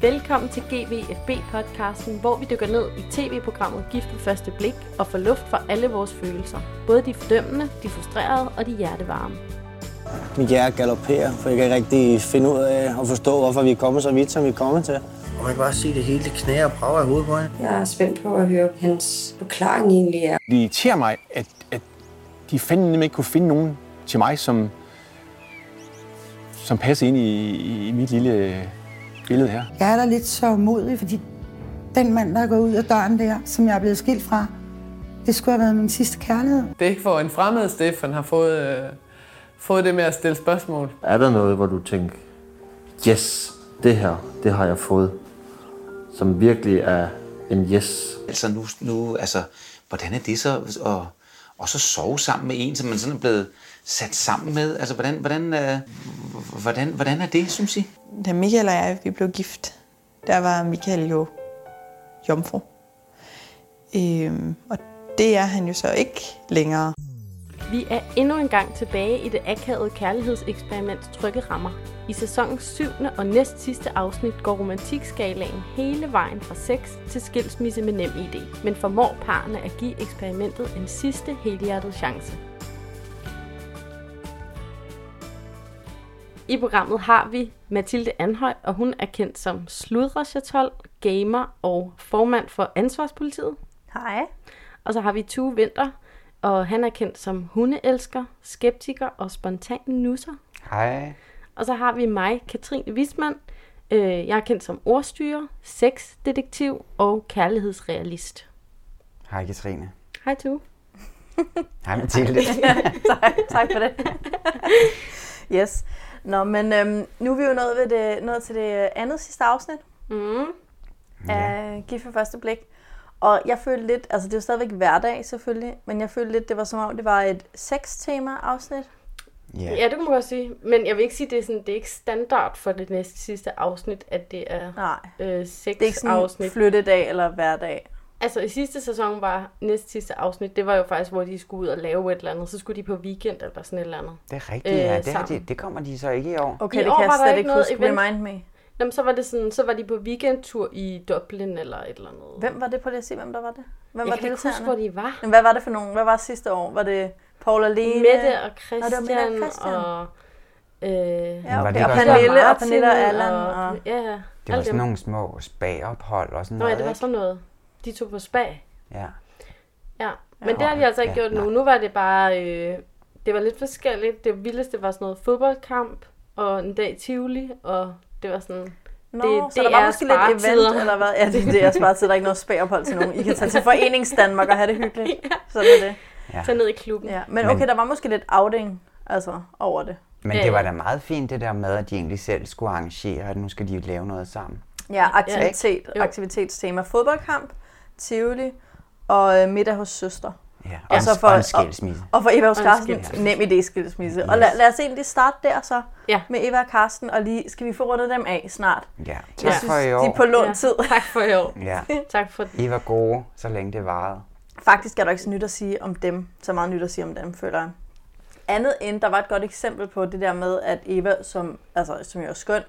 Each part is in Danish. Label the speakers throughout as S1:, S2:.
S1: Velkommen til GVFB-podcasten, hvor vi dykker ned i tv-programmet Gift ved første blik og får luft for alle vores følelser. Både de fordømmende, de frustrerede og de hjertevarme.
S2: Mit hjerte galopperer, for jeg kan ikke rigtig finde ud af at forstå, hvorfor vi er kommet så vidt, som vi er kommet til.
S3: Og man kan bare se det hele, det knæer og brager i hovedet på hende.
S4: Jeg er spændt på at høre, hvad hans forklaring egentlig er.
S5: Det irriterer mig, at, at de fandme ikke kunne finde nogen til mig, som, som passer ind i, i, i mit lille øh, billede her.
S6: Jeg er da lidt så modig, fordi den mand, der er gået ud af døren der, som jeg er blevet skilt fra, det skulle have været min sidste kærlighed.
S7: Det er ikke for en fremmed, Stefan har fået, øh, fået det med at stille spørgsmål.
S3: Er der noget, hvor du tænker, yes, det her, det har jeg fået, som virkelig er en yes?
S8: Altså nu, nu altså, hvordan er det så at, og så sove sammen med en, som man sådan er blevet sat sammen med? Altså, hvordan, hvordan, øh, hvordan, hvordan er det, synes I?
S9: Da Michael og jeg vi blev gift, der var Michael jo jomfru. Øhm, og det er han jo så ikke længere.
S1: Vi er endnu en gang tilbage i det akavede kærlighedseksperiments trygge rammer. I sæsonens syvende og næst sidste afsnit går romantikskalaen hele vejen fra sex til skilsmisse med nem idé, men formår parerne at give eksperimentet en sidste helhjertet chance. I programmet har vi Mathilde Anhøj, og hun er kendt som sludrechatol, gamer og formand for Ansvarspolitiet.
S10: Hej.
S1: Og så har vi Tue Vinter, og han er kendt som hundeelsker, skeptiker og spontan nusser.
S11: Hej.
S1: Og så har vi mig, Katrine Wisman. Øh, jeg er kendt som ordstyrer, sexdetektiv og kærlighedsrealist.
S11: Hej Katrine.
S1: Hej Tu.
S11: Hej Mathilde.
S10: tak, tak for det. yes. Nå, men øhm, nu er vi jo nået, ved det, nået til det andet sidste afsnit
S1: mm.
S10: af yeah. Gift for første blik. Og jeg følte lidt, altså det er jo stadigvæk hverdag selvfølgelig, men jeg følte lidt, det var som om, det var et sex-tema-afsnit.
S1: Yeah. Ja, det kan man godt sige. Men jeg vil ikke sige, det er, sådan, det er ikke standard for det næste sidste afsnit, at det er
S10: Nej.
S1: øh, seks
S10: Det er ikke sådan
S1: afsnit.
S10: afsnit. flyttedag eller hverdag.
S1: Altså i sidste sæson var næst sidste afsnit, det var jo faktisk, hvor de skulle ud og lave et eller andet. Så skulle de på weekend eller sådan et eller andet.
S11: Det er rigtigt, ja.
S1: Øh,
S11: Det, er
S1: sammen.
S11: rigtigt. det kommer de så ikke i år.
S10: Okay,
S1: I
S10: det
S1: år
S10: kan jeg
S1: var der
S10: slet
S1: ikke
S10: ikke
S1: noget
S10: huske.
S1: event.
S10: Remind me.
S1: Nå, men så var, det sådan, så var de på weekendtur i Dublin eller et eller andet.
S10: Hvem var det på det? Se, hvem der var det. Hvem
S1: jeg
S10: var
S1: kan ikke huske, hvor de var.
S10: Men Hvad var det for nogen? Hvad var sidste år? Var det Paul og Lene?
S1: Mette og
S10: Nå, det var
S1: Christian,
S10: Mette og Christian.
S1: og... Øh, ja,
S11: var
S10: Ja, okay.
S11: det
S10: Og
S11: godt?
S10: Pernille og
S1: Martin
S10: Pernille og Allan. Og...
S1: og ja,
S11: Det var sådan nogle små spagophold og
S1: Nå,
S11: sådan noget.
S1: ja, det var
S11: ikke?
S1: sådan noget. De tog på spa.
S11: Ja.
S1: Ja, men det har de altså ikke
S11: Ja,
S1: gjort nu.
S11: nej.
S1: Nu var det bare, øh, det var lidt forskelligt. Det vildeste var sådan noget fodboldkamp, og en dag i Tivoli, og det var sådan...
S10: Nå,
S1: Det-
S10: det, så
S1: det
S10: der var
S1: er
S10: måske lidt
S1: sparetider.
S10: event, eller hvad? Ja, det, det er sparetid. Der er ikke noget spagophold til nogen. I kan tage til Forenings Danmark og have det hyggeligt. Sådan er det.
S11: Ja.
S1: Tag ned i klubben.
S10: Ja. Men
S11: Men-
S10: okay, der var måske lidt outing altså, over det.
S11: Men
S1: Ja,
S11: det var
S1: ja.
S11: da meget fint det der med, at de egentlig selv skulle arrangere, at nu skal de jo lave noget sammen.
S10: Ja, aktivitet,
S1: Jo.
S10: aktivitetstema. Fodboldkamp, Tivoli og øh, middag hos søster.
S11: Ja, og,
S10: Og
S11: en,
S10: så for-
S11: og en skilsmisse.
S10: Og for Eva og
S1: en
S10: Karsten,
S1: skilsmisse.
S10: nem idé skilsmisse. Og lad, lad os egentlig starte der så,
S1: Ja.
S10: med Eva og Karsten, og lige skal vi få rundet dem af snart.
S11: Ja,
S10: Jeg
S11: tak
S10: synes,
S11: for i år.
S10: de er på lån
S1: Ja.
S10: tid.
S1: Tak for i år.
S11: Ja,
S1: Tak for
S11: I var gode, så længe det varede.
S10: Faktisk er der ikke så nyt at sige om dem, så meget nyt at sige om dem, føler jeg. Andet end, der var et godt eksempel på det der med, at Eva, som, altså, som jo er skøn,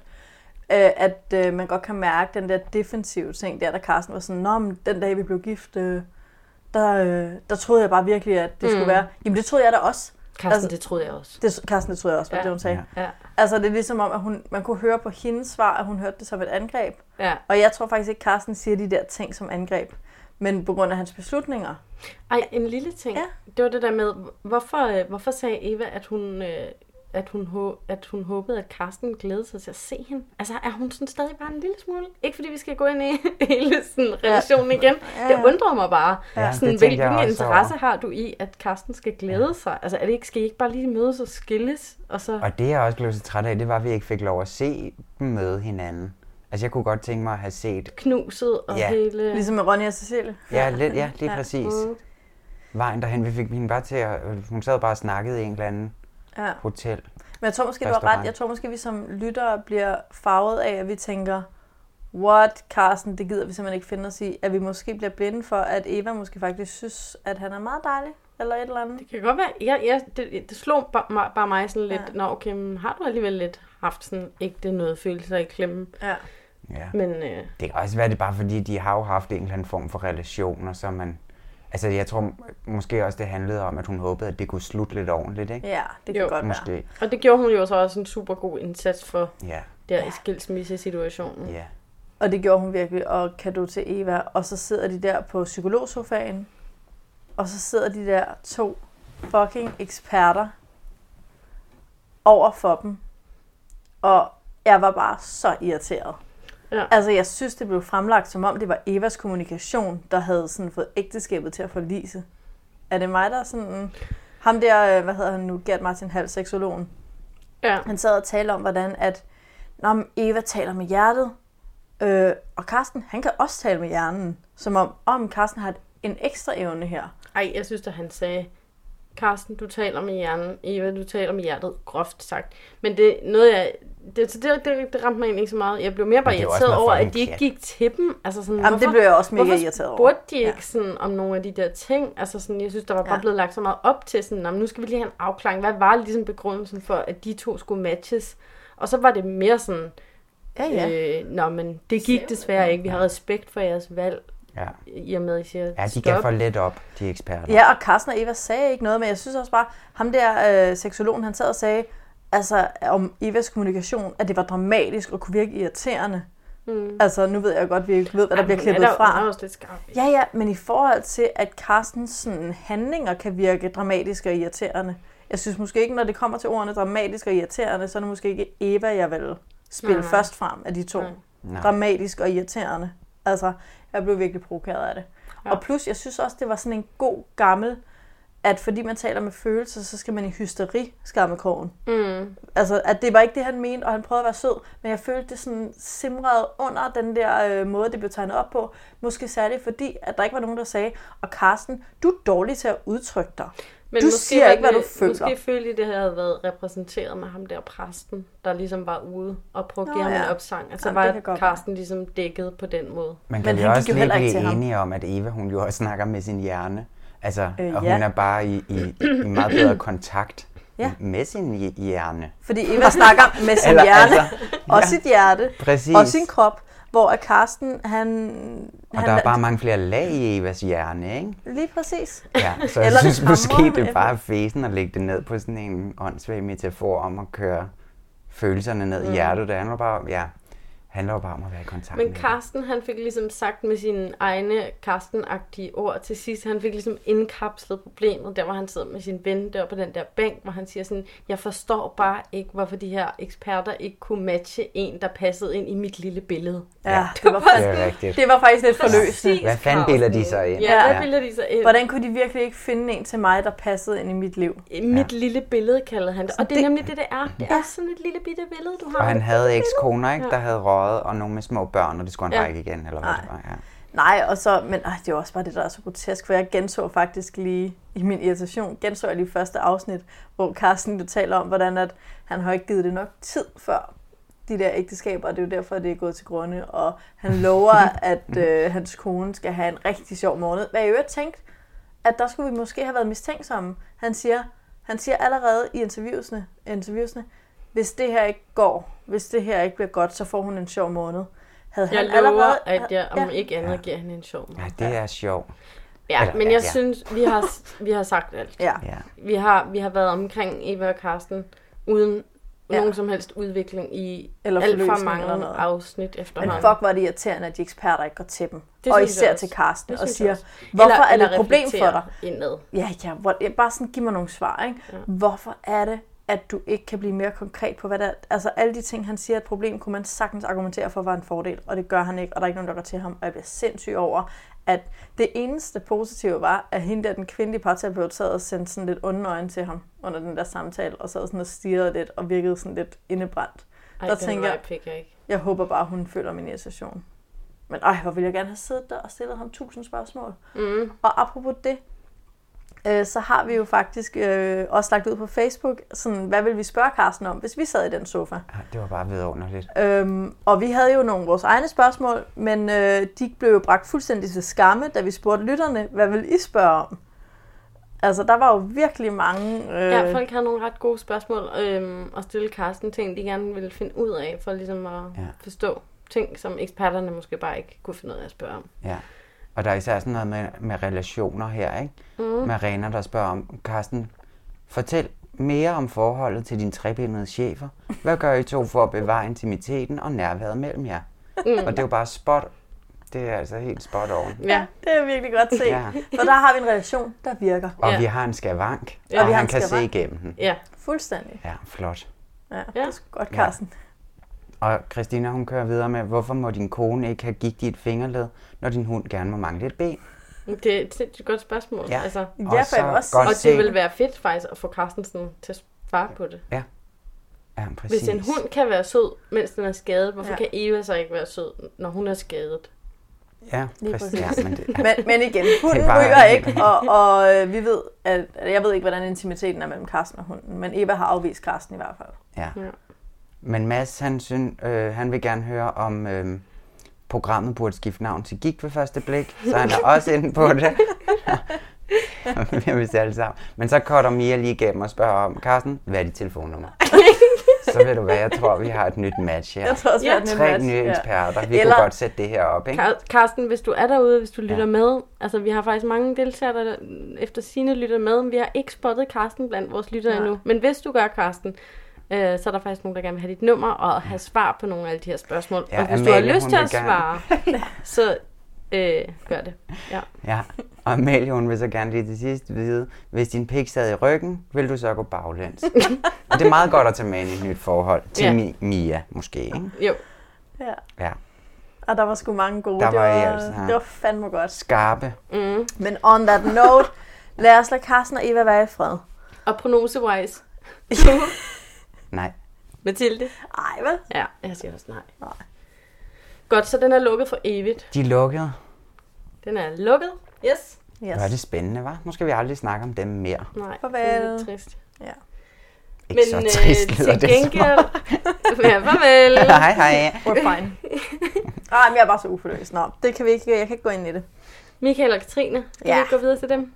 S10: øh, at øh, man godt kan mærke den der defensive ting der, der Carsten var sådan, Nå, men den dag vi blev gift, øh, der, øh, der troede jeg bare virkelig, at det mm. skulle være. Jamen det troede jeg da også.
S1: Carsten, altså,
S10: Altså-
S1: det troede jeg også.
S10: Det, Carsten, det troede jeg også, var
S1: Ja.
S10: det hun sagde.
S1: Ja,
S10: Altså det er ligesom om, at hun, man kunne høre på hendes svar, at hun hørte det som et angreb.
S1: ja.
S10: Og jeg tror faktisk ikke, Carsten siger de der ting som angreb, men på grund af hans beslutninger.
S1: Ej, en lille ting. Ja.
S10: Ja.
S1: Det var det der med, hvorfor, øh, hvorfor sagde Eva, at hun, øh, at, hun, hå- at hun håbede, at Karsten glædede sig til at se hende? Altså, er hun sådan stadig bare en lille smule? Ikke fordi vi skal gå ind i hele sådan relationen igen. Ja. Det undrer mig bare. Ja,
S11: Ja,
S1: sådan,
S11: det
S1: hvil,
S11: tænkte jeg
S1: hvilken
S11: også
S1: interesse
S11: over.
S1: har du i, at Karsten skal glæde ja. sig? Altså, er det ikke, skal I ikke bare lige mødes og skilles? Og så...
S11: Og det jeg også blev så træt af, det var, at vi ikke fik lov at se dem møde hinanden. Altså, jeg kunne godt tænke mig at have set...
S1: knuset og
S11: Ja.
S1: hele...
S10: Ligesom med Ronja og Cecilie.
S11: Ja, lidt, ja lige præcis.
S1: Mm.
S11: Vejen derhen, vi fik hende bare til at... Hun sad bare og snakkede i en eller anden
S10: Ja.
S11: hotel.
S10: Men jeg tror måske, du har
S11: Restaurant.
S10: ret. Jeg tror måske, vi som lyttere bliver farvet af, at vi tænker, what, Carsten, det gider vi simpelthen ikke finde os i. At vi måske bliver blinde for, at Eva måske faktisk synes, at han er meget dejlig. Eller et eller andet.
S1: Det kan godt være, jeg, jeg, det, det slog bare, mig- bare mig sådan lidt, ja.
S10: Ja.
S1: nå okay, men har du alligevel lidt haft sådan, ikke det noget følelser i klemmen?
S10: Ja.
S11: Ja.
S1: Men, øh,
S11: Det kan også være, det er bare fordi, de har jo haft en eller anden form for relation, og så er man... Altså, jeg tror måske også, det handlede om, at hun håbede, at det kunne slutte lidt ordentligt, ikke?
S1: Ja, det kan godt
S11: måske.
S1: være. Og det gjorde hun jo så også en super god indsats for
S11: Ja.
S1: der i skilsmissesituationen.
S11: Ja.
S10: Og det gjorde hun virkelig, og kado til Eva. Og så sidder de der på psykologsofaen, og så sidder de der to fucking eksperter over for dem. Og jeg var bare så irriteret.
S1: Ja.
S10: Altså, jeg synes, det blev fremlagt, som om det var Evas kommunikation, der havde sådan fået ægteskabet til at forlise. Er det mig, der er sådan... mm, Ham der, øh, hvad hedder han nu, Gert Martin Hals, seksologen.
S1: Ja.
S10: Han sad og talte om, hvordan at, Nå, men Eva taler med hjertet, øh, og Karsten, han kan også tale med hjernen. Som om, om Karsten har en ekstra evne her.
S1: Ej, jeg synes, at han sagde, Karsten, du taler med hjernen, Eva, du taler med hjertet, groft sagt. Men det er noget, jeg... Det, så det, det, det ramte mig egentlig ikke så meget. Jeg blev mere
S10: Men
S1: bare
S10: det er jo også
S1: irriteret
S10: noget
S1: over, at
S10: fucking
S1: de ikke
S10: pjat.
S1: gik til dem. Altså sådan,
S10: Jamen, det blev jeg også mega
S1: hvorfor
S10: irriteret over.
S1: spurgte de ikke sådan, om nogle af de der ting? Altså sådan, jeg synes, der var bare
S10: Ja.
S1: blevet lagt så meget op til sådan, "Nå, men nu skal vi lige have en afklaring. Hvad var ligesom begrundelsen for, at de to skulle matches? Og så var det mere sådan,
S10: Ja, ja.
S1: Øh, nå, men det gik desværre ikke. Vi har respekt for jeres valg.
S11: Ja.
S1: I og med, at I siger
S11: Ja, de
S1: stop.
S11: gav for let op, de eksperter.
S10: Ja, og Carsten og Eva sagde ikke noget, men jeg synes også bare, ham der øh, seksologen, han sad og sagde, altså om Evas kommunikation, at det var dramatisk og kunne virke irriterende.
S1: Mm.
S10: Altså, nu ved jeg godt, vi ikke ved, hvad der
S1: Ej,
S10: bliver
S1: men hun
S10: klippet
S1: er da-
S10: fra.
S1: Hun er også lidt skarp.
S10: Ja, ja, men i forhold til, at Carstens sådan, handlinger kan virke dramatiske og irriterende. Jeg synes måske ikke, når det kommer til ordene dramatisk og irriterende, så er det måske ikke Eva, jeg vil spille
S1: Nej.
S10: først frem af de to.
S1: Nej.
S10: Dramatisk og irriterende. Altså, jeg blev virkelig provokeret af det.
S1: Ja.
S10: Ja. Og plus, jeg synes også, det var sådan en god gammel, at fordi man taler med følelser, så skal man i hysteri skammekrogen.
S1: Mm.
S10: Altså, at det var ikke det, han mente, og han prøvede at være sød, men jeg følte det sådan simrede under den der øh, måde, det blev tegnet op på. Måske særligt fordi, at der ikke var nogen, der sagde, og Karsten, du er dårlig til at udtrykke dig. Men du
S1: måske
S10: siger
S1: var
S10: ikke, hvad du
S1: det-
S10: føler.
S1: Måske følte I, det havde været repræsenteret med ham der præsten, der ligesom var ude og prøvede at give
S10: Nå,
S1: ham en
S10: ja.
S1: opsang. Altså
S10: Jamen, det
S1: var
S10: kan godt
S1: Karsten ligesom dækket på den måde.
S11: Man kan jo også lige blive enige om, at Eva hun jo også snakker med sin hjerne. Altså,
S1: Øh,
S11: øh, og
S1: ja.
S11: hun er bare i, i, i meget bedre kontakt
S10: Ja.
S11: ja. med sin hj- hjerne.
S10: Fordi Eva snakker med sin
S11: Eller,
S10: hjerne,
S11: altså,
S10: og
S11: ja.
S10: sit hjerte,
S11: Præcis.
S10: og sin krop, hvor at Karsten, han...
S11: Og
S10: han
S11: der er bare mange flere lag i Evas hjerne, ikke?
S10: Lige præcis.
S11: Ja, så jeg
S10: Eller
S11: synes
S10: det hamrer,
S11: måske, det
S10: eller-
S11: er bare fæsen at lægge det ned på sådan en åndssvag metafor om at køre følelserne ned i
S1: Mm.
S11: hjertet. Det handler bare om, ja, handler jo bare om at være i kontakt
S1: Men
S11: med
S1: Karsten, han fik ligesom sagt med sine egne Karsten-agtige ord til sidst, han fik ligesom indkapslet problemet, der hvor han sidder med sin ven der på den der bænk, hvor han siger sådan, jeg forstår bare ikke, hvorfor de her eksperter ikke kunne matche en, der passede ind i mit lille billede.
S10: Ja, det var,
S11: Det er rigtigt.
S10: det var faktisk lidt forløsende.
S1: Præcis,
S11: Hvad fanden bilder de sig ind?
S1: Ja, hvad bilder de sig ind?
S10: Hvordan kunne de virkelig ikke finde en til mig, der passede ind i mit liv?
S1: Mit ja. lille billede kaldede han det. Og det er nemlig det, det er. Det er sådan et lille bitte billede, du har.
S11: Og han havde ekskoner, ikke,
S1: Ja.
S11: der havde røget, og nogle med små børn, og det skulle han
S10: Ja.
S11: ja. ikke igen, eller hvad det var. Ja.
S10: Nej, og så, men øh, det er jo også bare det, der er så grotesk, for jeg genså faktisk lige i min irritation, genså jeg lige første afsnit, hvor Carsten du taler om, hvordan at han har ikke givet det nok tid før de der ægteskaber, og det er jo derfor, det er gået til grunde, og han lover, at øh, hans kone skal have en rigtig sjov måned. Hvad jeg i øvrigt tænkte, at der skulle vi måske have været mistænksomme. Han siger, han siger allerede i interviewsene, interviewsene, hvis det her ikke går, hvis det her ikke bliver godt, så får hun en sjov måned. Havde
S1: Jeg
S10: han
S1: lover,
S10: allerede,
S1: at jeg om
S10: Ja.
S1: ikke andet giver hende en sjov måde.
S11: Ja, det er sjovt.
S1: Ja,
S11: Eller-
S1: men jeg
S11: ja.
S1: synes, vi har, vi har sagt alt.
S10: Ja.
S11: Ja.
S1: Vi, har, vi har været omkring Eva og Karsten uden ja.
S10: Ja.
S1: nogen som helst udvikling i Eller
S10: Eller
S1: alt for
S10: forløsning
S1: mange
S10: eller noget.
S1: afsnit
S10: Men
S1: efterhånden.
S10: fuck, hvor er det irriterende, at de eksperter ikke går til dem.
S1: Det
S10: Det og
S1: synes jeg
S10: især
S1: også.
S10: til Karsten
S1: Det
S10: og
S1: synes
S10: siger,
S1: jeg også.
S10: hvorfor
S1: Eller-
S10: er det et
S1: eller
S10: problem for dig?
S1: reflektere indad.
S10: Ja, ja, hvor, ja, bare sådan, giv mig nogle svar, ikke? Ja. Hvorfor er det, at du ikke kan blive mere konkret på, hvad der Altså, alle de ting, han siger er et problem, kunne man sagtens argumentere for, var en fordel, og det gør han ikke, og der er ikke nogen, der går til ham, og jeg bliver sindssyg over, at det eneste positive var, at hende der, den kvindelige parterapeut, sad og sendte sådan lidt onde øjne til ham under den der samtale, og sad sådan og stirrede lidt, og virkede sådan lidt indebrændt.
S1: Ej,
S10: der
S1: den
S10: tænker
S1: vibe fik jeg ikke.
S10: jeg håber bare, hun føler min irritation. Men ej, hvor ville jeg gerne have siddet der og stillet ham tusind spørgsmål.
S1: Mm.
S10: Og apropos det, øh, så har vi jo faktisk øh, også lagt ud på Facebook, sådan, hvad vil vi spørge Carsten om, hvis vi sad i den sofa?
S11: Ja, Det var bare vidunderligt.
S10: Øhm, og vi havde jo nogle af vores egne spørgsmål, men øh, de blev jo bragt fuldstændig til skamme, da vi spurgte lytterne, hvad vil I spørge om? Altså, der var jo virkelig mange... Øh,
S1: Ja, folk har nogle ret gode spørgsmål øhm, at stille Karsten ting, de gerne ville finde ud af, for ligesom at ja. forstå. ting, som eksperterne måske bare ikke kunne finde ud af at spørge om.
S11: Ja. Og der er især sådan noget med, med relationer her, ikke?
S1: Mm.
S11: Marina, der spørger om, Karsten, fortæl mere om forholdet til dine trebindede chefer. Hvad gør I to for at bevare intimiteten og nærværet mellem jer?
S10: Mm.
S11: Mm. Og det er jo bare spot. Det er altså helt spot on.
S10: Ja, det er virkelig godt set.
S11: Ja.
S10: For der har vi en relation, der virker.
S11: Og vi har en skavank,
S10: Ja,
S11: ja, og
S10: vi har
S11: han
S10: en
S11: kan se
S10: skavank.
S11: igennem den.
S1: Ja.
S10: Fuldstændig.
S11: Ja, flot.
S10: Ja, det er sgu godt,
S11: Ja.
S10: Carsten.
S11: Og Christina, hun kører videre med, hvorfor må din kone ikke have gigt i et fingerled, når din hund gerne må mangle et ben?
S1: Det er et sindssygt godt spørgsmål.
S11: Ja.
S1: altså,
S11: Ja, for Og jeg så vil også godt
S1: og
S11: se-
S1: det vil være fedt faktisk at få Carstensen til at svare på det.
S11: Ja. Ja,
S1: Præcis.
S11: præcis.
S1: Hvis en hund kan være sød, mens den er skadet, hvorfor
S10: Ja.
S1: ja. kan Eva så ikke være sød, når hun er skadet?
S11: Ja,
S1: Lige
S11: præcis. Ja,
S1: præcis.
S11: men det,
S10: Men, men igen, hunden
S11: bare-
S10: ryger ikke, og, og øh, vi ved, at, at jeg ved ikke, hvordan intimiteten er mellem Carsten og hunden, men Eva har afvist Carsten i hvert fald.
S11: Ja. Men Mads, han, syn, øh, han vil gerne høre om øh, programmet burde skifte navn til Gik ved første blik, så han er også inde på det. Vi vil alle sammen. Men så cutter Mia lige igennem og spørger om, Carsten, hvad er dit telefonnummer? så ved du hvad, jeg tror, vi har et nyt match her.
S1: Jeg tror også, vi har et nyt
S11: Tre
S1: match,
S11: nye
S1: ja.
S11: eksperter. Vi
S1: Eller-
S11: kunne godt sætte det her op, ikke?
S1: Car- Carsten, hvis du er derude, hvis du lytter
S11: Ja.
S1: ja. med, altså vi har faktisk mange deltagere, der efter sine lytter med, men vi har ikke spottet Carsten blandt vores lyttere
S10: Nej.
S1: endnu. Men hvis du gør, Carsten, øh, så er der faktisk nogen, der gerne vil have dit nummer og have svar på nogle af alle de her spørgsmål.
S11: Ja,
S1: og hvis du
S11: Amalie,
S1: har lyst
S11: hun
S1: til
S11: vil
S1: at
S11: gerne.
S1: svare, så øh, gør det. Ja.
S11: Ja, og Amalie, hun vil så gerne lige til sidst vide, hvis din pik sad i ryggen, vil du så gå baglæns? og det er meget godt at tage med ind i et nyt forhold. Til
S10: Ja.
S11: Mi- Mia, måske, ikke?
S1: Jo.
S10: Ja.
S11: Ja.
S10: Og der var sgu mange gode.
S11: Der
S10: det,
S11: var I
S10: var,
S11: altså, ja.
S10: det var fandme godt.
S11: Skarpe.
S10: Mm. Men on that note, lad os lade Carsten og Eva være i fred.
S1: Og pronosewise.
S11: Nej.
S1: Mathilde?
S10: Ej, vel?
S1: Ja, jeg siger også nej. nej. Godt, så den er lukket for evigt.
S11: De er lukkede.
S1: Den er lukket. Yes.
S11: Yes. Var det spændende, var? Nu skal vi aldrig snakke om dem mere.
S1: Nej,
S10: Farvel. øh,
S1: det er lidt trist.
S10: Ja.
S11: Ikke så trist lyder
S1: øh, til
S11: det som
S1: gengæld...
S11: om.
S1: ja, farvel.
S11: Hej, hej.
S10: We're fine. Ej, men jeg er bare så uforløst. Nå, det kan vi ikke, jeg kan ikke gå ind i det.
S1: Michael og Katrine, kan
S10: Ja.
S1: ja. vi gå videre til dem?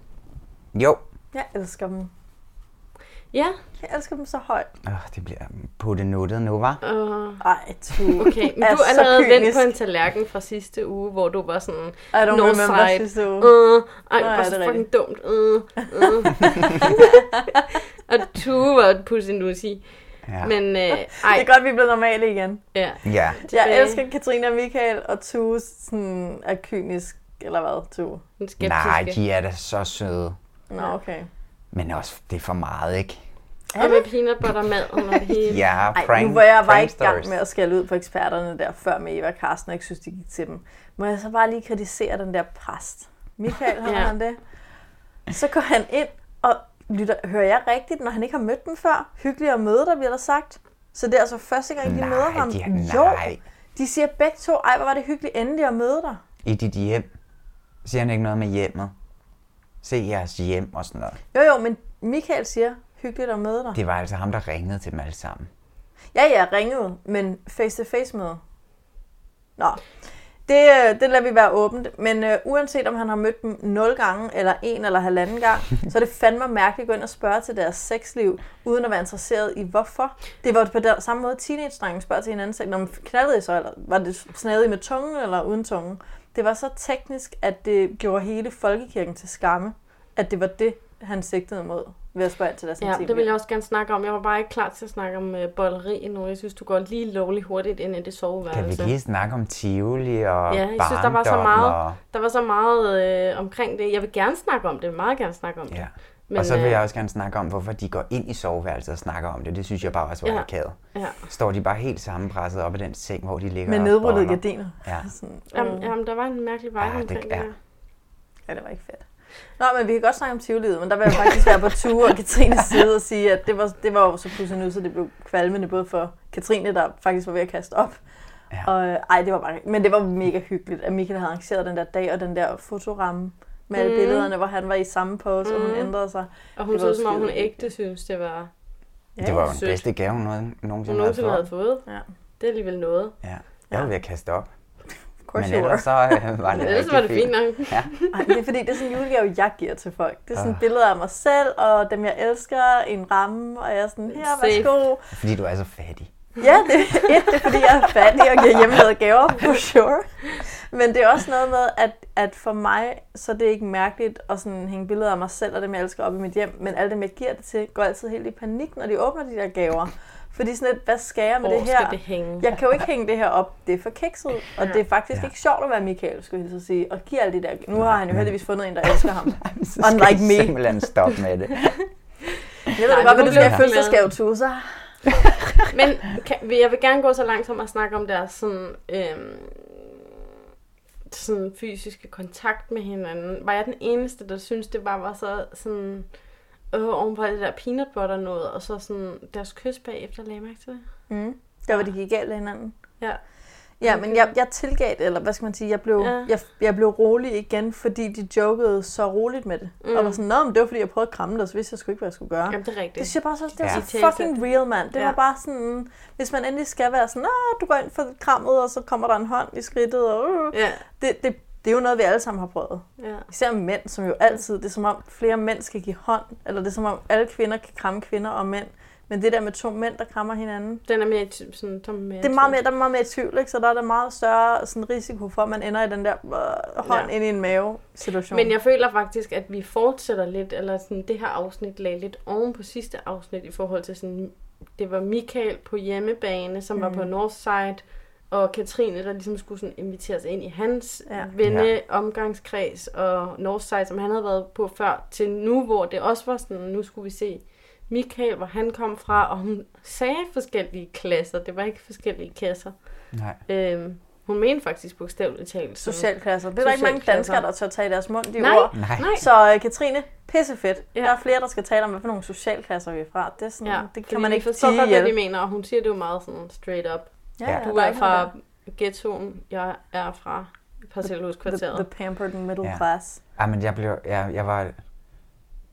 S11: Jo.
S10: Jeg elsker dem.
S1: Ja.
S10: Jeg elsker dem så højt.
S11: Åh, det bliver puttet nuttet nu, var?
S1: Uh,
S10: Ej, tu.
S1: Okay, men
S10: Er
S1: du
S10: så
S1: er allerede vendt
S10: kynisk.
S1: på en tallerken fra sidste uge, hvor du var sådan...
S10: I don't
S1: "Northside,
S10: remember sidste uge."
S1: Uh,
S10: Nå,
S1: ej,
S10: ja,
S1: det var
S10: det
S1: så
S10: er
S1: fucking
S10: rigtigt.
S1: dumt. Uh, uh. og du var et pussinussi.
S10: Ja.
S1: Men øh, ej.
S10: Det er godt, vi er blevet normale igen.
S1: Ja.
S11: Ja.
S10: Jeg
S1: Tilbage.
S10: elsker Katrine og Michael, og Tue sådan er kynisk, eller hvad, Tue?
S11: Nej, de er da så søde.
S10: Nå, okay.
S11: Men også, det er for meget, ikke?
S1: Og med peanut butter mad under det hele.
S11: Ja,
S10: Ej,
S11: prank-
S10: nu var jeg var ikke i gang
S11: pranksters.
S10: med at skælde ud på eksperterne der, før med Eva og Carsten, og ikke synes, de gik til dem. Må jeg så bare lige kritisere den der præst? Michael, har
S1: Ja.
S10: ja. han det? Så går han ind og lytter, hører jeg rigtigt, når han ikke har mødt dem før? Hyggeligt at møde dig, vi har sagt. Så det er altså første gang, de
S11: Nej,
S10: møder ham?
S11: de-
S10: Jo,
S11: nej.
S10: de siger begge to, ej, hvor var det hyggeligt endelig at møde dig.
S11: I dit hjem. Siger han ikke noget med hjemmet? Se jeres hjem og sådan noget.
S10: Jo, jo, men Michael siger, hyggeligt at møde dig.
S11: Det var altså ham, der ringede til dem alle sammen.
S10: Ja, ja, ringede, men face-to-face møde. Nå, det, øh, det lader vi være åbent, men øh, uanset om han har mødt dem 0 gange, eller en eller halvanden gang, så er det fandme mærkeligt at gå ind og spørge til deres sexliv, uden at være interesseret i hvorfor. Det var på den samme måde, teenage-drenge spørger til hinanden, når man knaldede I så, eller var det snadet I med tungen eller uden tungen. Det var så teknisk, at det gjorde hele folkekirken til skamme, at det var det, han sigtede mod ved at spørge ind til deres
S1: Ja,
S10: intimliv.
S1: det vil jeg også gerne snakke om. Jeg var bare ikke klar til at snakke om øh, bolleri endnu. Jeg synes, du går lige lovligt hurtigt ind i det
S11: Kan vi
S1: soveværelse.
S11: lige snakke om Tivoli og
S1: altså. Ja, jeg synes, der var så
S11: barndom
S1: meget,
S11: og...
S1: der var så meget øh, omkring det. Jeg vil gerne snakke om det, jeg vil meget gerne snakke om det. øh,
S11: Ja. Men, og så vil jeg også gerne snakke om, hvorfor de går ind i soveværelset og snakker om det. Det synes jeg bare også var
S1: Ja.
S11: ja. akavet.
S1: Ja.
S11: Står de bare helt sammenpresset op i den seng, hvor de ligger
S10: Med
S11: og
S10: nedrullede
S11: boller?
S10: gardiner.
S11: Ja.
S10: mm.
S1: Jamen, jamen, der var en mærkelig vej omkring det,
S11: ja.
S1: der.
S10: Ja, det var ikke fedt. Nå, men vi kan godt snakke om tivolivet, men der vil jeg faktisk være på Tue og Katrines side og sige, at det var, det var jo så pludselig nu, så det blev kvalmende både for Katrine, der faktisk var ved at kaste op, ja. og øh, ej, det var bare, men det var mega hyggeligt, at Michael havde arrangeret den der dag og den der fotoramme med alle
S1: Mm.
S10: billederne, hvor han var i samme pose, og hun
S1: Mm.
S10: ændrede sig.
S1: Og hun
S10: Det var
S1: så, som om hun
S10: skide-
S1: ægte synes, det var
S10: Ja,
S11: det var jo den
S1: sødt.
S11: bedste gave, hun havde-
S1: hun
S11: nogensinde,
S1: nogensinde havde
S11: havde fået.
S1: fået.
S10: Ja.
S1: Det er alligevel noget.
S11: Ja. Jeg var ved at kaste op.
S10: course
S11: Men
S10: you
S11: ellers så
S10: were.
S11: øh, var det
S1: Ellers
S11: rigtig
S1: var det fint nok.
S11: Ja.
S10: Ej, det er fordi, det er sådan en julegave, jeg giver til folk. Det er sådan
S11: Ah.
S10: billeder af mig selv, og dem jeg elsker, en ramme, og jeg er sådan, her,
S1: Safe.
S10: værsgo.
S11: Fordi du er så fattig.
S10: Ja, det, et, det er fordi, jeg er fattig og giver hjemmelavede gaver, for sure. Men det er også noget med, at, at for mig, så er det ikke mærkeligt at sådan hænge billeder af mig selv og dem, jeg elsker op i mit hjem. Men alle dem, jeg giver det til, går altid helt i panik, når de åbner de der gaver. Fordi sådan lidt, hvad skal jeg med
S1: Hvor
S10: det her?
S1: skal det hænge?
S10: Jeg kan jo ikke hænge det her op. Det er for kikset. Og
S1: Ja.
S10: det er faktisk
S1: Ja.
S10: ikke sjovt at være Michael, skulle jeg så sige. Og give alle de der... Nu har han jo heldigvis fundet en, der elsker ham.
S11: Så skal
S10: Unlike
S11: du
S10: me.
S11: simpelthen stoppe med det.
S10: Jeg ved da
S1: Nej, nu
S10: godt, hvad du
S1: bliver
S10: skal have
S1: jeg glad.
S10: fødselsdagsgavetusser.
S1: Men kan, vil- jeg vil gerne gå så langt som at snakke om deres sådan, øhm, sådan fysiske kontakt med hinanden. Var jeg den eneste, der synes det bare var så sådan... Øh, ovenpå det der peanut butter noget, og så sådan deres kys bagefter, lagde jeg mærke til det.
S10: Mm. Der var det gik galt af hinanden.
S1: Ja.
S10: Ja, men jeg, jeg tilgav det, eller hvad skal man sige, jeg blev,
S1: Ja.
S10: ja. jeg, jeg blev rolig igen, fordi de jokede så roligt med det. Mm. Og var sådan, nå, men det var fordi, jeg prøvede at kramme det, og så vidste jeg sgu ikke, hvad jeg skulle gøre.
S1: Jamen, det er rigtigt.
S10: Det synes jeg bare så, det var
S1: Ja.
S10: så fucking real, mand. Det
S1: Ja.
S10: ja. var bare sådan, hvis man endelig skal være sådan, nå, du går ind for krammet, og så kommer der en hånd i skridtet, og uh,
S1: Ja.
S10: det, det, det er jo noget, vi alle sammen har prøvet.
S1: Ja.
S10: Især mænd, som jo altid, det er som om flere mænd skal give hånd, eller det er som om alle kvinder kan kramme kvinder og mænd. Men det der med to mænd, der krammer hinanden,
S1: Den er mere i ty- sådan, der er mere i
S10: det er
S1: tvivl.
S10: meget mere, der er meget mere tvivl, ikke? så der er der meget større sådan, risiko for, at man ender i den der øh, hånd
S1: Ja.
S10: ja. ind i en mave-situation.
S1: Men jeg føler faktisk, at vi fortsætter lidt, eller sådan, det her afsnit lagde lidt oven på sidste afsnit i forhold til sådan, det var Michael på hjemmebane, som mm. var
S10: Mhm.
S1: på Northside, og Katrine, der ligesom skulle sådan inviteres ind i hans ja.
S10: Ja.
S1: venne
S10: Ja.
S1: omgangskreds, og Northside, som han havde været på før, til nu, hvor det også var sådan, nu skulle vi se Michael, hvor han kom fra, og hun sagde forskellige klasser, det var ikke forskellige klasser.
S11: Nej.
S1: Øhm, hun mente faktisk bogstaveligt talt. sådan-
S10: Socialklasser. Det er der ikke mange
S1: Socialklasser.
S10: danskere, der tør tage i deres mund, de
S1: Nej.
S10: ord.
S1: Nej. Nej.
S10: Så øh, Katrine, pissefedt. Ja. Der er flere, der skal tale om, hvad for nogle socialklasser vi er fra. Det, er sådan, ja, det
S1: fordi
S10: kan man
S1: Mm, vi
S10: ikke
S1: forstår
S10: sige
S1: godt, hvad
S10: ihjel.
S1: de mener, og hun siger det jo meget sådan straight up.
S10: Ja, ja,
S1: du
S10: der er
S1: er
S10: ikke
S1: fra
S10: noget
S1: ghettoen, jeg er fra parcelhuskvarteret.
S10: The- the- the pampered middle
S11: Ja. Ej, men jeg blev, jeg, jeg var,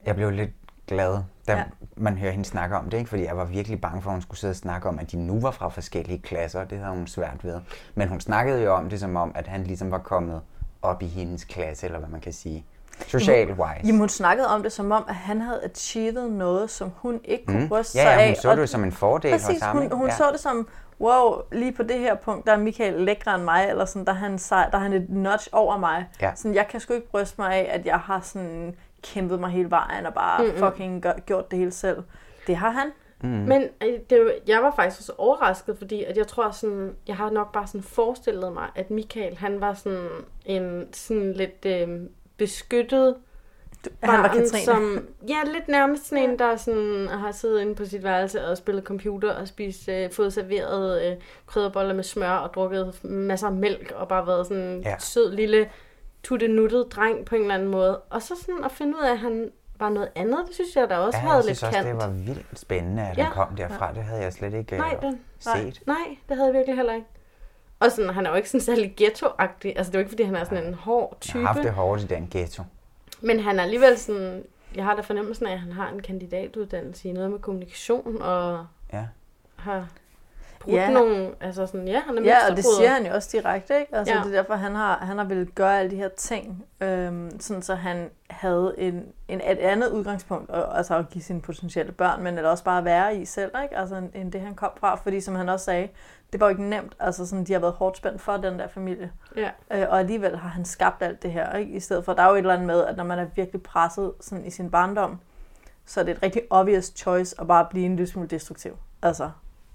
S11: jeg blev lidt glad, da
S10: Ja.
S11: ja. man hører hende snakke om det, ikke? fordi jeg var virkelig bange for, at hun skulle sidde og snakke om, at de nu var fra forskellige klasser, og det havde hun svært ved. Men hun snakkede jo om det, som om, at han ligesom var kommet op i hendes klasse, eller hvad man kan sige. Social-wise.
S10: Jamen, hun snakkede om det som om, at han havde achieved noget, som hun ikke kunne
S11: Mm.
S10: bryste
S11: Ja,
S10: sig
S11: ja,
S10: af.
S11: hun så det
S10: og-
S11: jo som en fordel hos
S10: Præcis,
S11: ham,
S10: hun,
S11: ikke?
S10: hun
S11: Ja.
S10: så det som, wow, lige på det her punkt, der er Michael lækre end mig, eller sådan, der er han, sej, der er han et notch over mig.
S11: Ja.
S10: Sådan, jeg kan sgu ikke bryste mig af, at jeg har sådan kæmpet mig hele vejen, og bare
S1: Mm, mm.
S10: mm-hmm. fucking gør, gjort det hele selv. Det har han.
S1: Mm. Men øh, det, var- jeg var faktisk også overrasket, fordi at jeg tror sådan, jeg har nok bare sådan forestillet mig, at Michael, han var sådan en sådan lidt øh, beskyttet
S10: han var
S1: barn,
S10: Katrine.
S1: som, ja, lidt nærmest sådan en, der sådan, har siddet inde på sit værelse og spillet computer og spist, øh, fået serveret øh, krydderboller med smør og drukket masser af mælk og bare været sådan en
S10: Ja.
S1: sød lille tuttenuttet dreng på en eller anden måde. Og så sådan at finde ud af, at han var noget andet, det synes jeg da også
S11: ja,
S1: havde
S11: jeg
S1: lidt
S11: synes også,
S1: kant.
S11: det var vildt spændende, at
S1: Ja.
S11: han kom derfra.
S1: Ja.
S11: Det havde jeg slet ikke øh,
S1: Nej, den, nej,
S11: set.
S1: nej, det havde jeg virkelig heller ikke. Og sådan, han er jo ikke sådan særlig ghetto-agtig. Altså, det er jo ikke, fordi han er sådan en hård type.
S11: Jeg har haft det hårdt i den ghetto.
S1: Men han er alligevel sådan... Jeg har da fornemmelsen af, at han har en kandidatuddannelse i noget med kommunikation, og
S11: Ja.
S1: har brugt
S10: Ja.
S1: nogle... Altså sådan, ja, han er
S10: Ja, og det
S1: mønsterbryder.
S10: siger han jo også direkte, ikke? Altså,
S1: Ja.
S10: ja. det er derfor, han har, han har ville gøre alle de her ting, øhm, sådan så han havde en, en, et andet udgangspunkt, og, altså at give sine potentielle børn, men eller også bare være i selv, ikke? Altså, end, end det, han kom fra. Fordi, som han også sagde, det var jo ikke nemt. Altså, sådan, de har været hårdt spændt for den der familie.
S1: Ja.
S10: Øh, og alligevel har han skabt alt det her, ikke? I stedet for, der er jo et eller andet med, at når man er virkelig presset sådan, i sin barndom, så er det et rigtig obvious choice at bare blive en lille smule destruktiv. Altså,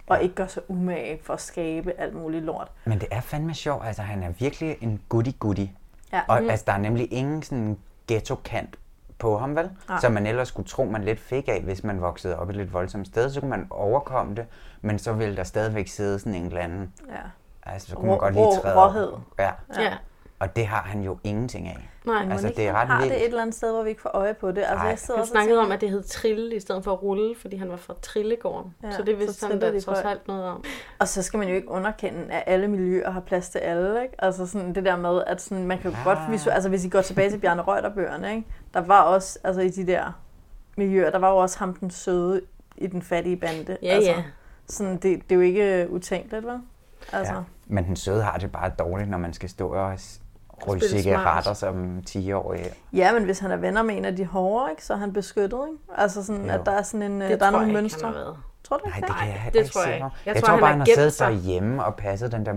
S10: og ikke gøre sig umage for at skabe alt muligt lort.
S11: Men det er fandme sjovt, altså han er virkelig en goody-goody.
S10: Ja.
S11: Og
S10: Mm.
S11: mm. altså, der er nemlig ingen sådan ghetto-kant på ham, vel?
S10: Nej.
S11: Som man ellers skulle tro, man lidt fik af, hvis man voksede op et lidt voldsomt sted. Så kunne man overkomme det, men så ville der stadigvæk sidde sådan en eller anden...
S10: Ja.
S11: Altså, så kunne man
S10: Rå-
S11: godt lige
S10: rå-
S11: træde...
S10: råhed.
S11: Ja.
S1: Ja.
S11: Og det har han jo ingenting af.
S10: men
S11: altså,
S10: ikke
S11: det er
S10: han har
S11: ret vildt.
S10: det et eller andet sted, hvor vi ikke får øje på det. Altså,
S11: Nej.
S10: jeg sidder
S1: Han
S10: også og
S1: snakkede
S10: tænker-
S1: om, at det hed Trille i stedet for Rulle, fordi han var fra Trillegården. Ja,
S10: Ja,
S1: så det vidste
S10: så
S1: han
S10: triller
S1: da
S10: de
S1: trods
S10: folk.
S1: alt noget om.
S10: Og så skal man jo ikke underkende, at alle miljøer har plads til alle. Ikke? Altså sådan det der med, at sådan, man kan jo godt...
S1: Ah.
S10: Visu- altså hvis I går tilbage til Bjarne Reuterbøgerne, ikke? der var også altså, i de der miljøer, der var jo også ham den søde i den fattige bande.
S1: Ja,
S10: altså,
S1: ja.
S10: Sådan, det, det er jo ikke utænkeligt, vel? Altså, ja.
S11: Men den søde har det bare dårligt, når man skal stå og s- ryge
S10: Spille
S11: cigaretter
S10: smart.
S11: som 10-årig.
S10: ja, men hvis han er venner med en af de hårde, ikke, så er han beskyttet. Ikke? Altså sådan,
S11: Jo.
S10: at der er sådan en... øh,
S1: Det
S10: der er
S1: tror
S10: nogle
S1: jeg ikke,
S10: mønstre.
S1: han har været.
S10: Tror du ikke
S11: Nej, det kan jeg heller
S10: det
S11: ikke
S10: tror jeg
S11: se
S10: ikke.
S11: mig.
S10: Jeg
S11: Jeg,
S10: tror,
S11: tror,
S10: han
S11: bare,
S10: har
S11: han har
S10: gemt
S11: siddet
S10: sig.
S11: derhjemme og passet den der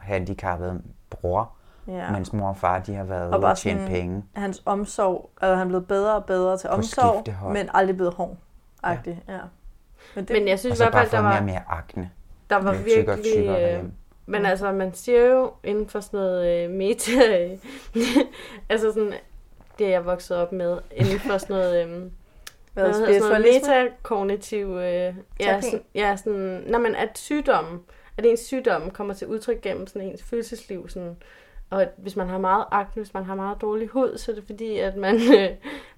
S11: multihandicappede bror,
S10: Ja.
S11: ja. mens mor og far de har været
S10: Og
S11: ude
S10: bare
S11: og tjene
S10: sådan,
S11: penge.
S10: hans omsorg, altså han er blevet bedre og bedre til
S11: På
S10: omsorg,
S11: skiftehøj.
S10: men aldrig blevet hård. Ja. ja. Men, det,
S1: Men jeg
S11: Og
S1: synes i
S11: så
S1: hvert
S11: bare
S1: fald, der
S11: fået
S1: var...
S11: mere og mere akne.
S1: Der var
S11: Blev
S1: virkelig...
S11: Tykkere og tykkere
S1: øh,
S11: derhjemme.
S1: men altså, man siger jo inden for sådan noget øh, meta... Øh, altså sådan, det er jeg vokset op med, inden for sådan noget... Øh,
S10: Hvad,
S1: hvad hedder sådan noget
S10: spiritualisme?
S1: metakognitiv... Øh, ja,
S10: Terapi?
S1: sådan, ja, sådan... Når man at sygdommen, at ens sygdomme kommer til udtryk gennem sådan ens følelsesliv, sådan, og at hvis man har meget akne, hvis man har meget dårlig hud, så er det fordi, at man, øh,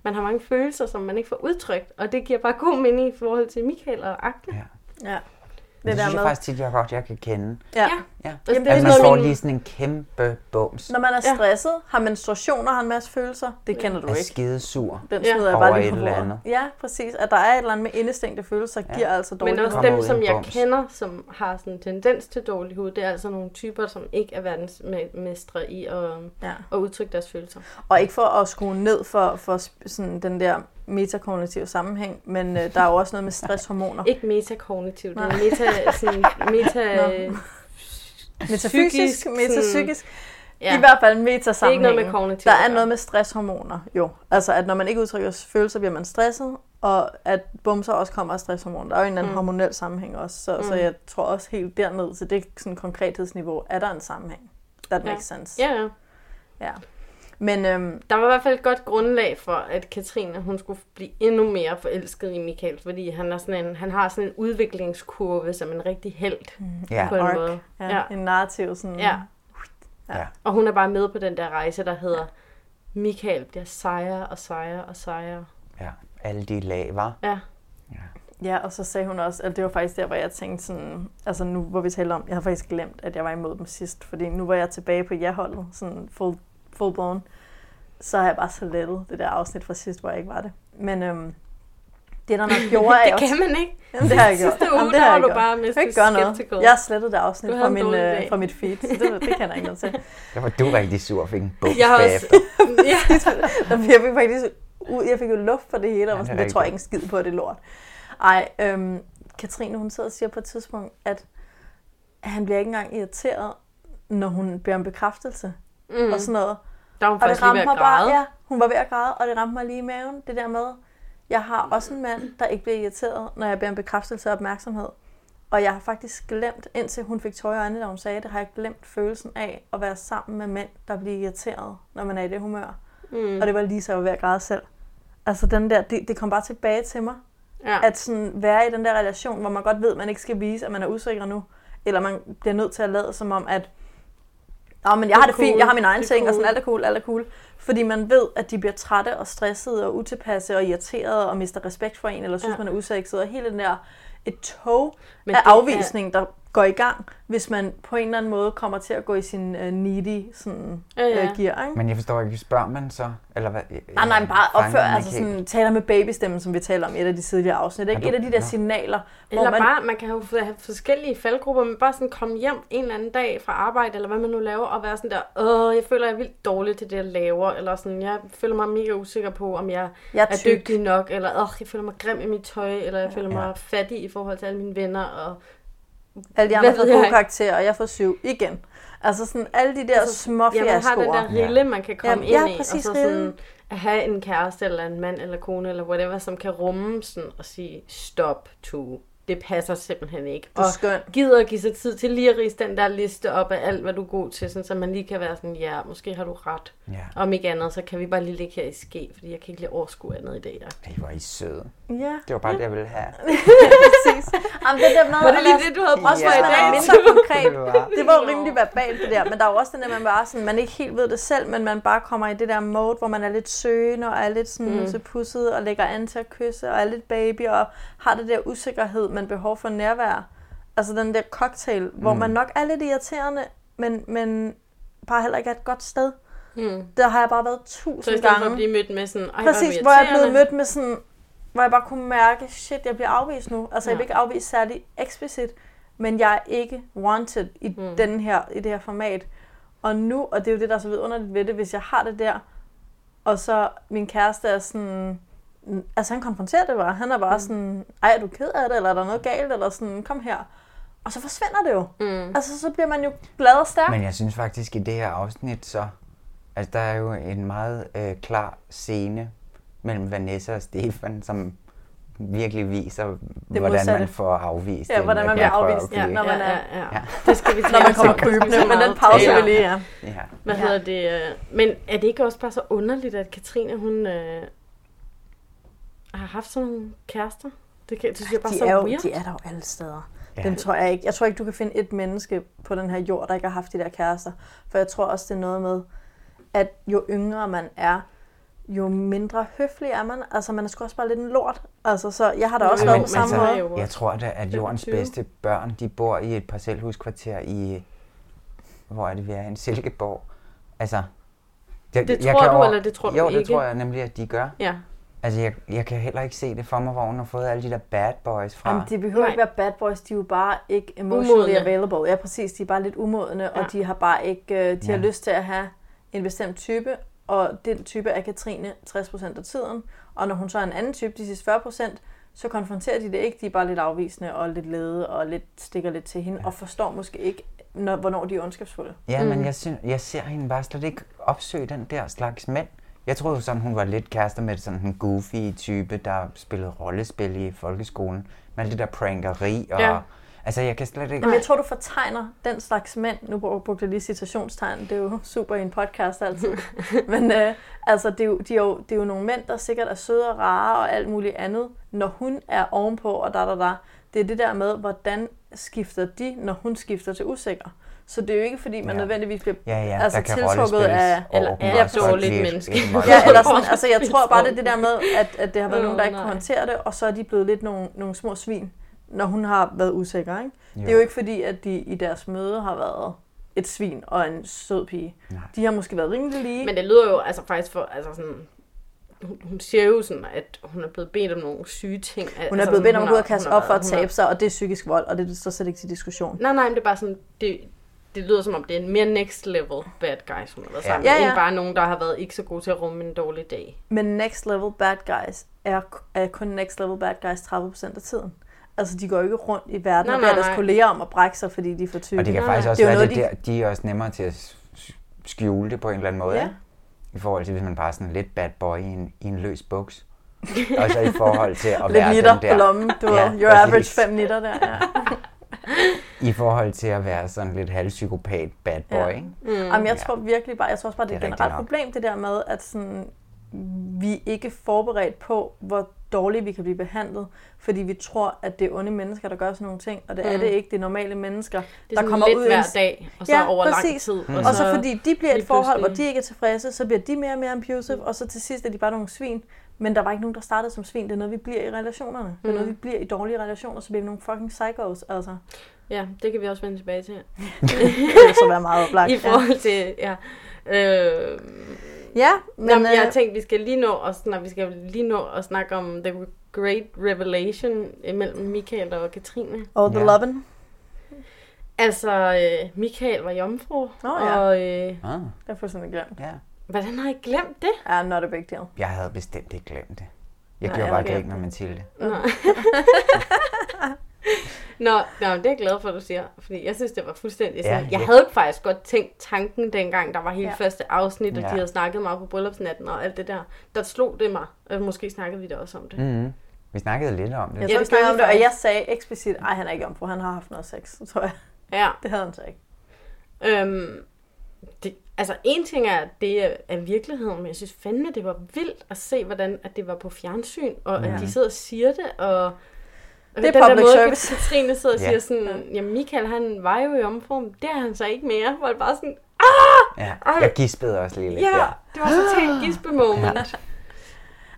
S1: man har mange følelser, som man ikke får udtrykt. Og det giver bare god mening i forhold til Michael og akne.
S10: Ja. ja.
S11: Det, det synes jeg faktisk tit, jeg godt jeg kan kende.
S10: Ja.
S1: altså,
S10: Ja.
S11: ja.
S10: Jamen, det er
S11: Jamen, at man
S10: noget,
S11: får
S10: min-
S11: lige sådan en kæmpe bums.
S10: Når man er stresset, ja. har menstruationer, har en masse følelser. Det kender du
S11: er
S10: ikke.
S11: skidesur
S10: Den smider jeg
S11: over
S10: bare lige
S11: et
S10: på
S11: eller
S10: bordet.
S11: andet.
S10: Ja, præcis. At der er et eller andet med indestængte følelser, ja. giver altså dårlig
S1: Men også
S10: humør.
S1: dem, som jeg kender, som har sådan en tendens til dårlig hud, det er altså nogle typer, som ikke er verdensmestre i at,
S10: ja.
S1: at udtrykke deres følelser.
S10: Og ikke for at skrue ned for, for sp- sådan den der metakognitive sammenhæng, men øh, der er jo også noget med stresshormoner.
S1: Ikke metakognitiv, det er meta, sådan, meta,
S10: Nå.
S1: psykisk,
S10: Metafysisk,
S1: sådan-
S10: metapsykisk.
S1: Ja.
S10: Ja. I hvert fald en
S1: Det er ikke noget
S10: metasammenhæng.
S1: med kognitiv.
S10: Der er noget med stresshormoner, jo. Altså, at når man ikke udtrykker følelser, bliver man stresset, og at bumser også kommer af stresshormoner. Der er jo en eller anden
S1: Mm.
S10: mm. hormonel sammenhæng også, så, mm. så
S1: Mm.
S10: jeg tror også helt derned til det sådan konkrethedsniveau, er der en sammenhæng. That
S1: Ja.
S10: makes sense.
S1: Ja, ja.
S10: ja. Men øhm,
S1: der var i hvert fald et godt grundlag for, at Katrine hun skulle blive endnu mere forelsket i Michael, fordi han, er sådan en, han har sådan en udviklingskurve som en rigtig held.
S10: Ja.
S1: På en
S10: Arc.
S1: måde.
S10: Mm. Ja, en narrativ sådan...
S1: Ja.
S10: Mm. Ja.
S1: Og hun er bare med på den der rejse, der hedder, Michael bliver sejere og sejere og sejere.
S11: Ja, alle de lag, var.
S1: Ja.
S10: Ja, og så sagde hun også, at det var faktisk der, hvor jeg tænkte sådan, altså nu hvor vi taler om, jeg har faktisk glemt, at jeg var imod dem sidst, fordi nu var jeg tilbage på ja-holdet, sådan full, full blown, så har jeg bare så lettet det der afsnit fra sidst, hvor jeg ikke var det. Men øhm, det, der nok gjorde,
S1: Det
S10: at jeg også-
S1: kan man ikke.
S10: Jamen, det har jeg gjort.
S1: Sidste uge,
S10: Jamen,
S1: der
S10: har
S1: var
S10: jeg
S1: du
S10: gjort.
S1: bare
S10: Jeg kan
S1: Mr.
S10: ikke gøre noget.
S1: Skeptical.
S10: Jeg har slettet det afsnit
S1: Du havde
S10: fra,
S1: en
S10: min,
S1: dårlig
S10: øh,
S1: dag.
S10: fra mit feed, så det, det kan jeg ikke noget til.
S11: Der var du rigtig sur og fik en bums
S10: Jeg har også-
S11: bagefter.
S1: ja.
S10: jeg fik faktisk ud, jeg fik jo luft for det hele,
S11: Ja,
S10: og var
S11: det er
S10: sådan, det tror jeg ikke en
S11: rigtigt.
S10: skid på, det er lort. Ej, øhm, Katrine, hun sidder og siger på et tidspunkt, at han bliver ikke engang irriteret, når hun beder om bekræftelse.
S1: Mm.
S10: Mm. Og sådan noget.
S1: Der var hun
S10: og
S1: faktisk lige ved at
S10: mig bare,
S1: græde.
S10: ja, hun var ved at græde, og det ramte mig lige i maven, det der med, jeg har også en mand, der ikke bliver irriteret, når jeg beder om bekræftelse og opmærksomhed. Og jeg har faktisk glemt, indtil hun fik tøj i øjnene, da hun sagde det, har jeg glemt følelsen af at være sammen med mænd, der bliver irriteret, når man er i det humør.
S1: Mm.
S10: Og det var lige så, jeg var ved at græde selv. Altså den der, det, det kom bare tilbage til mig.
S1: Ja.
S10: At sådan være i den der relation, hvor man godt ved, at man ikke skal vise, at man er usikker nu. Eller man bliver nødt til at lade som om, at Nå, men jeg
S1: Det er
S10: har det
S1: cool.
S10: fint, jeg har min egen
S1: Det er
S10: ting, og sådan
S1: cool."
S10: alt er cool, alt er cool. Fordi man ved, at de bliver trætte og stressede og utilpasse og irriterede og mister respekt for en, eller synes,
S1: Ja.
S10: ja. man er usekset. Og hele den der et tog
S1: Men
S10: men af
S1: det er-
S10: afvisning, der går i gang, hvis man på en eller anden måde kommer til at gå i sin uh, needy sådan,
S1: Ja, ja.
S10: øh, gear. Ikke?
S11: Men jeg forstår ikke, spørger man så? Eller hvad?
S10: Nej, Ah, nej, men bare
S11: Fanger
S10: opfør,
S11: den
S10: altså
S11: ikke helt?
S10: sådan, taler med babystemmen, som vi taler om i et af de tidligere afsnit. Ikke?
S11: Ja,
S10: Et
S11: du-
S10: af de der
S11: nå.
S10: signaler, hvor
S1: Eller
S10: man...
S1: bare, man kan jo få- have forskellige faldgrupper, men bare sådan komme hjem en eller anden dag fra arbejde, eller hvad man nu laver, og være sådan der, åh, jeg føler, jeg er vildt dårlig til det, jeg laver, eller sådan, jeg føler mig mega usikker på, om jeg,
S10: Jeg er
S1: er
S10: tyk.
S1: dygtig nok, eller åh, jeg føler mig grim i mit tøj, eller jeg føler
S11: Ja.
S1: mig fattig i forhold til alle mine venner, og
S10: Alle de
S1: Hvad
S10: andre
S1: ved
S10: får
S1: jeg
S10: gode
S1: ikke?
S10: karakterer, og jeg får syv igen. Altså sådan alle de der altså, små
S1: ja, man har den der rille, man kan komme
S10: ja,
S1: ind i,
S10: ja,
S1: og så
S10: præcis
S1: sådan at have en kæreste, eller en mand, eller kone, eller whatever, som kan rumme sådan og sige, stop to, det passer simpelthen ikke.
S10: Du er skøn.
S1: gider at give sig tid til lige at rise den der liste op af alt, hvad du er god til, sådan, så man lige kan være sådan, ja, måske har du ret.
S11: Ja.
S1: Om ikke andet, så kan vi bare lige ligge her i ske, fordi jeg kan ikke lige overskue andet i dag.
S11: Ej, hvor er I søde.
S10: Ja.
S11: Det var bare det, jeg ville have.
S10: præcis. Jamen, det der med,
S1: Var det
S10: at
S1: lige
S10: være-
S1: det, du havde brug
S10: også
S1: for
S10: for
S1: i
S10: at
S1: dag?
S10: være mindre konkret.
S11: Det var-
S10: Det var jo rimelig verbalt, det der. Men der er jo også den der, man bare sådan, man ikke helt ved det selv, men man bare kommer i det der mode, hvor man er lidt søgende og er lidt sådan
S1: Mm.
S10: mm. så pusset og lægger an til at kysse og er lidt baby og har det der usikkerhed, men behov for nærvær. Altså den der cocktail, hvor
S1: Mm.
S10: man nok er lidt irriterende, men, men bare heller ikke er et godt sted.
S1: Mm.
S10: Der har jeg bare været
S1: Så
S10: tusind
S1: i stedet
S10: gange.
S1: for at blive mødt med sådan, Ej,
S10: Præcis,
S1: hvor,
S10: hvor jeg blev
S1: irriterende."
S10: mødt med sådan, hvor jeg bare kunne mærke, shit, jeg bliver afvist nu. Altså, ja. jeg
S1: Ja.
S10: bliver ikke afvist særlig eksplicit, men jeg er ikke wanted i, mm. den her, i det her format. Og nu, og det er jo det, der er så vidunderligt ved det, hvis jeg har det der, og så min kæreste er sådan, altså han konfronterer det bare. Han er bare sådan, ej, er du ked af det, eller er der noget galt, eller sådan, kom her. Og så forsvinder det jo. Mm. Altså, så bliver man jo glad og stærk.
S11: Men jeg synes faktisk, i det her afsnit, så altså, der er jo en meget øh, klar scene mellem Vanessa og Stefan, som virkelig viser, hvordan
S10: modsatte.
S11: man får afvist.
S10: Ja,
S11: en,
S10: hvordan man
S11: at
S10: bliver
S11: prøver at
S10: afvist, ja,
S11: blive-
S10: når man er-
S1: ja, ja.
S11: Ja.
S1: Det skal vi
S10: Når man kommer
S1: tale om.
S10: krybende, men den pauser vi lige, ja.
S11: Ja.
S1: Hvad
S10: Ja.
S1: hedder det? øh, Men er det ikke også bare så underligt, at Katrine, hun øh, har haft sådan nogle kærester? Det, kan, det synes jeg bare
S10: de
S1: så
S10: er jo-
S1: weird.
S10: de er der jo alle steder. Ja.
S1: Ja.
S10: Dem tror jeg ikke. Jeg tror ikke, du kan finde et menneske på den her jord, der ikke har haft de der kærester. For jeg tror også, det er noget med, at jo yngre man er, jo mindre høflig er man. Altså, man er sgu også bare lidt en lort. Altså, så jeg har da også
S11: Men-
S10: været på
S11: men
S10: samme
S11: så-
S10: måde.
S11: Jeg tror da, at jordens
S10: 25.
S11: bedste børn, de bor i et parcelhuskvarter i, hvor er det, vi er, en Silkeborg. Altså,
S1: Det tror du, eller det tror du
S11: jo, Jo, det
S1: ikke?
S11: tror jeg nemlig, at de gør.
S1: Ja.
S11: Altså, jeg, jeg kan heller ikke se det for mig, hvor hun har fået alle de der bad boys fra.
S10: Jamen, de behøver Nej. ikke være bad boys, de er jo bare ikke emotionally
S1: Umodne.
S10: umodne. available. Ja, præcis, de er bare lidt umodne, ja. og de har bare ikke, øh, de ja.
S11: Ja.
S10: har lyst til at have en bestemt type, og den type er Katrine 60% af tiden, og når hun så er en anden type, de sidste 40%, så konfronterer de det ikke, de er bare lidt afvisende og lidt lede og lidt stikker lidt til hende, ja. og forstår måske ikke, når, hvornår de er ondskabsfulde.
S11: Ja, mm. men jeg, synes, jeg ser hende bare slet ikke opsøge den der slags mænd. Jeg troede jo sådan, hun var lidt kærester med sådan en goofy type, der spillede rollespil i folkeskolen. Med alt det der prankeri og...
S10: Ja.
S11: Ja. Altså, jeg kan slet ikke...
S10: Men jeg tror, du fortegner den slags mænd. Nu brug- brugte jeg lige citationstegn. Det er jo super i en podcast altid. Men øh, altså, det er, jo, de er jo, det er jo nogle mænd, der sikkert er søde og rare og alt muligt andet, når hun er ovenpå og da, da, da. Det er det der med, hvordan skifter de, når hun skifter til usikker. Så det er jo ikke, fordi man ja.
S11: Ja.
S10: nødvendigvis bliver
S11: Ja, ja,
S10: altså,
S11: der kan
S10: tiltrukket
S11: rollespilles
S10: af...
S11: over dem
S10: ja,
S11: også,
S10: præcis.
S11: og Dårligt de er menneske. ikke meget
S10: Ja, eller
S11: gode.
S10: sådan, altså, jeg tror bare, det er det der med, at, at det har været
S1: Åh,
S10: oh, nogen, der ikke
S1: nej.
S10: håndterer det, og så er de blevet lidt nogle, nogle små svin, når hun har været usikker, ikke?
S1: Jo.
S10: Det er jo ikke fordi, at de i deres møde har været et svin og en sød pige.
S11: Nej.
S10: De har måske været rimelig lige.
S1: Men det lyder jo altså faktisk for, altså sådan, hun, hun siger jo sådan, at hun er blevet bedt om nogle syge ting.
S10: hun er
S1: altså,
S10: blevet bedt om at
S1: har-
S10: gå ud og kaste
S1: hun har
S10: op for at
S1: været- hun har-
S10: tabe sig, og det er psykisk vold, og det står slet ikke til diskussion.
S1: Nej, nej, men det er bare sådan, det, det lyder som om, det er en mere next level bad guys, hun har været
S10: Ja.
S1: sammen
S10: Ja,
S1: med,
S10: ja.
S1: end bare nogen, der har været ikke så gode til at rumme en dårlig dag.
S10: Men next level bad guys er, er kun next level bad guys 30% af tiden. Altså, de går jo ikke rundt i verden
S1: Nej,
S10: og beder
S1: nej,
S10: deres
S1: nej.
S10: kolleger om at brække sig, fordi de er for tykke.
S11: Og det kan faktisk også
S10: jo
S11: det være,
S10: noget,
S11: det
S10: de-
S11: der, de er også nemmere til at s- s- skjule det på en eller anden måde.
S10: Ja.
S11: ikke? I forhold til, hvis man bare er sådan lidt bad boy i en, i en løs buks. Og så i forhold til at
S10: Lidt
S11: være
S10: nitter
S11: den der...
S10: på lommen, du ved. Your
S11: præcis.
S10: average fem nitter der, ja.
S11: I forhold til at være sådan lidt halvpsykopat bad boy,
S10: Ja.
S11: ikke?
S10: Mm. Jamen, jeg tror virkelig bare, jeg tror også bare, det er et
S11: Det er rigtigt
S10: generelt
S11: nok.
S10: problem, det der med, at sådan, vi er ikke er forberedt på, hvor dårligt vi kan blive behandlet, fordi vi tror, at det er onde mennesker, der gør sådan nogle ting, og det er
S1: Mm.
S10: det ikke. Det er normale mennesker,
S1: Det er
S10: der
S1: sådan
S10: kommer
S1: lidt
S10: ud i
S1: hver
S10: en-
S1: dag, og så over lang tid,
S10: Mm.
S1: og
S10: Og, så,
S1: så
S10: fordi de bliver et
S1: lige
S10: forhold, hvor
S1: pludselig-
S10: de ikke er tilfredse, så bliver de mere og mere abusive, og så til sidst er de bare nogle svin. Men der var ikke nogen, der startede som svin. Det er noget, vi bliver i relationerne. Det er
S1: Mm.
S10: noget, vi bliver i dårlige relationer, så bliver vi nogle fucking psychos, altså.
S1: Ja, det kan vi også vende tilbage til.
S10: det vil så være meget oplagt,
S1: I
S10: ja.
S1: forhold til, ja. Øh,
S10: Ja,
S1: men... Nå, men jeg
S10: øh,
S1: tænkte, vi skal lige nå at snakke, vi skal lige nå at snakke om The Great Revelation mellem Michael og Katrine.
S10: Og The Ja. Loven.
S1: Altså, øh, Michael var jomfru, oh,
S10: ja.
S1: og øh,
S11: Ah.
S10: Det er fuldstændig glemt.
S11: Ja.
S1: hvordan har I glemt det?
S10: Ja, not a big deal.
S11: Jeg havde bestemt ikke glemt det. Jeg
S1: Nej,
S11: gjorde
S1: jeg
S11: bare
S1: glemte
S11: grin med
S1: det.
S11: Mathilde.
S1: Nå. Nå, nå, det er jeg glad for, at du siger, fordi jeg synes, det var fuldstændig sådan.
S11: Ja,
S1: jeg
S11: ja.
S1: havde faktisk godt tænkt tanken dengang, der var hele
S10: Ja.
S1: ja. første afsnit, og ja.
S11: Ja.
S1: de havde snakket meget på bryllupsnatten og alt det der. Der slog det mig, og måske snakkede vi da også om det.
S11: Mm-hmm. Vi snakkede lidt om det.
S10: Jeg tror, vi snakkede om det, og jeg sagde eksplicit, nej, han er ikke jomfru, han har haft noget sex, så tror jeg.
S1: Ja.
S10: Det havde han så ikke.
S1: Øhm, det, altså, en ting er, at det er, er virkeligheden, men jeg synes fandme, det var vildt at se, hvordan at det var på fjernsyn, og ja.
S10: Ja.
S1: at de sidder og siger det, og
S10: Det er
S1: den der
S10: public
S1: måde,
S10: service.
S1: Katrine sidder og
S11: Ja.
S1: siger sådan, jamen Michael, han var jo i omform, det er han så ikke mere, hvor det bare sådan,
S11: Ja,
S1: Ej.
S11: jeg gispede også lige lidt
S1: ja,
S11: der.
S1: det var totalt gispe moment. Ja.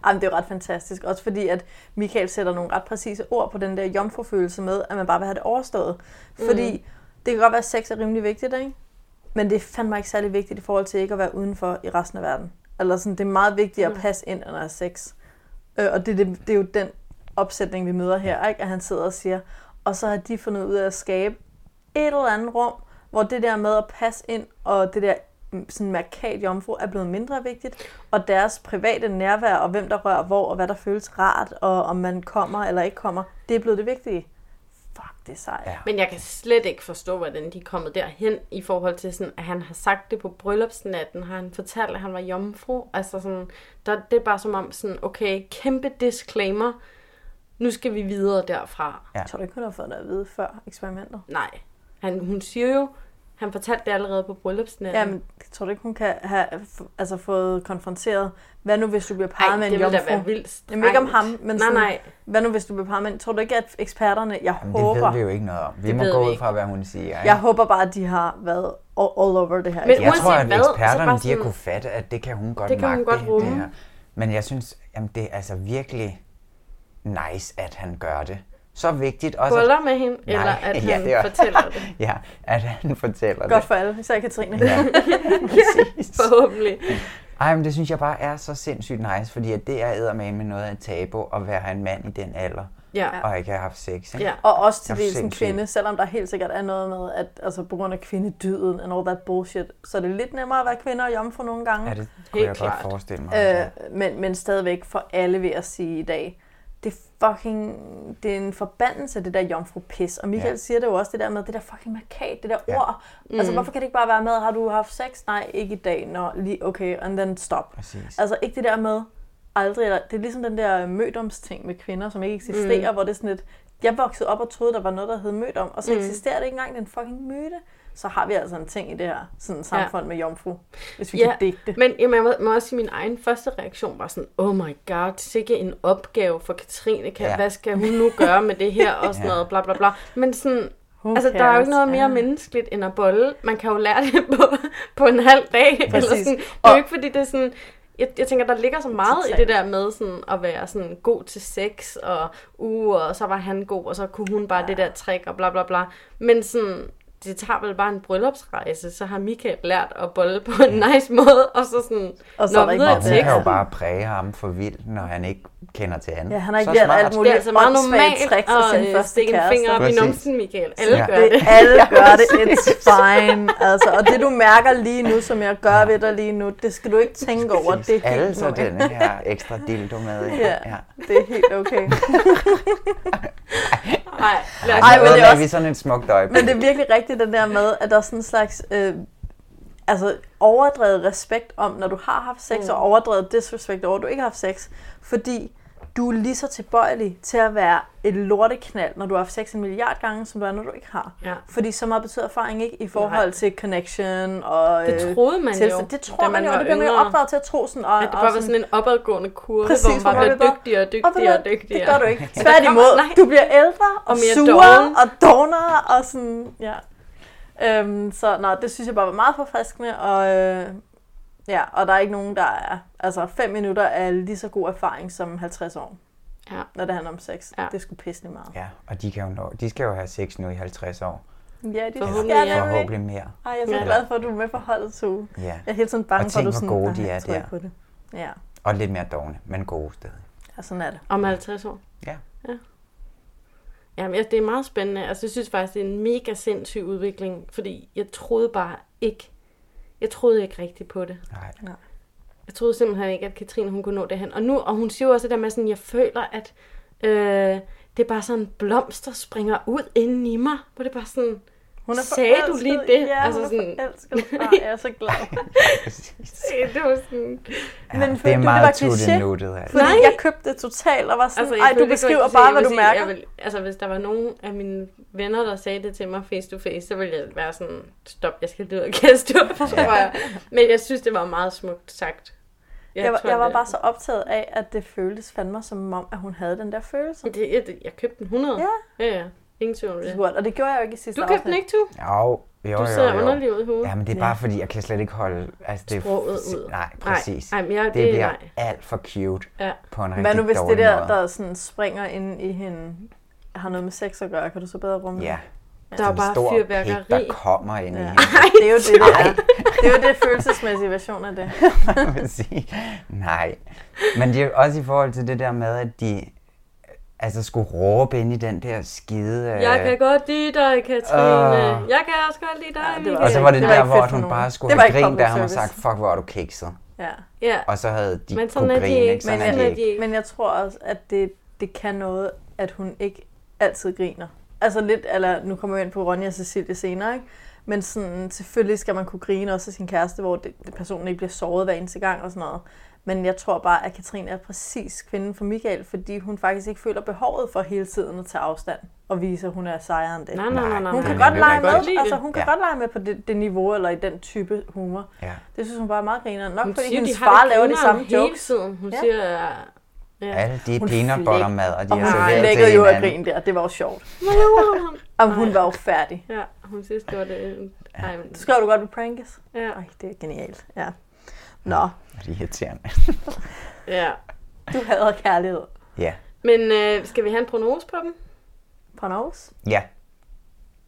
S10: Jamen, det er jo ret fantastisk, også fordi, at Michael sætter nogle ret præcise ord på den der jomfrufølelse med, at man bare vil have det overstået. Fordi
S1: Mm.
S10: det kan godt være, at sex er rimelig vigtigt, ikke? Men det er fandme ikke særlig vigtigt i forhold til ikke at være udenfor i resten af verden. Eller sådan, det er meget vigtigt at
S1: Mm.
S10: passe ind under sex. Øh, og det, det, det er jo den opsætning, vi møder her, ikke? At han sidder og siger, og så har de fundet ud af at skabe et eller andet rum, hvor det der med at passe ind, og det der sådan markat jomfru er blevet mindre vigtigt, og deres private nærvær, og hvem der rører hvor, og hvad der føles rart, og om man kommer eller ikke kommer, det er blevet det vigtige. Fuck, det er sejt. Ja.
S1: Men jeg kan slet ikke forstå, hvordan de er kommet derhen i forhold til, sådan, at han har sagt det på bryllupsnatten, har han fortalt, at han var jomfru. Altså sådan, der, det er bare som om, sådan, okay, kæmpe disclaimer, nu skal vi videre derfra.
S10: Ja. Jeg tror du ikke, hun har fået noget at vide før eksperimentet?
S1: Nej. Han, hun siger jo, han fortalte det allerede på bryllupsnatten.
S10: Jamen, altså- tror du ikke, hun kan have altså, fået konfronteret, hvad nu hvis du bliver parret
S1: Ej,
S10: med en
S1: det
S10: jomfru?
S1: ville da være vildt strengt.
S10: Jamen, ikke om ham, men
S1: Nej,
S10: sådan,
S1: nej.
S10: hvad nu hvis du bliver parret med en? Tror du ikke, at eksperterne, jeg
S11: Jamen, det
S10: håber,
S11: ved vi jo ikke noget om. Vi
S10: Det
S11: må
S10: ved
S11: gå
S10: vi
S11: ud
S10: ikke.
S11: fra, hvad hun siger. Ikke?
S10: jeg håber bare, at de har været all, all over det her.
S11: Men jeg tror, at
S10: hvad,
S11: eksperterne
S10: bare
S11: de har kunne fatte, at det kan hun godt
S10: Det kan hun
S11: magte,
S10: godt rumme.
S11: Det her. Men jeg synes, jamen, det er altså virkelig nice, at han gør det. Så vigtigt også... at-
S1: Boller med hende, eller at han
S11: det var-
S1: fortæller det?
S11: ja, at han fortæller
S10: Godt
S11: det.
S10: for alle, især Katrine.
S11: Ja.
S1: Forhåbentlig.
S11: Ej, men det synes jeg bare er så sindssygt nice, fordi at det er med noget af et tabu at være en mand i den alder,
S10: Ja.
S11: og ikke have haft sex. Ikke?
S10: Ja. Og også til
S11: Det er
S10: dels en
S11: sindssygt.
S10: kvinde, selvom der helt sikkert er noget med, at altså, på grund af kvindedyden and all that bullshit, så er det lidt nemmere at være kvinde og jomfru nogle gange.
S11: Ja, det kunne jeg godt forestille mig, altså.
S10: Øh, men, men stadigvæk for alle vil jeg sige i dag, det er fucking, det er en forbandelse, det der jomfru-pis. Og Michael
S9: Ja.
S10: ja. siger det jo også, det der med, det der fucking markat, det der
S9: Ja.
S10: ja. ord. Altså,
S9: Mm.
S10: hvorfor kan det ikke bare være med, har du haft sex? Nej, ikke i dag. Nå, lige, okay, and then stop.
S11: Præcis.
S10: Altså, ikke det der med, aldrig, eller, det er ligesom den der mødomsting med kvinder, som ikke eksisterer,
S9: Mm.
S10: mm. hvor det er sådan lidt, jeg voksede op og troede, der var noget, der hed mødom, og så mm.
S1: Mm.
S10: eksisterer det ikke engang, den fucking myte. Så har vi altså en ting i det her sådan
S1: Ja.
S10: samfund ja. med jomfru, hvis vi ja. kan digte
S1: Men jamen, jeg må, må også sige, min egen første reaktion var sådan, oh my god, sikke en opgave for Katrine. Kan,
S10: Ja.
S1: ja. Hvad skal hun nu gøre med det her? Og sådan
S10: Ja.
S1: noget, bla bla bla. Men sådan,
S10: Who
S1: altså, der er jo
S10: cares?
S1: ikke noget mere
S10: Ja.
S1: menneskeligt end at bolle. Man kan jo lære det på, på en halv dag. Eller
S10: Præcis.
S1: sådan. Det er jo ikke, fordi det er sådan... Jeg, jeg tænker, der ligger så meget i
S10: Totalt.
S1: det der med sådan, at være sådan, god til sex, og uh, og så var han god, og så kunne hun bare ja. det der trick, og bla bla bla. Men sådan, det tager vel bare en bryllupsrejse, så har Michael lært at bolle på en nice måde, og så sådan,
S10: Og så er der ikke
S1: videre
S11: Og
S1: til
S11: hun kan jo
S1: teksten.
S11: bare præge ham for vildt, når han ikke kender til andet.
S10: Ja, han har ikke
S11: Så
S10: lært
S11: smart.
S10: alt muligt.
S1: Det er altså meget
S10: åndssvage
S1: normalt
S10: tricks af sin
S1: at øh,
S10: første
S1: stikke en
S10: kæreste.
S1: finger op i
S11: Præcis.
S1: numsen, Michael. Alle
S11: Ja.
S1: gør
S10: det.
S1: det.
S10: Alle gør det. It's fine. Altså, og det du mærker lige nu, som jeg gør ved dig lige nu, det skal du ikke tænke over. Det er
S11: Alle
S10: helt
S11: så
S10: normalt.
S11: den her ekstra dildo med. ikke?
S10: Ja, det er helt okay. Nej,
S11: Ej,
S10: Ej, men det er
S11: vi
S10: også,
S11: sådan et smukt øjeblik.
S10: men det er virkelig rigtigt, den der med, at der er sådan en slags øh, altså overdrevet respekt om, når du har haft sex, mm.
S9: Mm.
S10: og overdrevet disrespekt over, at du ikke har haft sex, fordi du er lige så tilbøjelig til at være et lorteknald, når du har haft sex en milliard gange, som du er, når du ikke har.
S1: Ja.
S10: Fordi så meget betyder erfaring ikke i forhold
S1: Nej.
S10: til connection og...
S1: Det
S10: øh,
S1: troede man
S10: tilstand.
S1: jo,
S10: Det
S1: da
S10: tror man,
S1: man
S10: jo, og
S1: var
S10: det bliver man jo
S1: yngre.
S10: opdraget til at tro sådan... Og,
S1: At det
S10: og
S1: bare var sådan en opadgående kurve,
S10: Præcis,
S1: hvor man bare
S10: hvor man
S1: blev
S10: bare-
S1: dygtigere og
S10: Og ved du
S1: dygtigere og
S10: hvad,
S1: dygtigere.
S10: Det gør du ikke.
S1: Så
S10: Tværtimod,
S1: kommer- nej.
S10: du bliver ældre og,
S1: Og mere
S10: surere
S1: doven.
S10: og dognere og sådan, ja. Øhm, så nej, det synes jeg bare var meget forfriskende, og, øh, ja, og der er ikke nogen, der er... Altså, 5 minutter er lige så god erfaring som 50 år,
S1: ja.
S10: når det handler om sex.
S1: Ja.
S10: Det skulle pisse lige meget.
S11: Ja, og de, kan jo nå, de skal jo have sex nu i 50 år.
S10: Ja, det
S11: Forhåbentlig,
S10: skal
S11: ja.
S10: nemlig.
S11: Forhåbentlig mere.
S10: Ej, jeg er så
S11: Ja.
S10: glad for, at du er med på holdet, Sue.
S11: Ja.
S10: Jeg er hele tiden bange
S11: Og
S10: for, at du
S11: tænk,
S10: sådan...
S11: hvor gode
S10: "Ej,
S11: de
S10: jeg
S11: er
S10: tror
S11: der."
S10: ikke på det. Ja,
S11: Og lidt mere dogne, men gode stadig.
S10: og sådan er det.
S1: Om 50 år?
S11: Ja.
S1: ja. Jamen, jeg- det er meget spændende. Altså, jeg synes faktisk, det er en mega sindssyg udvikling, fordi jeg troede bare ikke, jeg troede ikke rigtigt på det.
S11: Nej.
S10: Nej.
S1: Jeg troede simpelthen ikke, at Katrine hun kunne nå derhen. Og nu, og hun siger jo også det der med sådan, jeg føler, at øh, det er bare sådan en blomst, der springer ud inden i mig. Hvor det er bare sådan,
S10: Hun er
S1: sagde du lige
S10: forelsket.
S1: det?
S10: Ja,
S1: altså
S10: hun er
S1: sådan,
S10: forelsket. Ej, jeg er så glad.
S1: det var sådan...
S11: Ja, det er meget tuttenuttet, altså.
S10: Fordi
S1: Nej.
S10: jeg købte det totalt og var sådan, altså,
S1: jeg
S10: ej, du
S1: følte ikke, det var kliché.
S10: beskriver bare,
S1: Jeg
S10: hvad
S1: vil
S10: du
S1: sige,
S10: mærker.
S1: Jeg vil, altså, hvis der var nogen af mine venner, der sagde det til mig face to face, så ville jeg være sådan, stop, jeg skal lide og kaste op, tror jeg. Men jeg synes, det var meget smukt sagt.
S10: Jeg, jeg, var,
S1: tror,
S10: jeg var
S1: det-
S10: bare så optaget af, at det føltes fandme som om, at hun havde den der følelse.
S1: Det, jeg, jeg købte den 100. Ja. Ja, ja. Ingen tvivl om det.
S10: Surt, og det gjorde jeg jo ikke i sidste
S1: Du købte den
S10: afsnit.
S1: ikke, du?
S11: Jo, jo,
S1: Du
S11: jo,
S1: sidder
S11: jo.
S1: underlig ud i hovedet.
S11: Ja, men det er bare fordi, jeg kan slet ikke holde... Altså, det er
S1: Sproget ud.
S11: Nej,
S1: Nej,
S11: præcis.
S1: nej, men jeg-
S11: det,
S1: det-
S11: bliver
S1: nej.
S11: alt for cute
S1: Ja.
S11: på en rigtig
S10: Hvad nu hvis det
S11: dårlig
S10: der,
S11: måde.
S10: der sådan springer ind i hende, har noget med sex at gøre? Kan du så bedre rumme det?
S11: Ja.
S10: Der er bare fyrværkeri.
S11: Pik, der kommer ind i
S10: Ja.
S11: hende.
S10: Det er jo det, det er. Det er jo det følelsesmæssige version af det.
S11: man sige. Nej. Men det er jo også i forhold til det der med, at de altså skulle råbe ind i den der skide... Øh,
S1: Jeg kan godt lide dig, Katrine.
S11: Åh.
S1: Jeg kan også godt lide dig, Michael.
S11: Ah. og så var det,
S1: var
S11: der,
S1: ikke
S11: hvor
S1: fedt for
S11: hun
S1: nogen.
S11: bare skulle
S1: Det var
S11: have
S1: ikke
S11: grint, da
S1: public
S11: han var sagt,
S1: service.
S11: fuck, hvor er du kikset.
S10: Ja.
S1: Ja.
S11: Og så havde de
S1: Men
S11: men
S1: sådan
S11: kunne
S1: er de
S11: grine,
S1: ikke.
S11: ikke? Sådan
S1: Men-
S11: er de
S1: men-
S11: ikke.
S1: ikke.
S10: Men jeg tror også, at det, det kan noget, at hun ikke altid griner. Altså lidt, eller nu kommer vi ind på Ronja og Cecilie senere, ikke? Men sådan, selvfølgelig skal man kunne grine også af sin kæreste, hvor det, det personen ikke bliver såret hver eneste gang og sådan noget. Men jeg tror bare, at Katrine er præcis kvinden for Michael, fordi hun faktisk ikke føler behovet for hele tiden at tage afstand og vise, at hun er sejeren det.
S1: Nej, nej, nej, nej,
S10: Hun kan
S1: nej.
S10: godt lege
S1: Jeg kan godt lide
S10: med,
S1: det.
S10: altså, hun kan
S1: Ja.
S10: godt lege med på det, det, niveau eller i den type humor.
S11: Ja.
S10: Det synes hun bare er meget griner. Nok
S1: Hun
S10: fordi
S1: siger,
S10: hendes
S1: de har
S10: far
S1: det
S10: laver de
S1: grineren
S10: samme
S1: hele
S10: jokes.
S1: tiden. Hun
S10: Ja.
S1: siger, ja.
S11: Alle de er
S10: Hun
S11: peanut butter
S10: flæk-
S11: mad, og de
S10: og
S11: er
S10: hun
S11: serveret
S10: flækkede
S11: til
S10: jo af
S11: hinanden.
S10: grin der, det var jo sjovt.
S1: Hvad laver hun?
S10: Jamen, hun var jo færdig.
S1: Ja, hun synes, det var det. Ej, men...
S10: Så skrev du godt med prankes.
S1: Ja.
S10: Ej, det er genialt. Ja. Nå,
S11: Og de er irriterende.
S1: ja.
S10: du hader kærlighed.
S11: ja.
S1: Men øh, skal vi have en prognose på dem?
S10: Prognose?
S11: Ja,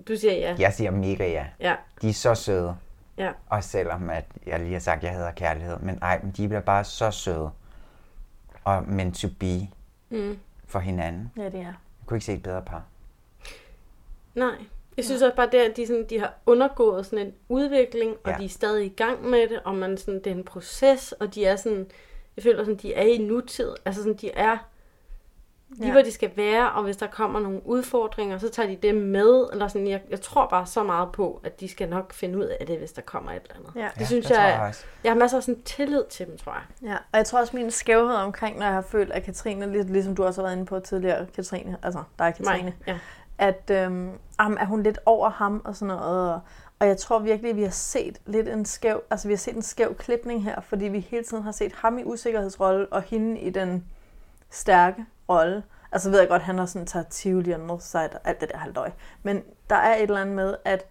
S1: Du siger ja.
S11: jeg siger mega ja.
S1: Ja.
S11: De er så søde.
S1: Ja.
S11: Og selvom at jeg lige har sagt, at jeg hader kærlighed, men ej, men de bliver bare så søde. Og meant to be
S1: Mm.
S11: for hinanden.
S10: Ja, det er.
S11: Jeg kunne ikke se et bedre par.
S1: Nej. Jeg synes også bare, det, at de, sådan, de har undergået sådan en udvikling, og ja.
S11: Ja.
S1: de er stadig i gang med det, og man, sådan, det er en proces, og de er sådan, jeg føler sådan, de er i nutid. Altså sådan, de er lige
S10: Ja.
S1: ja. hvor de skal være, og hvis der kommer nogle udfordringer, så tager de det med. Eller sådan, jeg, jeg tror bare så meget på, at de skal nok finde ud af det, hvis der kommer et eller andet.
S10: Ja.
S1: det
S10: Ja,
S1: synes
S10: det tror
S1: jeg,
S10: jeg
S1: jeg,
S10: også.
S1: jeg har masser af sådan tillid til dem, tror jeg.
S10: Ja, og jeg tror også, min skævhed omkring, når jeg har følt, at Katrine, lidt ligesom du også har været inde på tidligere, Katrine, altså der er Katrine,
S1: Mig, ja.
S10: at øhm, jamen, er hun lidt over ham og sådan noget. Og, og jeg tror virkelig, at vi har set lidt en skæv, altså vi har set en skæv klipning her, fordi vi hele tiden har set ham i usikkerhedsrolle og hende i den stærke rolle. Altså ved jeg godt, han har sådan taget Tivoli og Northside og alt det der halvdøj. Men der er et eller andet med, at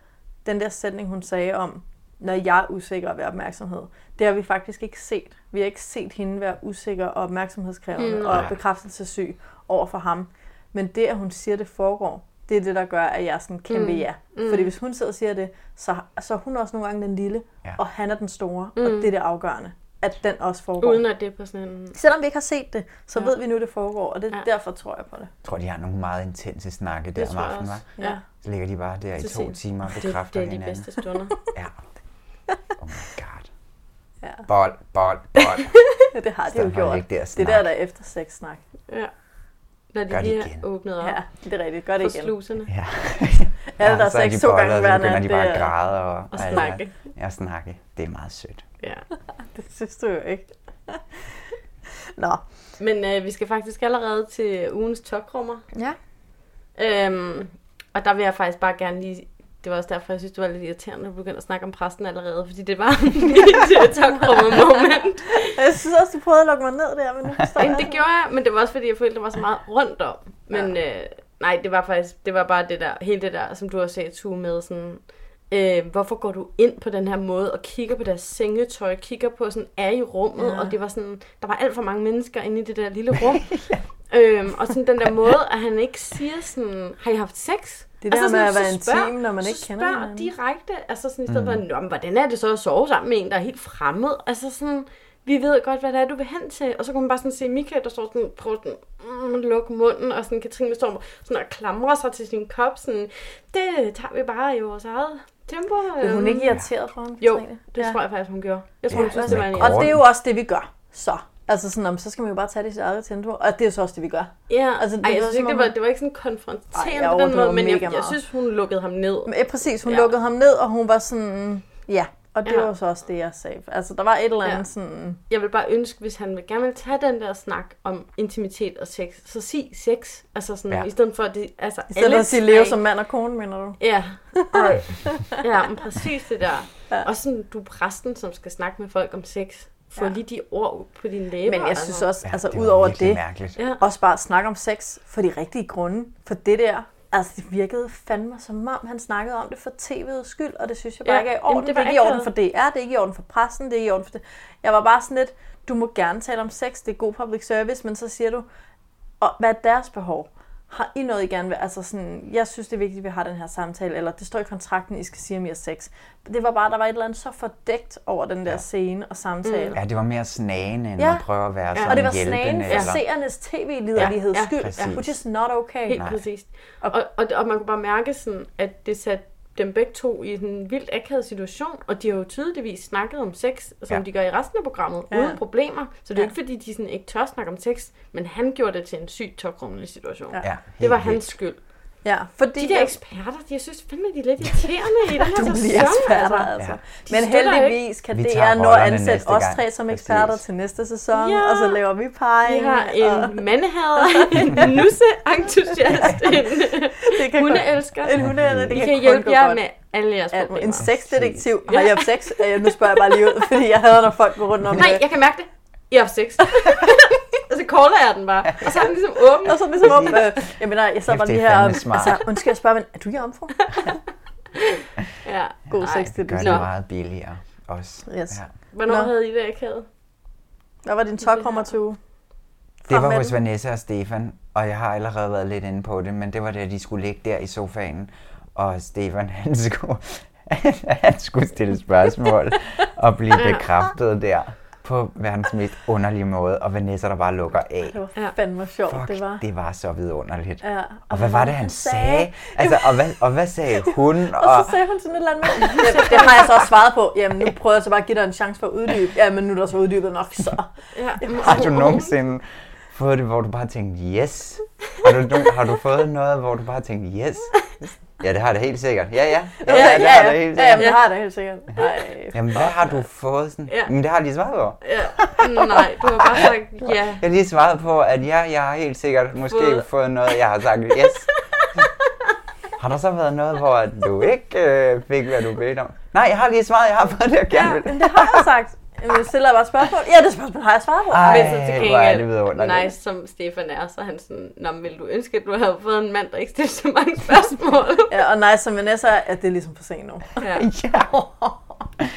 S10: den der sætning, hun sagde om, når jeg er usikker og være opmærksomhed, det har vi faktisk ikke set. Vi har ikke set hende være usikker og opmærksomhedskrævende
S1: Mm.
S10: mm. og
S1: Nej.
S10: bekræftelsessyg over for ham. Men det, at hun siger, det foregår, det er det, der gør, at jeg er sådan en kæmpe
S1: Mm.
S10: mm. ja.
S1: Mm.
S10: Fordi hvis hun sidder og siger det, så, så er hun også nogle gange den lille,
S11: ja.
S10: og han er den store,
S1: Mm.
S10: og det er det afgørende, at den også foregår.
S1: Uden at det er på sådan en...
S10: Selvom vi ikke har set det, så ja. ved vi nu, det foregår, og det,
S1: Ja.
S10: ja. derfor tror jeg på det.
S11: Jeg tror, de har nogle meget intense snakke der om
S10: tror jeg
S11: aftenen,
S10: også.
S11: hva'?
S10: Ja.
S11: Så ligger de bare der i
S1: Til
S11: to
S1: sent.
S11: timer og
S1: Det-
S11: bekræfter
S1: det er de
S11: hinanden.
S1: bedste stunder.
S11: ja. Oh my god.
S10: Ja.
S11: Bold, bold, bold.
S10: det har de
S11: Stedet
S10: jo
S11: for at
S10: gjort.
S11: ligge der og
S10: det er der,
S11: snakke.
S10: der er efter sex snak.
S1: Ja. Når de
S11: Gør det
S1: lige
S11: igen.
S1: har åbnet op.
S10: Ja, det er rigtigt. Gør det
S1: for
S10: igen.
S1: sluserne.
S11: Ja.
S10: Alle, der
S11: så er
S10: sex
S11: de
S10: to
S11: bolder,
S10: gange
S11: og
S10: hver
S11: så begynder
S10: nat,
S11: de bare
S10: det
S11: at
S10: er-
S11: græde og,
S1: og
S11: alt-
S1: snakke.
S11: Ja, og snakke. Det er meget sødt.
S1: Ja.
S10: det synes du jo ikke. Nå.
S1: Men øh, vi skal faktisk allerede til ugens tokrummer.
S10: Ja.
S1: Øhm, og der vil jeg faktisk bare gerne lige... Det var også derfor, jeg synes, det var lidt irriterende, at du begyndte at snakke om præsten allerede, fordi det var mit øh, tokrummer moment.
S10: Jeg synes også, du prøvede at lukke mig ned der, men nu forstår
S1: Jamen,
S10: jeg.
S1: det gjorde jeg, men det var også, fordi jeg følte, der var så meget rundt om. Men ja. øh, nej, det var faktisk, det var bare det der, hele det der, som du har set, Tue, med sådan, øh, hvorfor går du ind på den her måde og kigger på deres sengetøj, kigger på sådan, er i rummet, ja.
S10: Ja.
S1: og det var sådan, der var alt for mange mennesker inde i det der lille rum. øhm, og sådan den der måde, at han ikke siger sådan, har I haft sex?
S10: Det der
S1: altså,
S10: med at
S1: så
S10: være
S1: spørg-
S10: intim, når man ikke
S1: så
S10: kender
S1: spørg
S10: hinanden.
S1: direkte, altså sådan i stedet
S10: Mm.
S1: for, "Nå, men hvordan er det så at sove sammen med en, der er helt fremmed? Altså sådan, vi ved godt, hvad det er, du vil hen til. Og så kunne man bare sådan se Michael, der står sådan, prøver sådan, mm, lukke munden, og sådan Katrine står sådan og klamrer sig til sin kop, sådan, det tager vi bare i vores eget tempo.
S10: Blev hun
S1: øhm."
S10: ikke irriteret for ham?
S1: Jo,
S10: Katrine?
S1: det
S10: Ja.
S1: tror jeg faktisk, hun gjorde. Jeg tror,
S10: Ja,
S1: hun synes, det var en
S10: og det er jo også det, vi gør. Så. Altså sådan, om, så skal man jo bare tage det i sit eget tempo, og det er jo så også det, vi gør.
S1: Ja, altså,
S10: Altså,
S1: det,
S10: det
S1: Ej, jeg
S10: lyder
S1: synes ikke,
S10: som
S1: det
S10: om-
S1: var, det var ikke sådan
S10: Ej,
S1: konfronterende på den
S10: jeg
S1: måde,
S10: overdriver
S1: men jeg,
S10: mega
S1: jeg
S10: meget.
S1: synes, hun lukkede ham ned.
S10: Ja, eh, præcis, hun
S1: Ja.
S10: ja. lukkede ham ned, og hun var sådan, ja, og det
S1: Ja.
S10: ja. var jo så også det, jeg sagde. Altså, der var et eller andet
S1: Ja.
S10: ja. sådan,
S1: Jeg vil bare ønske, hvis han vil gerne vil tage den der snak om intimitet og sex, så sig sex. Altså sådan, ja.
S11: Ja.
S1: i stedet for at det... Altså,
S10: i stedet for
S1: alle
S10: at sige leve
S1: tre-
S10: som mand og kone, mener du?
S1: Ja, Ej. ja men præcis det der. Ja. Og sådan, du er præsten, som skal snakke med folk om sex. Få ja.
S10: Ja.
S1: lige de ord på dine læber.
S10: Men jeg synes også,
S11: Ja,
S10: altså,
S11: det var
S10: ud over
S11: virkelig
S10: det,
S11: mærkeligt.
S1: Ja.
S10: også bare at snakke om sex for de rigtige grunde, for det der, altså, det virkede fandme som om, han snakkede om det for tv'ets skyld, og det synes jeg bare
S1: Ja,
S10: ja. ikke er i
S1: jamen,
S10: orden.
S1: det
S10: det,
S1: var
S10: er ikke i orden
S1: akavet.
S10: for DR, det er ikke i orden for pressen, det er ikke i orden for det. Jeg var bare sådan lidt, du må gerne tale om sex, det er god public service, men så siger du, og hvad er deres behov? har I noget, I gerne vil? Altså sådan, jeg synes, det er vigtigt, at vi har den her samtale, eller det står i kontrakten, I skal sige, om I har sex. Det var bare, der var et eller andet så fordækt over den der scene og
S1: Mm.
S10: samtale.
S11: Ja, det var mere snagen, end ja. at prøve at være ja. sådan
S10: Og det var
S11: hjælpende.
S10: snagen for
S11: eller-
S10: seernes tv-liderlighed
S11: Ja, ja,
S10: skyld,
S11: præcis.
S10: which is not okay.
S1: Helt præcist. Og, og, og man kunne bare mærke, sådan, at det satte dem begge to i en vildt akavet situation, og de har jo tydeligvis snakket om sex, som
S10: Ja.
S1: ja. de gør i resten af programmet,
S10: Ja.
S1: ja. uden problemer. Så det er jo
S10: Ja.
S1: ikke, fordi de sådan ikke tør snakke om sex, men han gjorde det til en sygt tokrummelig situation.
S10: Ja. Ja,
S1: det var
S10: helt
S1: hans skyld.
S10: Ja, fordi
S1: de der
S10: jeg-
S1: eksperter, de, jeg synes fandme, de er lidt irriterende i den her
S10: Du
S1: sæson.
S10: bliver eksperter, altså.
S1: De
S10: Men
S1: støtter ikke-
S10: heldigvis kan
S11: Vi
S10: DR
S11: tager
S10: nå at
S11: rollerne
S10: ansætte
S11: næste
S10: os
S11: gang.
S10: tre som eksperter til næste sæson,
S1: Ja.
S10: og så laver vi parring.
S1: Vi har en
S10: og-
S1: mandehader, en nusse-entusiast,
S10: Det
S1: en
S10: kan
S1: hundeelsker.
S10: godt- En hundeelsker, det
S1: Vi
S10: kan
S1: kan,
S10: kun
S1: hjælpe
S10: gå
S1: jer
S10: godt.
S1: med alle jeres
S10: Alt.
S1: problemer.
S10: En sexdetektiv. Har I haft sex? Øh, Nu spørger jeg bare lige ud, fordi jeg hader, når folk går rundt om øh,
S1: Nej, jeg kan mærke det. I har haft sex. og så caller jeg den bare. Og så er den ligesom åben.
S10: Og så er den ligesom åben. Øh, Jeg mener, jeg sad
S1: Kæft,
S10: bare
S1: det er
S10: lige her.
S1: fandme smart.
S10: Altså, undskyld, jeg spørger, men er du i omfru?
S1: ja,
S10: god sex
S11: Det
S10: til
S11: gør
S10: det.
S11: det meget billigere også.
S10: Yes.
S11: Ja.
S1: Hvornår
S10: Nå.
S1: havde I det akavet?
S10: Hvad var din tokrummer til uge?
S11: Det var
S10: Fra
S11: hos
S10: manden.
S11: Vanessa og Stefan, og jeg har allerede været lidt inde på det, men det var da de skulle ligge der i sofaen, og Stefan han skulle, han skulle stille spørgsmål og blive
S10: Ja.
S11: bekræftet der på verdens mest underlige måde, og Vanessa der bare lukker af.
S10: Det var fandme sjovt,
S11: Fuck,
S10: det var.
S11: det var så vidunderligt.
S10: Ja.
S11: Og hvad var det, han sagde? Altså, og hvad, og hvad sagde hun?
S10: Og så sagde hun sådan et eller andet med, det, det har jeg så også svaret på. Jamen, nu prøver jeg så bare at give dig en chance for at uddybe. Jamen, nu er der så uddybet nok, så.
S1: Ja.
S11: Har du nogensinde fået det, hvor du bare tænkte, yes? Har du, no- har du fået noget, hvor du bare tænkte, yes? Ja, det har jeg da helt sikkert. Ja, ja.
S10: Ja, ja,
S11: det har
S10: ja.
S11: jeg da
S10: ja,
S11: helt
S10: ja men det
S11: sikkert.
S10: har jeg da helt sikkert. Ej,
S11: Jamen, hvad har du fået? Sådan?
S10: Ja.
S11: Jamen, det har jeg lige svaret på.
S1: Ja. Mm, Nej, du har bare sagt ja.
S11: Jeg har lige svaret på, at ja, jeg har helt sikkert måske
S1: Fået-
S11: fået, noget, jeg har sagt yes. Har der så været noget, hvor at du ikke øh, fik, hvad du bedte om? Nej, jeg har lige svaret, jeg har fået det, jeg gerne vil.
S10: Men det har jeg sagt. Jamen, jeg stiller bare et spørgsmål. Ja, det spørgsmål har jeg svaret på.
S11: Ej,
S1: Men så til
S11: hvor er det
S1: gengæld,
S11: vidunderligt.
S1: nice som Stefan er, så er han sådan, Nå, men ville du ønske, at du havde fået en mand, der ikke stillede så mange spørgsmål?
S10: Ja, og nej, som Vanessa, at det er ligesom for sent nu.
S1: Ja.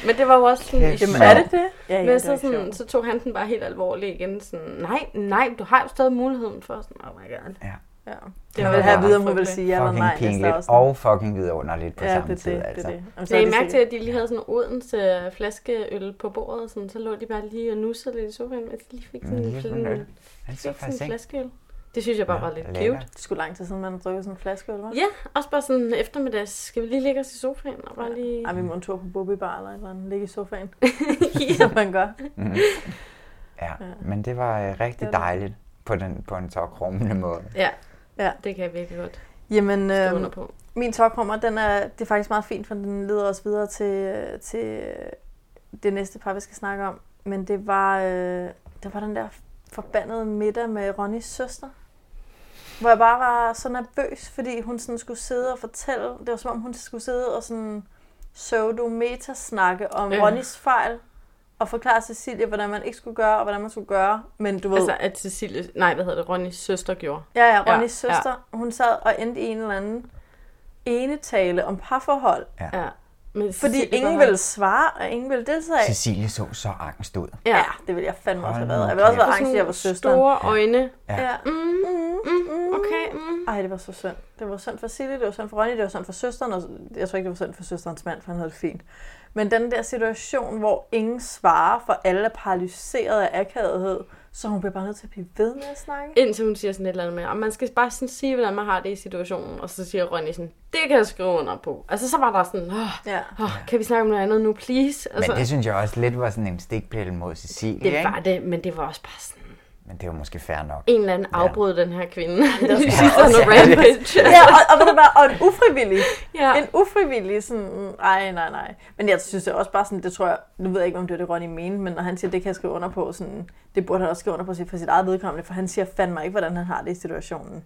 S1: Men det var jo også sådan... i
S10: Kæft,
S1: chok.
S10: mand. Er det det? Ja, ja,
S1: Men
S10: det er
S1: så,
S10: ikke
S1: sådan, så tog han den bare helt alvorligt igen. Sådan, nej, nej, du har jo stadig muligheden for. Sådan, oh my god.
S11: Ja.
S10: Ja.
S1: Det
S10: Jeg
S1: var
S10: vil have at vide, om hun vil
S1: frygteligt.
S10: sige ja
S11: fucking
S10: eller nej. hvis der er
S11: pinligt
S10: også-
S11: og fucking vidunderligt på
S10: Ja,
S11: samme
S10: det er
S11: tid.
S10: det, det er
S11: altså.
S10: det. Jamen, så er
S1: Lagde I
S10: det
S1: mærke til,
S10: sikkert.
S1: at de lige havde sådan en Odense flaskeøl på bordet, sådan, så lå de bare lige og nussede lidt i sofaen, mens de lige fik sådan
S11: Mm,
S1: en,
S11: lige
S1: sådan
S11: sådan en
S1: en,
S11: øl. Ja,
S1: fik
S11: det
S1: sådan
S11: faktisk
S1: en
S11: ikke.
S1: flaskeøl. Det synes jeg bare var lidt
S11: lækkert.
S1: cute.
S10: Det skulle lang tid siden, man har drukket sådan en flaske, eller hvad?
S1: Ja, også bare sådan en eftermiddags. Skal vi lige lægge os i sofaen og bare lige...
S10: Ej, vi må en tur på Bobby Bar eller et eller andet. Ligge i sofaen. Som man gør.
S11: Mhm. Ja,
S10: Ja.
S11: men det var øh, rigtig
S10: Det var det.
S11: dejligt på, den, på en så krummende måde.
S1: Ja,
S10: ja.
S1: det kan jeg virkelig godt.
S10: Jamen,
S1: skrive
S10: øhm,
S1: under på.
S10: min tokrummer, den er, det er faktisk meget fint, for den leder os videre til, øh, til øh, det næste par, vi skal snakke om. Men det var, øh, det var den der forbandede middag med Ronnys søster. Hvor jeg bare var så nervøs, fordi hun sådan skulle sidde og fortælle. Det var som om, hun skulle sidde og sådan pseudo-meta-snakke om
S1: Ja.
S10: ja. Ronnys fejl. Og forklare Cecilie, hvordan man ikke skulle gøre, og hvordan man skulle gøre. Men du ved...
S1: Altså, at Cecilie... Nej, hvad hedder det? Ronnys søster gjorde.
S10: Ja, ja, Ronnys ja, søster, ja. hun sad og endte i en eller anden ene tale om parforhold.
S11: Ja.
S1: Ja. Men
S10: fordi
S1: Cecilie
S10: ingen
S1: var-
S10: ville svare, og ingen ville deltage.
S11: Cecilie så så angst ud.
S10: Ja, det ville jeg fandme også have
S11: Hold
S10: været.
S11: nu
S10: Jeg ville også
S11: kæft.
S10: være angst, at jeg var søsteren.
S1: Store øjne.
S11: Ja.
S10: Ja.
S1: Mm,
S10: mm,
S1: mm, okay. Mm.
S10: Ej, det var så synd. Det var synd for Silje, det var synd for Ronny, det var synd for søsteren, og jeg tror ikke, det var synd for søsterens mand, for han havde det fint. Men den der situation, hvor ingen svarer, for alle er paralyseret af akavethed, så hun bliver bare nødt til at blive ved med at snakke.
S1: Indtil hun siger sådan et eller andet med, og man skal bare sådan sige, hvordan man har det i situationen. Og så siger Ronny sådan, det kan jeg skrive under på. Altså, så var der sådan, åh,
S10: ja.
S1: åh kan vi snakke om noget andet nu, please? Altså,
S11: Men det synes jeg også lidt var sådan en stikpille mod Cecilie,
S1: det
S11: ikke?
S1: var det, men det var også bare sådan,
S11: Men det var måske fair nok.
S1: en eller anden afbrød den her kvinde.
S10: Det
S1: Det
S10: var
S1: synes
S10: sådan-
S1: sådan noget rampage.
S10: Ja, og, og, ved du hvad, og en ufrivillig.
S1: Ja.
S10: En ufrivillig, sådan, mm, ej, nej, nej. Men jeg synes det er også bare sådan, det tror jeg, nu ved jeg ikke, om det er det, Ronny mente, men når han siger, det kan jeg skrive under på, sådan, det burde han også skrive under på sit- for sit eget vedkommende, for han siger fandme ikke, hvordan han har det i situationen.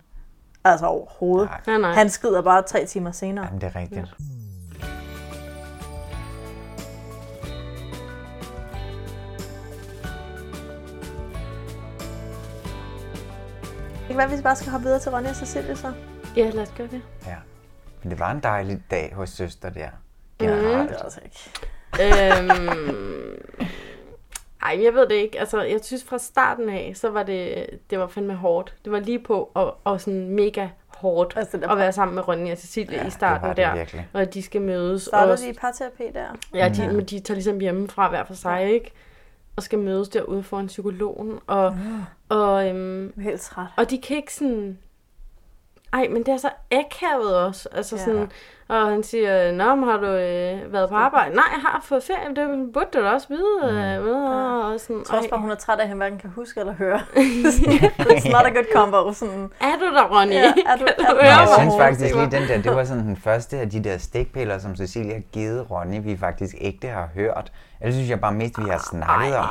S10: Altså overhovedet.
S1: Nej, nej.
S10: Han skrider bare tre timer senere.
S11: Jamen, det er rigtigt.
S10: Ikke hvad, hvis vi bare skal hoppe videre til Ronny og Cecilie så?
S1: Ja, lad os gøre det.
S11: Ja. Men det var en dejlig dag hos søster der.
S1: Mm.
S10: altså
S11: Generelt.
S1: Det er også ikke. øhm, Nej, jeg ved det ikke. Altså, jeg synes fra starten af, så var det, det var fandme hårdt. Det var lige på og, og sådan mega hårdt altså, at være sammen med Ronja og Cecilie ja, i starten
S11: det
S1: der.
S11: virkelig.
S1: Og at de skal mødes.
S10: Så er der
S1: og,
S10: lige parterapi der.
S1: Ja, de, men de tager ligesom hjemmefra hver for sig, ikke? Og skal mødes derude foran psykologen. Og, og, øhm,
S10: Helt træt.
S1: og de kan ikke sådan... Ej, men det er så akavet også. Altså
S10: Ja.
S1: ja. sådan, og han siger, Nå, men har du øh, været på arbejde? Nej, jeg har fået ferie. Det burde du da også vide. Mm. Øh, og sådan,
S10: Jeg tror også
S1: ej.
S10: bare, hun er træt af, at han hverken kan huske eller høre. It's not a good combo. Sådan.
S1: Er du der, Ronny?
S10: Ja, er du, er du
S11: Men jeg
S10: der,
S11: synes
S10: Ronny?
S11: faktisk lige den der, det var sådan den første af de der stikpiller, som Cecilia har givet Ronny, vi faktisk ægte har hørt. Eller synes jeg bare mest, vi har snakket om.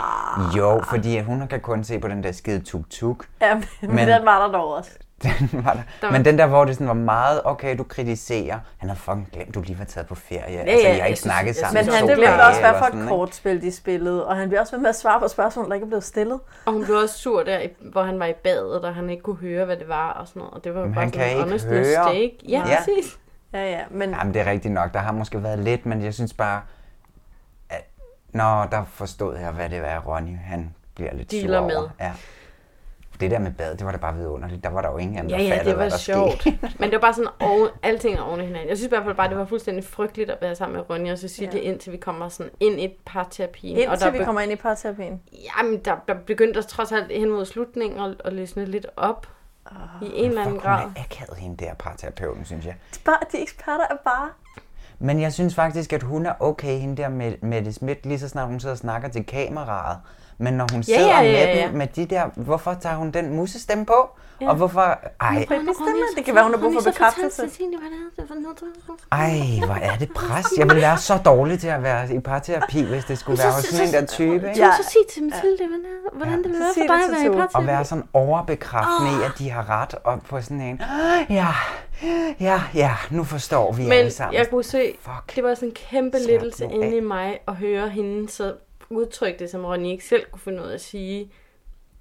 S11: Jo, fordi at hun kan kun se på den der skide tuk-tuk.
S10: Ja, men, men,
S11: Men-
S10: den var der dog også.
S11: Den var
S10: Der
S11: der.
S10: var-
S11: Men den der, hvor det sådan var meget, okay, du kritiserer. Han har fucking glemt, du lige var taget på ferie. Ja, altså, jeg har ikke snakket sammen
S10: Men
S11: i
S10: han
S11: to
S10: det blev
S11: dage
S10: også, hvad
S11: eller
S10: for
S11: sådan,
S10: et
S11: ikke?
S10: kortspil, de spillede. Og han blev også ved med at svare på spørgsmål, der ikke er blevet stillet.
S1: Og hun blev også sur der, i- hvor han var i badet, og han ikke kunne høre, hvad det var og sådan noget. Og det var jo
S11: Men
S1: bare
S11: han
S1: sådan
S11: kan ikke
S1: honest
S11: høre.
S1: mistake. Ja,
S11: Ja.
S1: ja, præcis.
S10: Ja, ja, men...
S11: Jamen, det er rigtigt nok. Der har måske været lidt, men jeg synes bare, at nå, der forstod jeg, hvad det var, Ronny, han bliver lidt
S1: Dealer
S11: sur over.
S1: med.
S11: Ja. Det der med bad, det var da bare vidunderligt. Der var der jo ingen anden,
S1: Ja,
S11: der
S1: ja,
S11: fattede,
S1: det var
S11: hvad der
S1: sjovt.
S11: Skete.
S1: Men det var bare sådan, oven, alting er oven i hinanden. Jeg synes i hvert fald bare, det var fuldstændig frygteligt at være sammen med Ronja og Cecilie, ja. indtil vi kommer sådan ind i parterapien. og
S10: Indtil
S1: der
S10: vi
S1: be-
S10: kommer ind i parterapien.
S1: Jamen, der, der begyndte også trods alt hen mod slutningen at, at løsne lidt op. Oh,
S10: Ah.
S1: I en eller anden
S11: Fuck, hun
S1: grad.
S11: er akavet, hende der parterapeuten, synes jeg.
S10: Bare, de eksperter er bare...
S11: Men jeg synes faktisk, at hun er okay, hende der med, med det smidt, lige så snart hun sidder og snakker til kameraet. Men når hun
S1: Ja,
S11: sidder
S1: ja, ja,
S11: med
S1: ja.
S11: dem, med de der, hvorfor tager hun den musestemme på?
S1: Ja.
S11: Og hvorfor, ej,
S10: Det kan være, hun har brug for bekræftelse.
S11: Ej, hvor er det pres. Jeg ville være så dårlig til at være i parterapi, hvis det skulle være hos sådan en der type.
S1: Ja.
S11: Ikke?
S1: Så sig til Mathilde, hvordan, hvordan det vil være
S10: Sig
S1: for
S10: det
S1: dig at
S10: til
S1: være i
S10: Tove.
S11: Og
S1: parterapi.
S11: være sådan overbekræftende i, at de har ret, og på sådan en, ja, ja, ja, nu forstår vi
S1: Men
S11: alle sammen.
S1: jeg kunne se,
S11: Fuck.
S1: det var sådan en kæmpe
S11: Slap
S1: lettelse
S11: nu
S1: inde
S11: af.
S1: i mig at høre hende så udtrykke det, som Ronny ikke selv kunne finde ud af at sige,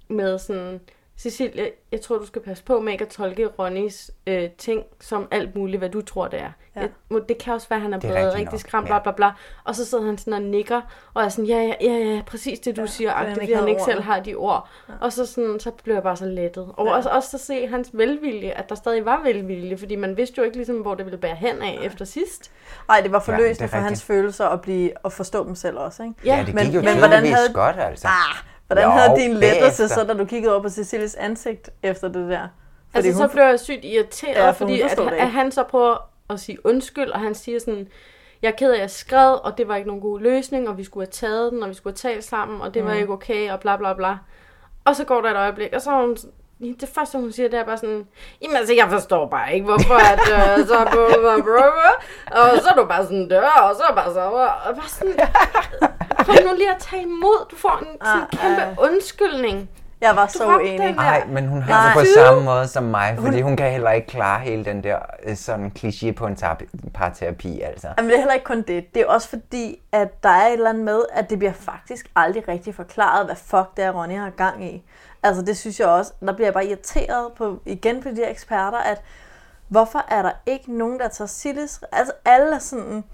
S1: med sådan, Cecilie, jeg tror, du skal passe på med ikke at tolke Ronnys øh, ting som alt muligt, hvad du tror, det er.
S10: Ja.
S1: Ja. Jeg, må- det kan også være, at han er
S11: Det er
S1: blevet rigtig,
S11: rigtigt
S1: rigtig
S11: nok,
S1: skræmt,
S11: ja.
S1: bla bla bla. Og så sidder han sådan og nikker, og er sådan, ja, ja, ja, ja præcis det, du ja, siger,
S10: han
S1: og
S10: ikke
S1: fordi han
S10: havde
S1: ikke selv
S10: ordene.
S1: har de ord. Ja. Og så, sådan, så blev jeg bare så lettet. Og ja. også, også at se hans velvilje, at der stadig var velvilje, fordi man vidste jo ikke, ligesom, hvor det ville bære hen af efter sidst.
S10: Nej, det var
S11: Ja,
S10: forløsende
S11: det er
S10: for hans
S11: rigtigt.
S10: følelser at, blive, at forstå dem selv også, ikke?
S11: Ja, det gik jo tydeligvis godt, altså.
S10: Ah, hvordan
S11: Jo,
S10: havde din lettelse
S11: bagefter.
S10: så, da du kiggede over på Cecilies ansigt efter det der?
S1: Fordi altså, så
S10: hun-
S1: blev jeg sygt irriteret,
S10: Ja,
S1: ja,
S10: for hun
S1: fordi at,
S10: forstod det ikke.
S1: at han så prøver at sige undskyld, og han siger sådan, jeg er ked af, at jeg skred, og det var ikke nogen god løsning, og vi skulle have taget den, og vi skulle have talt sammen, og det
S10: Mm.
S1: var ikke okay, og bla bla bla. Og så går der et øjeblik, og så er hun, det første, hun siger, det er bare sådan, jamen altså, jeg forstår bare ikke, hvorfor at, øh, så, blah, blah, blah, blah." og så er du bare sådan dør, og så er bare så, og bare sådan, prøv nu lige at tage imod, du får en sådan
S10: Ah,
S1: kæmpe undskyldning.
S10: Jeg var så
S1: Drop
S10: uenig.
S1: den der.
S11: Nej, men hun har det
S10: Nej.
S11: på samme måde som mig, fordi hun kan heller ikke klare hele den der øh, sådan kliché på en tar- parterapi, altså.
S10: Jamen, det er heller ikke kun det. Det er også fordi, at der er et eller andet med, at det bliver faktisk aldrig rigtig forklaret, hvad fuck det er, Ronny har gang i. Altså, det synes jeg også. Der bliver jeg bare irriteret på, igen på de her eksperter, at hvorfor er der ikke nogen, der tager Silles... Altså, alle er sådan...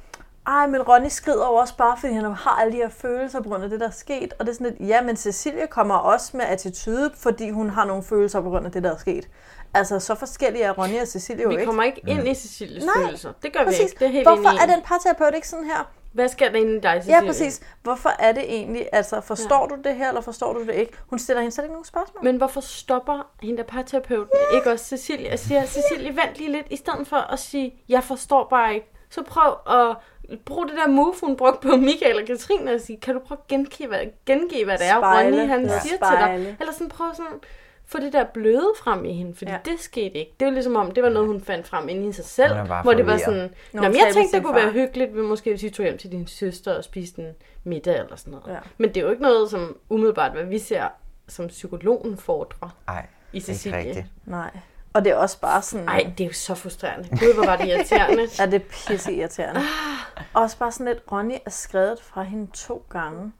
S10: Ej, men Ronny skrider jo også bare, fordi han har alle de her følelser på grund af det, der er sket. Og det er sådan lidt, ja, men Cecilie kommer også med attitude, fordi hun har nogle følelser på grund af det, der er sket. Altså, så forskellige er Ronny og Cecilie jo
S1: Vi
S10: ikke.
S1: kommer ikke ind i Cecilies
S10: Nej,
S1: følelser. Det gør vi
S10: Præcis.
S1: ikke. Det er helt
S10: Hvorfor
S1: enig i.
S10: er den parterapeut ikke sådan her?
S1: Hvad sker der inde i dig, Cecilie?
S10: Ja, præcis. Hvorfor er det egentlig? Altså, forstår ja. du det her, eller forstår du det ikke? Hun stiller hende slet ikke nogen spørgsmål.
S1: Men hvorfor stopper hende der parterapeuten ja. ikke også Cecilie og siger, Cecilie, vent lige lidt, i stedet for at sige, jeg forstår bare ikke. Så prøv at bruge det der move, hun brugte på Michael og Katrine, og sige, kan du prøve at gengive, hvad, gengive, hvad det er,
S10: Spejle.
S1: Ronny han
S10: Ja.
S1: ja. siger til
S10: Spejle.
S1: dig? Eller sådan prøv sådan, få det der bløde frem i hende, fordi
S10: Ja.
S1: ja. det skete ikke. Det var ligesom om, det var noget, hun fandt frem inde i sig selv,
S11: Hun er bare
S1: hvor det var
S11: forvirret.
S1: sådan,
S10: Når
S1: Nå,
S10: hun
S1: men
S10: talte
S1: jeg
S10: med
S1: tænkte,
S10: sin
S1: det kunne
S10: far."
S1: være hyggeligt, vi måske hvis I tog hjem til din søster og spiste en middag eller sådan noget.
S10: Ja.
S1: Men det er jo ikke noget, som umiddelbart, hvad vi ser som psykologen fordrer
S11: Nej,
S1: i
S11: ikke
S1: Cecilie.
S11: rigtigt.
S10: Nej. Og det er også bare sådan...
S1: Ej, det er jo så frustrerende. Gud, hvor var det irriterende.
S10: Er det pisse irriterende. også bare sådan lidt, Ronny er skrevet fra hende to gange.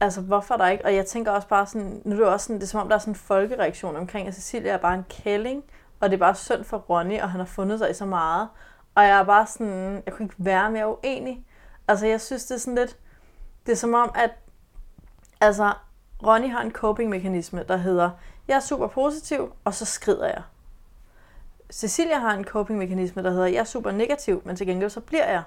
S10: Altså, hvorfor er der ikke? Og jeg tænker også bare sådan, nu er det jo også sådan, det er som om, der er sådan en folkereaktion omkring, at Cecilia er bare en kælling, og det er bare synd for Ronny, og han har fundet sig i så meget. Og jeg er bare sådan, jeg kunne ikke være mere uenig. Altså, jeg synes, det er sådan lidt, det er som om, at altså, Ronny har en coping-mekanisme, der hedder, jeg er super positiv, og så skrider jeg. Cecilia har en coping-mekanisme, der hedder, jeg er super negativ, men til gengæld så bliver jeg.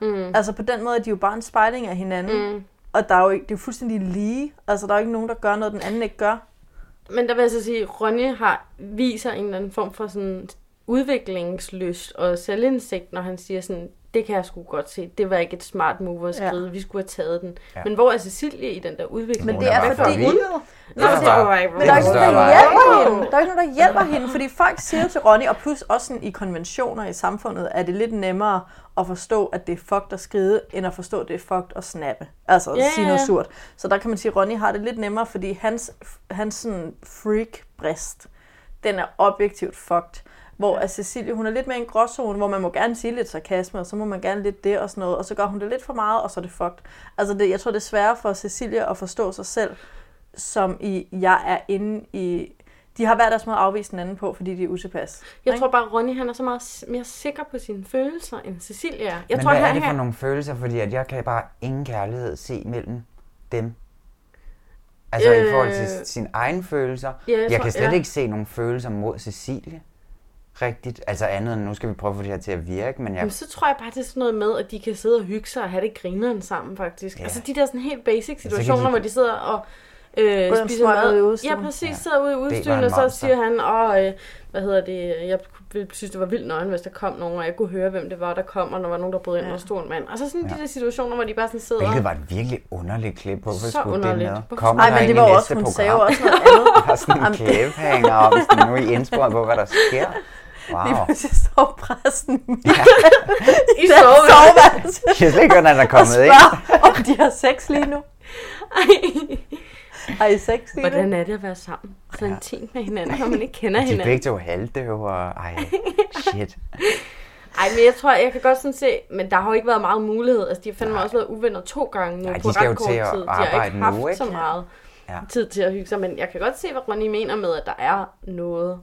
S1: Mm.
S10: Altså på den måde er de jo bare en spejling af hinanden.
S1: Mm.
S10: Og der er jo ikke, det er jo fuldstændig lige. Altså der er jo ikke nogen, der gør noget, den anden ikke gør.
S1: Men der vil jeg så sige, at Ronny har, viser en eller anden form for sådan udviklingslyst og selvindsigt, når han siger sådan, det kan jeg sgu godt se. Det var ikke et smart move at
S10: Ja.
S1: skrive. Ja. Vi skulle have taget den.
S10: Ja.
S1: Ja. Men hvor er Cecilie i den der udvikling?
S10: Men det er fordi...
S1: Hun...
S10: Nå, det er, men der er ikke nogen, der hjælper hende. Der er ikke nogen, der hjælper hende, fordi folk siger til Ronny, og plus også sådan i konventioner i samfundet, er det lidt nemmere at forstå, at det er fucked at skride, end at forstå, at det er fucked at snappe. Altså at
S1: Ja,
S10: sige
S1: ja,
S10: noget
S1: ja.
S10: surt. Så der kan man sige, at Ronny har det lidt nemmere, fordi hans, hans sådan freak-brist, den er objektivt fucked. Hvor at Cecilie, hun er lidt mere en gråzone, hvor man må gerne sige lidt sarkasme, og så må man gerne lidt det og sådan noget, og så gør hun det lidt for meget, og så er det fucked. Altså det, jeg tror, det er sværere for Cecilie at forstå sig selv, som i, jeg er inde i... De har hver deres måde at afvise den anden på, fordi de er utilpas.
S1: Jeg tror bare, Ronny han er så meget s- mere sikker på sine følelser, end Cecilia er. Jeg
S11: Men
S1: tror,
S11: hvad
S1: han
S11: er det for
S1: her-
S11: nogle følelser? Fordi at jeg kan bare ingen kærlighed se mellem dem. Altså øh, i forhold til
S1: Øh.
S11: sine egne følelser.
S1: Ja, jeg
S11: jeg
S1: tror-
S11: kan slet
S1: ja.
S11: ikke se nogen følelser mod Cecilie. Rigtigt. Altså andet end, nu skal vi prøve at få det her til at virke, men jeg...
S1: Jamen, så tror jeg bare, det er sådan noget med, at de kan sidde og hygge sig og have det grineren sammen, faktisk.
S11: Ja.
S1: Altså de der sådan helt basic
S11: kan
S1: situationer,
S11: de-
S1: de... hvor de sidder og
S10: Ude
S1: øh,
S10: om
S1: spiser
S10: smøger ude i
S1: mad.
S10: udstuen.
S1: Ja, præcis. Ja. Sidder ude i
S10: en
S1: udstuen, og så
S10: monster.
S1: siger han, åh, øh, hvad hedder det, jeg ville synes, det var vildt nøgen, hvis der kom nogen, og jeg kunne høre, hvem det var, der kom, og der var nogen, der brød ind,
S11: Ja.
S1: ja. og stod en mand. Og så sådan
S11: Ja.
S1: de der situationer, hvor de bare sådan sidder
S11: Hvilket var et virkelig underligt klip. Hvorfor
S1: så
S11: skulle
S1: underligt.
S11: det med?
S1: Hvorfor-
S11: Kommer
S1: Ej,
S11: der
S1: men
S11: en
S1: det
S11: i
S1: var jo
S11: næste
S1: også- hun
S11: program?
S1: sagde jo også
S10: noget andet.
S11: Der er sådan en
S10: Jamen, det-
S11: cliffhanger om, sådan, nu er I indspurgt på, hvad der sker. Wow.
S10: Lige pludselig står præsten i ja.
S1: I
S10: soveværelse.
S11: Jeg kan slet ikke høre, når han er kommet
S10: og
S11: ind.
S10: spørger, om de har sex lige nu. Ej. Har I sex lige nu?
S1: Hvordan er det at være sammen? Så ja. intimt med hinanden, når man ikke kender
S11: De er
S1: hinanden.
S11: begge to halvdøve, og ej, shit.
S1: Ej, men jeg tror, jeg kan godt sådan se, men der har jo ikke været meget mulighed. Altså, de har fandme også været uvenner to gange nu
S11: Nej,
S1: Ej,
S11: de
S1: på ret
S11: skal jo
S1: kort
S11: til
S1: tid. De
S11: at
S1: har
S11: arbejde
S1: ikke
S11: nu,
S1: haft
S11: ikke?
S1: så meget
S11: Ja.
S1: ja. tid til at hygge sig, men jeg kan godt se, hvad Ronny mener med, at der er noget.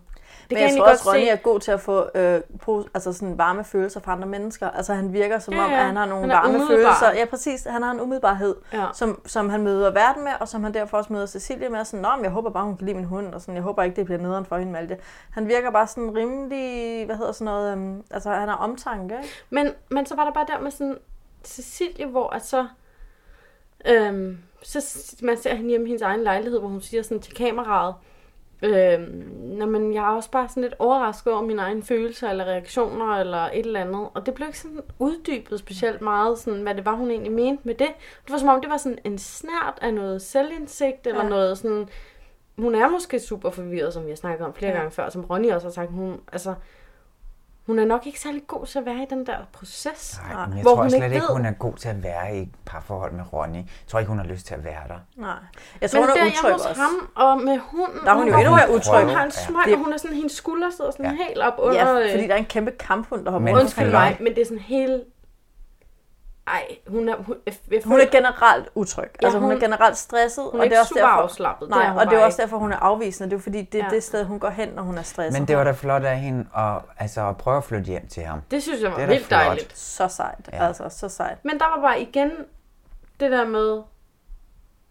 S1: Det
S10: Det men
S1: kan
S10: jeg
S1: jeg
S10: tror
S1: godt
S10: også, Ronny
S1: se.
S10: er god til at få øh, pos, altså sådan varme følelser fra andre mennesker. Altså han virker som
S1: Ja,
S10: om,
S1: ja.
S10: at han har nogle
S1: Han er
S10: varme
S1: umiddelbar.
S10: følelser. Ja, præcis. Han har en umiddelbarhed, ja. som, som han møder verden med, og som han derfor også møder Cecilie med. Og Sådan, Nå, men jeg håber bare, hun kan lide min hund, og sådan, jeg håber ikke, det bliver nederen for hende med alt det. Han virker bare sådan rimelig, hvad hedder sådan noget, øhm, altså han har omtanke. Ikke?
S1: Men, men så var der bare der med sådan Cecilie, hvor at så... Øhm, så s- man ser hende hjemme i hendes egen lejlighed, hvor hun siger sådan til kameraet, øhm, "Nå, men jeg er også bare sådan lidt overrasket over mine egne følelser eller reaktioner eller et eller andet. Og det blev ikke sådan uddybet specielt meget, sådan, hvad det var, hun egentlig mente med det. Det var som om, det var sådan en snært af noget selvindsigt eller
S10: Ja.
S1: ja. noget sådan... Hun er måske super forvirret, som vi har snakket om flere
S10: Ja.
S1: ja. gange før, som Ronny også har sagt. Hun, altså, hun er nok ikke særlig god til at være i den der proces.
S11: Nej, men jeg tror slet ikke, hun er god til at være i et parforhold med Ronny. Jeg tror ikke, hun har lyst til at være der.
S10: Nej.
S1: Jeg
S10: Jeg
S1: tror,
S10: tror,
S1: men
S10: hun er
S1: der
S10: utryg
S1: hjemme hos
S10: også.
S1: ham og med hunden.
S10: Der er hun jo
S1: har-
S10: endnu mere utryg.
S1: Hun har en
S10: Ja.
S1: smøg,
S10: Det-
S1: og hun er sådan, hendes skulder sidder sådan ja. helt op under...
S10: Ja,
S1: øh,
S10: fordi der er en kæmpe kamphund, der hopper
S1: Men
S10: rundt. omkring.
S1: undskyld mig, men det er sådan helt... Ej, hun er... Hun, jeg, jeg
S10: Hun er generelt utryg.
S1: Ja,
S10: altså hun, er
S1: hun-
S10: generelt stresset.
S1: hun er ikke super afslappet. Det
S10: Nej,
S1: er hun
S10: og det er
S1: bare
S10: også derfor, hun er afvisende. Det er fordi, det er
S1: Ja.
S10: det sted, hun går hen, når hun er stresset.
S11: Men det var da flot af hende at, altså, at prøve at flytte hjem til ham.
S1: Det synes jeg var
S11: Det er da
S1: vildt
S11: flot.
S1: dejligt.
S10: Så sejt.
S11: Ja.
S10: Altså, så sejt.
S1: Men der var bare igen det der med...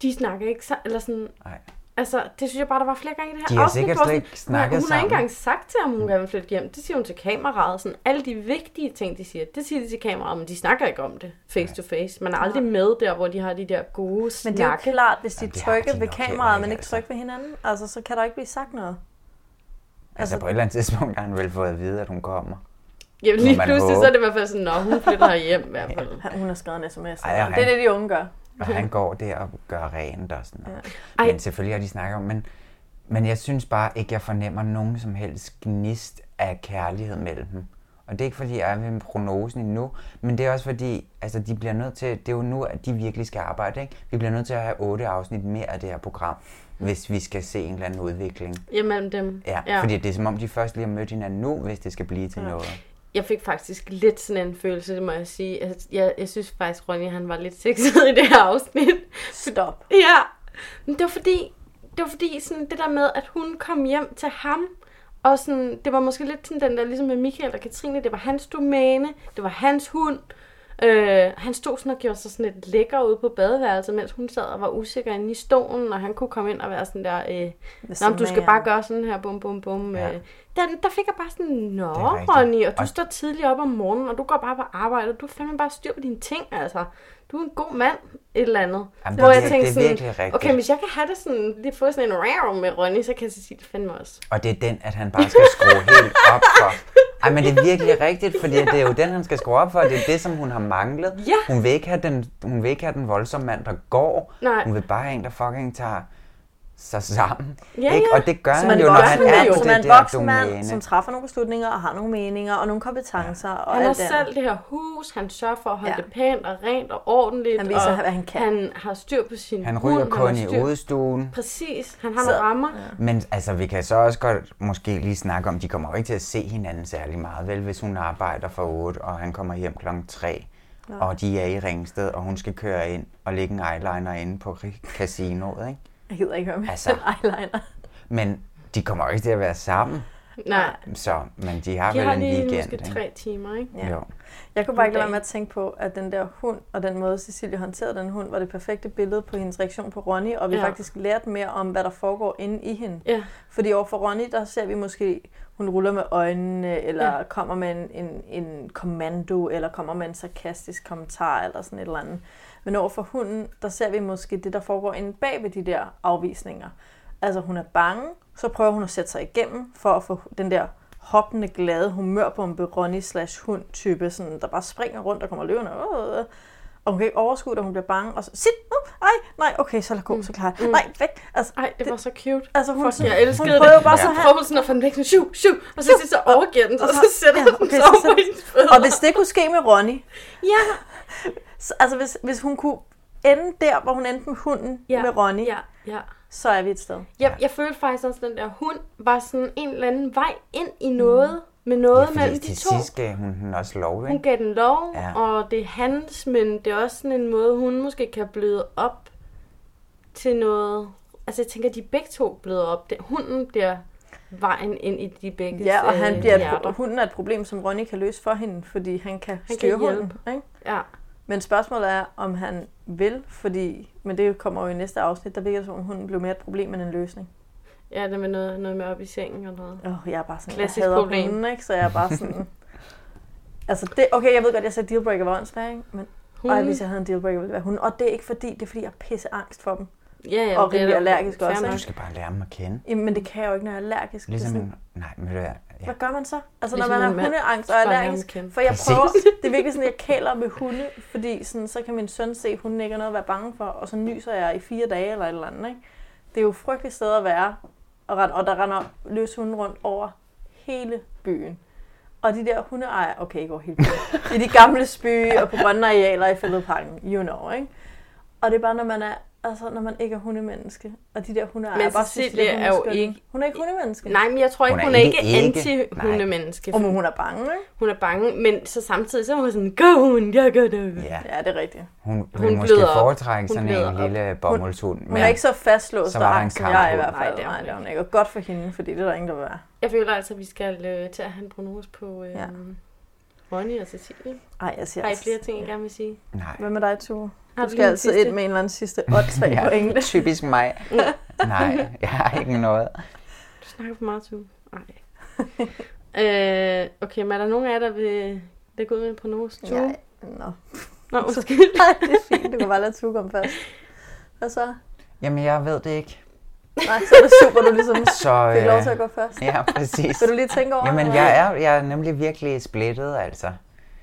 S1: De snakker ikke sammen, eller sådan...
S11: Nej.
S1: Altså, det synes jeg bare, der var flere gange i det her
S11: De har
S1: afsnit,
S11: sikkert
S1: hvor
S11: slet
S1: sådan-
S11: ikke snakket
S1: hun, har- hun har ikke
S11: sammen.
S1: engang sagt til ham, hun gerne vil flytte hjem. Det siger hun til kameraet. Sådan, alle de vigtige ting, de siger, det siger de til kameraet, men de snakker ikke om det face to face. Man er aldrig med der, hvor de har de der gode
S10: Men
S1: snakke.
S10: det er jo klart, hvis de
S1: Jamen, det har
S10: trykker
S1: de
S10: ved
S1: nok heller
S10: kameraet,
S1: ikke,
S10: men ikke trykker ved hinanden, altså, så kan der ikke blive sagt noget.
S11: Altså på et eller andet tidspunkt har han vel fået at vide, at hun kommer.
S1: Ja,
S11: Må
S1: lige
S11: man
S1: pludselig,
S11: håbe.
S1: så er det i hvert fald sådan, nå, hun flytter hjem i hvert fald.
S10: Han- Hun har skrevet en sms.
S11: Ej, og
S10: det er
S11: han-
S10: det, de unge gør.
S11: Og han går der og gør rent og sådan noget.
S1: Ja.
S11: Ja.
S1: Ej.
S11: Men selvfølgelig har de snakket om, men, men jeg synes bare ikke, jeg fornemmer nogen som helst gnist af kærlighed mellem dem. Og det er ikke fordi, jeg er ved prognosen endnu, men det er også fordi, altså de bliver nødt til, det er jo nu, at de virkelig skal arbejde, ikke? Vi bliver nødt til at have otte afsnit mere af det her program, hvis vi skal se en eller anden udvikling.
S1: Ja, mellem dem.
S11: Ja, ja.
S1: Ja.
S11: fordi det er som om, de først lige har mødt hinanden nu, hvis det skal blive til ja. noget.
S1: Jeg fik faktisk lidt sådan en følelse, det må jeg sige. Altså, Jeg, jeg synes faktisk, Ronny han var lidt sexet i det her afsnit.
S10: Stop.
S1: Ja. Men det var fordi, det var fordi sådan det der med, at hun kom hjem til ham, og sådan, det var måske lidt sådan den der, ligesom med Michael og Katrine, det var hans domæne, det var hans hund, Øh, han stod sådan og gjorde sig sådan lidt lækker ude på badeværelset, mens hun sad og var usikker inde i stolen, og han kunne komme ind og være sådan der, øh, Nå, men du skal bare gøre sådan her, bum, bum, bum. Ja. Der, der fik jeg bare sådan, nå,
S10: Det er rigtigt.
S1: Ronny, og du
S10: Og-
S1: står tidligt op om morgenen, og du går bare på arbejde, og du har fandme bare styr på dine ting, altså. Du er en god mand, et eller andet.
S11: Jamen,
S1: Hvor
S11: det er
S1: jeg
S11: vir-
S1: tænkte
S11: det er
S1: sådan,
S11: virkelig rigtigt.
S1: Okay, hvis jeg kan have det sådan, lige få sådan en rare med Ronny, så kan Cecilie fandme også.
S11: Og det er den, at han bare skal skrue helt op for. Ej, men det er virkelig rigtigt, fordi det er jo den, han skal skrue op for, og det er det, som hun har manglet.
S1: Ja.
S11: Hun, vil ikke have den, hun vil ikke have den voldsomme mand, der går.
S1: Nej.
S11: Hun vil bare have en, der fucking tager sig sammen.
S10: Ja,
S11: ikke?
S10: ja.
S11: Og det gør
S10: Som
S11: han
S10: en
S11: jo, når
S10: voksen
S11: han
S10: mand,
S11: er på
S10: Som
S11: det
S10: en
S11: der
S10: voksen mand,
S11: domæne.
S10: som træffer nogle beslutninger og har nogle meninger og nogle kompetencer. Og
S1: Han har
S10: alt det andet.
S1: selv det her hus, han sørger for at holde ja. det pænt og rent og ordentligt.
S10: Han viser,
S1: og
S10: hvad han kan.
S1: Han har styr på sin
S11: Han ryger
S1: hund,
S11: kun
S1: har
S11: i
S1: styr-
S11: udestuen.
S1: Præcis, han har nogle rammer. Ja.
S11: Men altså, vi kan så også godt måske lige snakke om, de kommer jo ikke til at se hinanden særlig meget, vel? Hvis hun arbejder fra 8, og han kommer hjem klokken 3,
S1: Nå.
S11: og de er i Ringsted, og hun skal køre ind og lægge en eyeliner inde på casinoet, ikke?
S10: Jeg gider ikke høre mere
S11: Altså.
S10: altså. eyeliner.
S11: Men de kommer jo ikke til at være sammen,
S10: Nej.
S11: så, men de har
S10: De
S11: vel
S10: har
S11: en
S10: lige
S11: weekend,
S10: måske
S11: ikke?
S10: tre timer, ikke?
S11: Ja. Jo.
S10: Jeg kunne bare ikke lade være med at tænke på, at den der hund, og den måde Cecilie håndterede den hund, var det perfekte billede på hendes reaktion på Ronny, og vi
S1: Ja.
S10: ja. faktisk lærte mere om, hvad der foregår inde i hende.
S1: Ja.
S10: Fordi overfor Ronny, der ser vi måske, hun ruller med øjnene, eller
S1: Ja.
S10: ja. kommer med en, en, en kommando, eller kommer med en sarkastisk kommentar, eller sådan et eller andet. Men overfor hunden, der ser vi måske det, der foregår inde bag ved de der afvisninger. Altså hun er bange, så prøver hun at sætte sig igennem for at få den der hoppende glade humørbombe Ronny slash hund type, sådan, der bare springer rundt og kommer løbende. Øh, øh. Og hun kan ikke overskue det, og hun bliver bange. Og så, sit, uh, ej, nej, okay, så lad gå, så klarer jeg. Nej, væk. Altså,
S1: Mm. ej, det, var så cute.
S10: Altså, hun,
S1: Fuck, jeg elskede
S10: hun prøver
S1: det.
S10: bare
S1: Ja.
S10: så
S1: Så prøver hun sådan at få den væk, sådan, shoo, shoo, og så sidst så overgiver den, og så sætter hun
S10: Altså, okay,
S1: sig
S10: så
S1: over
S10: sætter-
S1: i hendes fødder.
S10: Og hvis det kunne ske med Ronny,
S1: ja.
S10: så, altså hvis, hvis hun kunne ende der, hvor hun endte med hunden
S1: Ja,
S10: ja. med Ronny,
S1: ja, ja.
S10: så er vi et sted.
S1: Jeg, jeg følte faktisk også, at den der hund var sådan en eller anden vej ind i noget,
S10: Mm.
S1: med noget
S11: Fordi
S1: mellem de
S11: til
S1: to.
S11: sidst gav hun den også lov, ikke?
S1: Hun gav den lov,
S11: Ja.
S1: ja. og det er hans, men det er også sådan en måde, hun måske kan bløde op til noget. Altså jeg tænker, de begge to bløder op. Det, hunden bliver vejen ind i de begge
S10: Ja, og han bliver et,
S1: hjerter.
S10: pro- hunden er et problem, som Ronny kan løse for hende, fordi han kan
S1: kan
S10: styre hunden.
S1: hjælpe.
S10: Ikke?
S1: Ja.
S10: Men spørgsmålet er, om han vil, fordi, men det kommer jo i næste afsnit, der virker det som om hunden blev mere et problem end en løsning.
S1: Ja, det er med noget, noget med op i sengen og noget.
S10: Åh, oh, jeg er bare sådan,
S1: Klassisk
S10: jeg hader
S1: problem.
S10: hunden, ikke? så jeg er bare sådan... altså, det, okay, jeg ved godt, jeg sagde dealbreaker var åndssvær, ikke? men ej,
S1: Hunden.
S10: hvis jeg havde en dealbreaker, ville det være hunden. Og det er ikke fordi, det er fordi, jeg er pisse angst for dem.
S1: Ja, ja,
S10: og
S1: det er
S10: rimelig
S1: da
S10: allergisk
S1: fair
S10: også.
S1: nok.
S10: Ikke?
S11: Du skal bare lære dem at kende.
S10: Jamen, men det kan jeg jo ikke, når jeg er allergisk. Det er
S11: Ligesom
S10: sådan-
S11: en... Nej, men ved du hvad?
S10: Hvad gør man så? Altså, når
S1: Ligesom
S10: man har
S1: en mand.
S10: hundeangst og er
S1: Bare lære ham at
S10: allergisk.
S1: kende.
S10: For jeg
S11: Præcis.
S10: prøver, det er virkelig sådan, jeg kæler med hunde, fordi sådan, så kan min søn se, at hunden ikke er noget at være bange for, og så nyser jeg i fire dage eller et eller andet. Ikke? Det er jo et frygteligt sted at være, og, rende, og der render løs hunden rundt over hele byen. Og de der hundeejere, okay, ikke over hele byen, i de gamle spy og på grønne arealer i fældeparken, you know, ikke? Og det er bare, når man er Altså, når man ikke er hundemenneske, og de der hundeejere
S1: Men
S10: bare synes,
S1: Cecilie
S10: lidt, hun
S1: er jo
S10: skønne.
S1: ikke...
S10: Hun er ikke hundemenneske.
S1: Nej, men jeg tror ikke, hun er, ikke, anti-hundemenneske.
S10: Og men hun er bange, ikke?
S1: Hun er bange, men så samtidig så er hun sådan, go hun, jeg gør det.
S11: Ja.
S10: Ja, det er rigtigt.
S11: Hun
S1: Hun
S11: vil måske
S1: bløder op.
S11: foretrække
S1: Hun
S11: sådan
S1: bløder
S11: en
S1: op.
S11: lille bommelshund.
S10: Hun er ikke så fastlåst
S11: så
S10: og
S11: var der en
S10: angst, som jeg er i
S11: kamphund.
S10: hvert fald.
S1: Nej, det er hun
S10: Nej, det er hun ikke. Og godt for hende, fordi det er der ingen, der vil være.
S1: Jeg føler altså, at vi skal øh, til at have en prognose på øh, ja.
S10: Ja.
S1: Ronny og Cecilie.
S10: Ej, jeg siger
S1: Har I
S10: altså-
S1: flere ting, I gerne vil sige?
S11: Nej.
S10: Hvad med dig, Tue?
S1: Har du
S10: Du skal
S1: en
S10: altid
S1: sidste?
S10: ind med en eller anden sidste åndssvag
S11: Ja,
S10: på engelsk.
S11: Typisk mig. Nej, jeg har ikke noget.
S1: Du snakker for meget, Tue. Nej. øh, okay, men er der nogen af jer, der vil lægge ud med en prognose? Tue?
S10: Ja, nå.
S1: Nå, undskyld.
S10: Nej, det er fint. Du kan bare lade Tue komme først. Hvad så?
S11: Jamen, jeg ved det ikke.
S10: Nej, så er det super, du ligesom
S11: Så,
S10: fik lov
S11: øh,
S10: til at gå først.
S11: Ja, præcis.
S10: Vil du lige tænke over
S11: Jamen,
S10: det?
S11: jeg er, jeg er nemlig virkelig splittet, altså.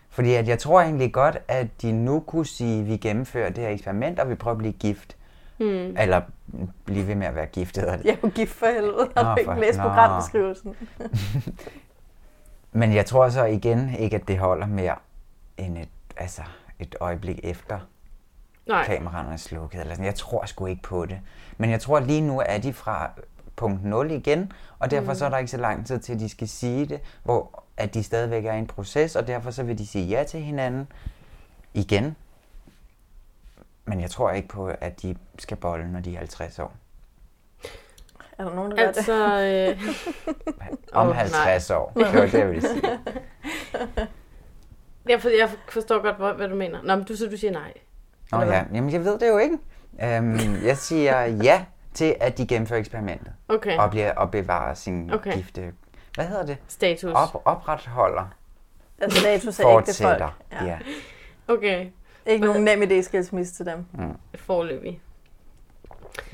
S11: Fordi at jeg tror egentlig godt, at de nu kunne sige, at vi gennemfører det her eksperiment, og vi prøver at blive gift.
S10: Hmm.
S11: Eller mm, blive ved med at være gift. hedder det.
S10: Jeg er jo gift for helvede.
S11: Nå,
S10: Har du
S11: for-
S10: ikke læst
S11: nå.
S10: programbeskrivelsen?
S11: Men jeg tror så igen ikke, at det holder mere end et, altså et øjeblik efter
S1: Nej.
S11: kameraerne er slukket. Eller sådan. Jeg tror sgu ikke på det. Men jeg tror, at lige nu er de fra punkt 0 igen, og derfor
S3: Mm.
S11: så er der ikke så lang tid til, at de skal sige det, hvor at de stadigvæk er i en proces, og derfor så vil de sige ja til hinanden igen. Men jeg tror ikke på, at de skal bolle, når de er 50 år.
S10: Er der nogen, der gør
S1: Altså,
S10: det?
S1: øh, Åh,
S11: Om
S1: nej.
S11: 50 år, det var det, jeg ville sige.
S1: Jeg, for, jeg forstår godt, hvor- hvad du mener. Nå, men du, så du siger nej.
S11: Nå
S1: Eller
S11: ja, jamen jeg ved det jo ikke. Øhm, jeg siger ja til, at de gennemfører eksperimentet.
S1: Okay.
S11: Og, bliver, og bevarer sin
S1: Okay.
S11: okay. gifte... Hvad hedder det?
S1: Status.
S11: Op, opretholder.
S10: Altså status er ægte folk.
S11: Fortsætter. Ja. ja.
S1: Okay.
S10: Ikke nogen nem idé skilsmisse til dem.
S11: Mm.
S1: Forløbig.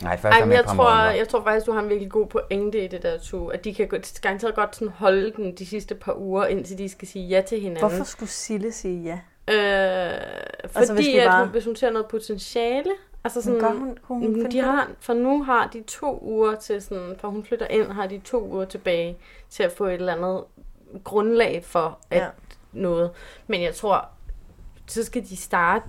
S11: Nej, først
S1: Ej,
S11: om
S1: men
S11: et
S1: jeg
S11: par
S1: tror,
S11: måneder.
S1: jeg tror faktisk, du har en virkelig god pointe i det der, to. At de kan gå- garanteret godt sådan holde den de sidste par uger, indtil de skal sige ja til hinanden.
S10: Hvorfor skulle Sille sige ja?
S1: Øh, fordi
S10: Altså, hvis
S1: hvis,
S10: vi
S1: at
S10: bare-
S1: hun, hvis hun ser noget potentiale, altså
S10: Men
S1: sådan,
S10: gør hun- kunne hun
S1: Mm,
S10: finde
S1: de
S10: på det?
S1: har, for nu har de to uger til sådan, for hun flytter ind, har de to uger tilbage til at få et eller andet grundlag for at
S10: Ja.
S1: noget. Men jeg tror, så skal de starte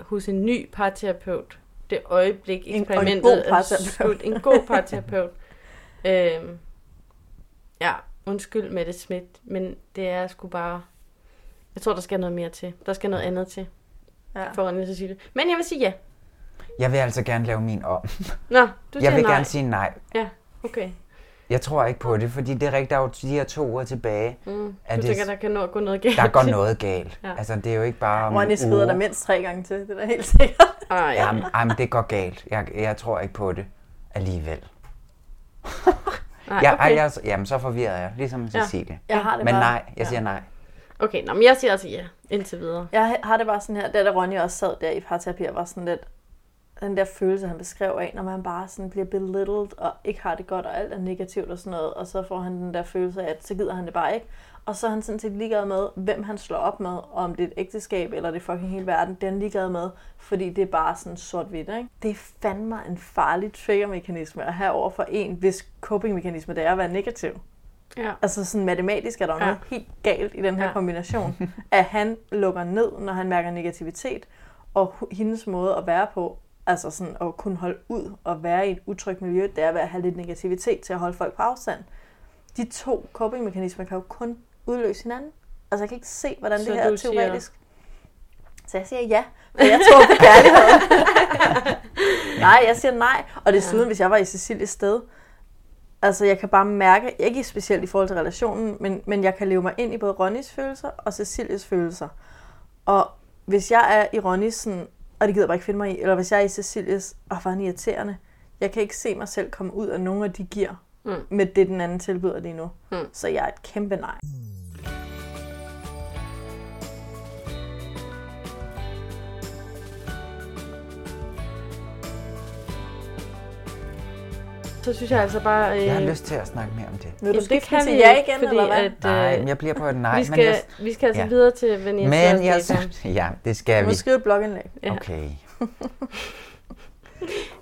S1: hos en ny parterapeut. Det øjeblik
S10: En- og en god
S1: eksperimentet er
S10: parterapeut.
S1: slut. En god parterapeut. øhm, ja, undskyld Mette Schmidt, men det er sgu bare... Jeg tror, der skal noget mere til. Der skal noget andet til.
S10: Ja.
S1: For René Cecilie. Men jeg vil sige ja.
S11: Jeg vil altså gerne lave min
S1: Nå,
S11: om.
S1: du siger
S11: jeg vil
S1: nej.
S11: gerne sige nej.
S1: Ja, okay.
S11: Jeg tror ikke på det, fordi det er rigtigt, der er jo de her to uger tilbage.
S1: Mm.
S11: Er
S1: du
S11: det-
S1: tænker, der kan nå at gå noget galt?
S11: Der går noget galt.
S1: Ja.
S11: Ja. Altså, det er jo ikke bare om
S10: Ronny
S11: en
S10: skrider
S11: uge.
S10: der mindst tre gange til, det er da helt sikkert.
S1: Ej.
S11: Jamen, jamen, det går galt. Jeg, jeg tror ikke på det alligevel.
S1: Nej,
S11: jeg,
S1: okay.
S11: ej, jeg, jamen, så forvirrer jeg, ligesom
S1: Ja.
S11: Cecilie.
S10: Jeg har det
S11: Men
S10: bare-
S11: nej, jeg siger
S10: ja.
S11: nej.
S1: Okay, nå, men jeg siger altså ja, indtil videre.
S10: Jeg har det bare sådan her, da da Ronny også sad der i parterapi, og var sådan lidt, den der følelse, han beskrev af, når man bare sådan bliver belittled, og ikke har det godt, og alt er negativt og sådan noget, og så får han den der følelse af, at så gider han det bare ikke. Og så er han sådan set ligeglad med, hvem han slår op med, og om det er et ægteskab, eller det er fucking hele verden, det er han ligeglad med, fordi det er bare sådan sort-hvidt, ikke? Det er fandme en farlig triggermekanisme at have over for en, hvis copingmekanisme det er at være negativ.
S1: Ja.
S10: Altså sådan matematisk er der jo
S1: Ja.
S10: noget helt galt i den her
S1: Ja.
S10: ja. kombination, at han lukker ned, når han mærker negativitet, og hu- hendes måde at være på, altså sådan at kunne holde ud og være i et utrygt miljø, det er ved at have lidt negativitet til at holde folk på afstand. De to copingmekanismer kan jo kun udløse hinanden. Altså jeg kan ikke se, hvordan
S1: Så
S10: det her
S1: du
S10: er
S1: siger-
S10: teoretisk. Så jeg siger ja, for jeg tror på kærlighed. nej, jeg siger nej. Og desuden, hvis jeg var i Cecilies sted, altså jeg kan bare mærke, ikke specielt i forhold til relationen, men, men jeg kan leve mig ind i både Ronnys følelser og Cecilies følelser. Og hvis jeg er i Ronnys sådan, og det gider jeg bare ikke finde mig i, eller hvis jeg er i Cecilies, og hvor er han irriterende, jeg kan ikke se mig selv komme ud af nogen af de gear,
S1: Mm.
S10: med det den anden tilbyder lige nu.
S1: Mm.
S10: Så jeg er et kæmpe nej.
S1: Så synes jeg altså bare... Øh,
S11: Jeg har lyst til at snakke mere om det.
S10: Vil du
S1: jamen, det
S10: skifte
S1: kan
S10: til
S1: vi
S10: ja
S1: ikke,
S10: igen,
S1: fordi
S10: eller hvad?
S1: At,
S11: Nej,
S1: øh,
S11: men jeg bliver på et nej,
S1: Vi
S11: men
S1: skal,
S11: jeg-
S1: vi skal altså
S11: ja.
S1: videre til Vanessa.
S11: Men jeg...
S1: Stefan.
S11: Ja, det skal
S10: Du må
S11: vi.
S10: skrive et blogindlæg.
S1: Ja.
S11: Okay.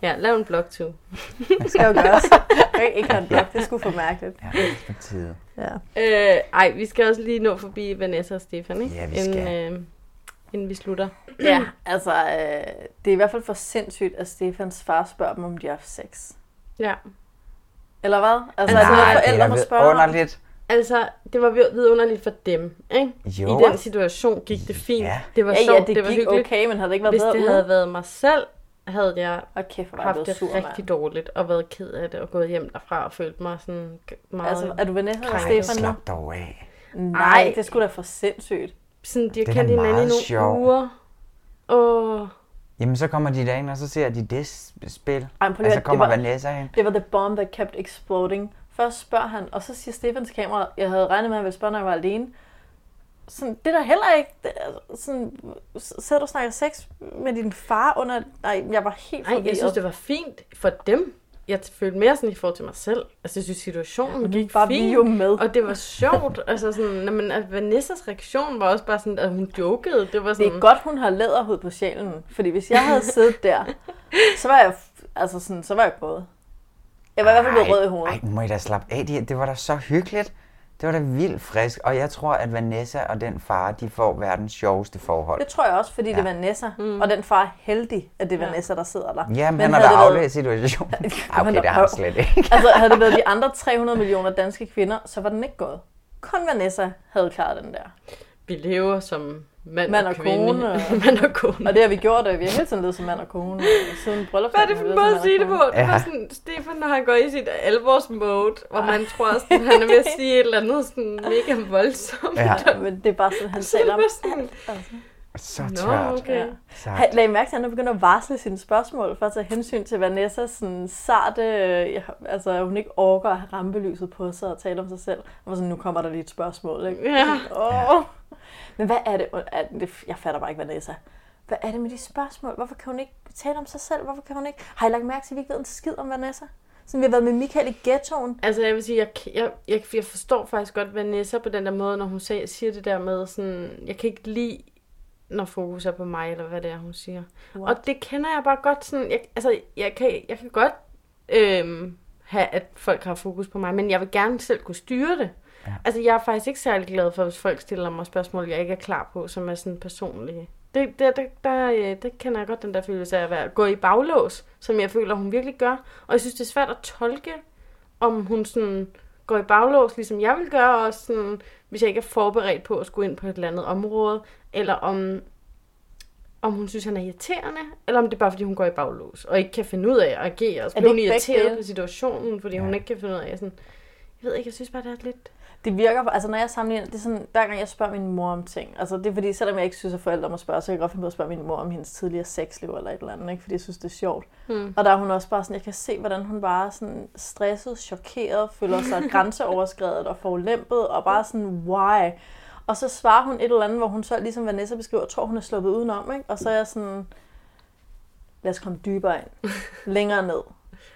S1: Ja, lav en blogtur.
S10: Det skal jo gøres. Jeg kan ikke have en blog, det skulle for mærkeligt.
S11: Ja, det er på tide.
S10: Ja.
S1: Øh, ej, vi skal også lige nå forbi Vanessa og Stefan, ikke?
S11: Ja, vi
S1: Inden, øh, inden vi slutter.
S10: Ja, altså, øh, det er i hvert fald for sindssygt, at Stefans far spørger dem, om de har haft sex.
S1: Ja.
S10: Eller hvad? Altså,
S11: Nej,
S10: er det noget,
S11: det er
S10: forældre
S11: da
S10: må spørge om?
S11: vidunderligt.
S1: Altså, det var vidunderligt for dem, ikke?
S11: Jo.
S1: I den situation gik det fint.
S11: Ja.
S1: Det var
S10: Ja, ja,
S1: sjovt,
S10: det
S1: det var
S10: gik
S1: hyggeligt.
S10: okay, men havde det ikke været
S1: Hvis
S10: bedre
S1: det
S10: uden?
S1: havde været mig selv, havde jeg
S10: Og kæft, hvor var jeg
S1: haft
S10: blevet
S1: det
S10: sur, mand.
S1: rigtig dårligt og været ked af det og gået hjem derfra og følt mig sådan g- meget...
S10: Altså, er du Vanessa eller
S1: krænket.
S10: Stefan nu?
S11: Slap dog af.
S10: Nej, det skulle da for sindssygt.
S1: Sådan, de har
S11: Det er da
S1: kendt hinanden i
S11: meget
S1: nogle
S11: sjovt.
S1: uger. Åh,
S11: Jamen, så kommer de derind, og så ser de det s- spil.
S10: Ej, men prøv
S11: og
S10: lige at-
S11: så
S10: det
S11: kommer
S10: var-
S11: Vanessa ind.
S10: Det var the bomb, that kept exploding. Først spørger han, og så siger Stefans kamera, jeg havde regnet med, at han ville spørge, når jeg var alene. Sådan, det er der heller ikke. Det, er- sådan, s- sidder du og snakker sex med din far under... Nej, jeg var helt
S1: nej,
S10: forvirret.
S1: jeg synes, det var fint for dem. Jeg følte mere sådan i forhold til mig selv. Altså, jeg synes, situationen
S10: Men
S1: gik
S10: var vi
S1: fint.
S10: jo med.
S1: Og det var sjovt. altså, sådan, når man, at Vanessas reaktion var også bare sådan, at hun jokede. Det var sådan...
S10: Det er godt, hun har læderhud på sjælen, fordi hvis jeg havde siddet der, så var jeg, f- altså sådan, så var jeg gået. Jeg var i hvert fald blevet rød i hovedet.
S11: Ej, nu må I da slappe af. Det, det var da så hyggeligt. Det var da vildt frisk. Og jeg tror, at Vanessa og den far, de får verdens sjoveste forhold.
S10: Det tror jeg også, fordi ja. det
S11: Ja.
S10: var Vanessa, mm. og den far er heldig, at det er Vanessa, der sidder der.
S11: Jamen, han har
S10: havde
S11: da
S10: det været-
S11: aflæst situationen. Ej, Ah, okay, det har han slet ikke.
S10: altså, havde det været de andre 300 millioner danske kvinder, så var den ikke gået. Kun Vanessa havde klaret den der.
S1: Vi lever som
S10: mand, mand og, og kone. Og,
S1: mand og kone.
S10: og det har vi gjort, og vi har hele tiden levet som mand og kone. Og siden bryllup,
S1: Hvad er det for en måde at sige det på? Det var sådan, Stefan, når han går i sit alvorsmode, hvor man tror, sådan, han er ved at sige et eller andet sådan mega voldsomt.
S11: Ja.
S10: Men det er bare sådan, han
S1: Så
S10: taler om
S1: det var sådan-
S10: alt.
S11: Så tørt. Sagt.
S10: Han lagde mærke til, at han begynder at varsle sine spørgsmål for at tage hensyn til Vanessas sådan sarte, øh, ja, altså at hun ikke orker at have rampelyset på sig og tale om sig selv. Og var sådan, nu kommer der lige et spørgsmål, ikke?
S1: Ja.
S10: Oh. Men hvad er det? er det- Jeg fatter bare ikke Vanessa. Hvad er det med de spørgsmål? Hvorfor kan hun ikke tale om sig selv? Hvorfor kan hun ikke? Har I lagt mærke til, at vi ikke ved en skid om Vanessa? Sådan, vi har været med Michael i ghettoen.
S1: Altså, jeg vil sige, jeg, jeg, jeg, jeg forstår faktisk godt Vanessa på den der måde, når hun siger, siger det der med sådan, jeg kan ikke lide, når fokus er på mig, eller hvad det er, hun siger.
S10: What?
S1: Og det kender jeg bare godt sådan, jeg, altså, jeg kan, jeg kan godt øhm, have, at folk har fokus på mig, men jeg vil gerne selv kunne styre det. Ja. Altså, jeg er faktisk ikke særlig glad for, hvis folk stiller mig spørgsmål, jeg ikke er klar på, som er sådan personlige. Det, det, der, der, øh, der kender jeg godt den der følelse af at være, gå i baglås, som jeg føler, hun virkelig gør. Og jeg synes, det er svært at tolke, om hun sådan går i baglås, ligesom jeg vil gøre, og sådan, hvis jeg ikke er forberedt på at skulle ind på et eller andet område, eller om, om hun synes, han er irriterende, eller om det er bare, fordi hun går i baglås, og ikke kan finde ud af at agere, og så
S10: det
S1: bliver hun
S10: ikke begge
S1: irriteret
S10: dele?
S1: på situationen, fordi ja. hun ikke kan finde ud af sådan, jeg ved ikke, jeg synes bare, det er lidt...
S10: Det virker, altså når jeg sammenligner, det er sådan, hver gang jeg spørger min mor om ting, altså det er fordi, selvom jeg ikke synes, at forældre må spørge, så kan jeg godt finde på at spørge min mor om hendes tidligere sexliv eller et eller andet, ikke? fordi jeg synes, det er sjovt.
S1: Mm.
S10: Og der er hun også bare sådan, jeg kan se, hvordan hun bare er sådan stresset, chokeret, føler sig grænseoverskredet og forulæmpet, og bare sådan, why? Og så svarer hun et eller andet, hvor hun så, ligesom Vanessa beskriver, tror hun er sluppet udenom, ikke? Og så er jeg sådan, lad os komme dybere ind, længere ned,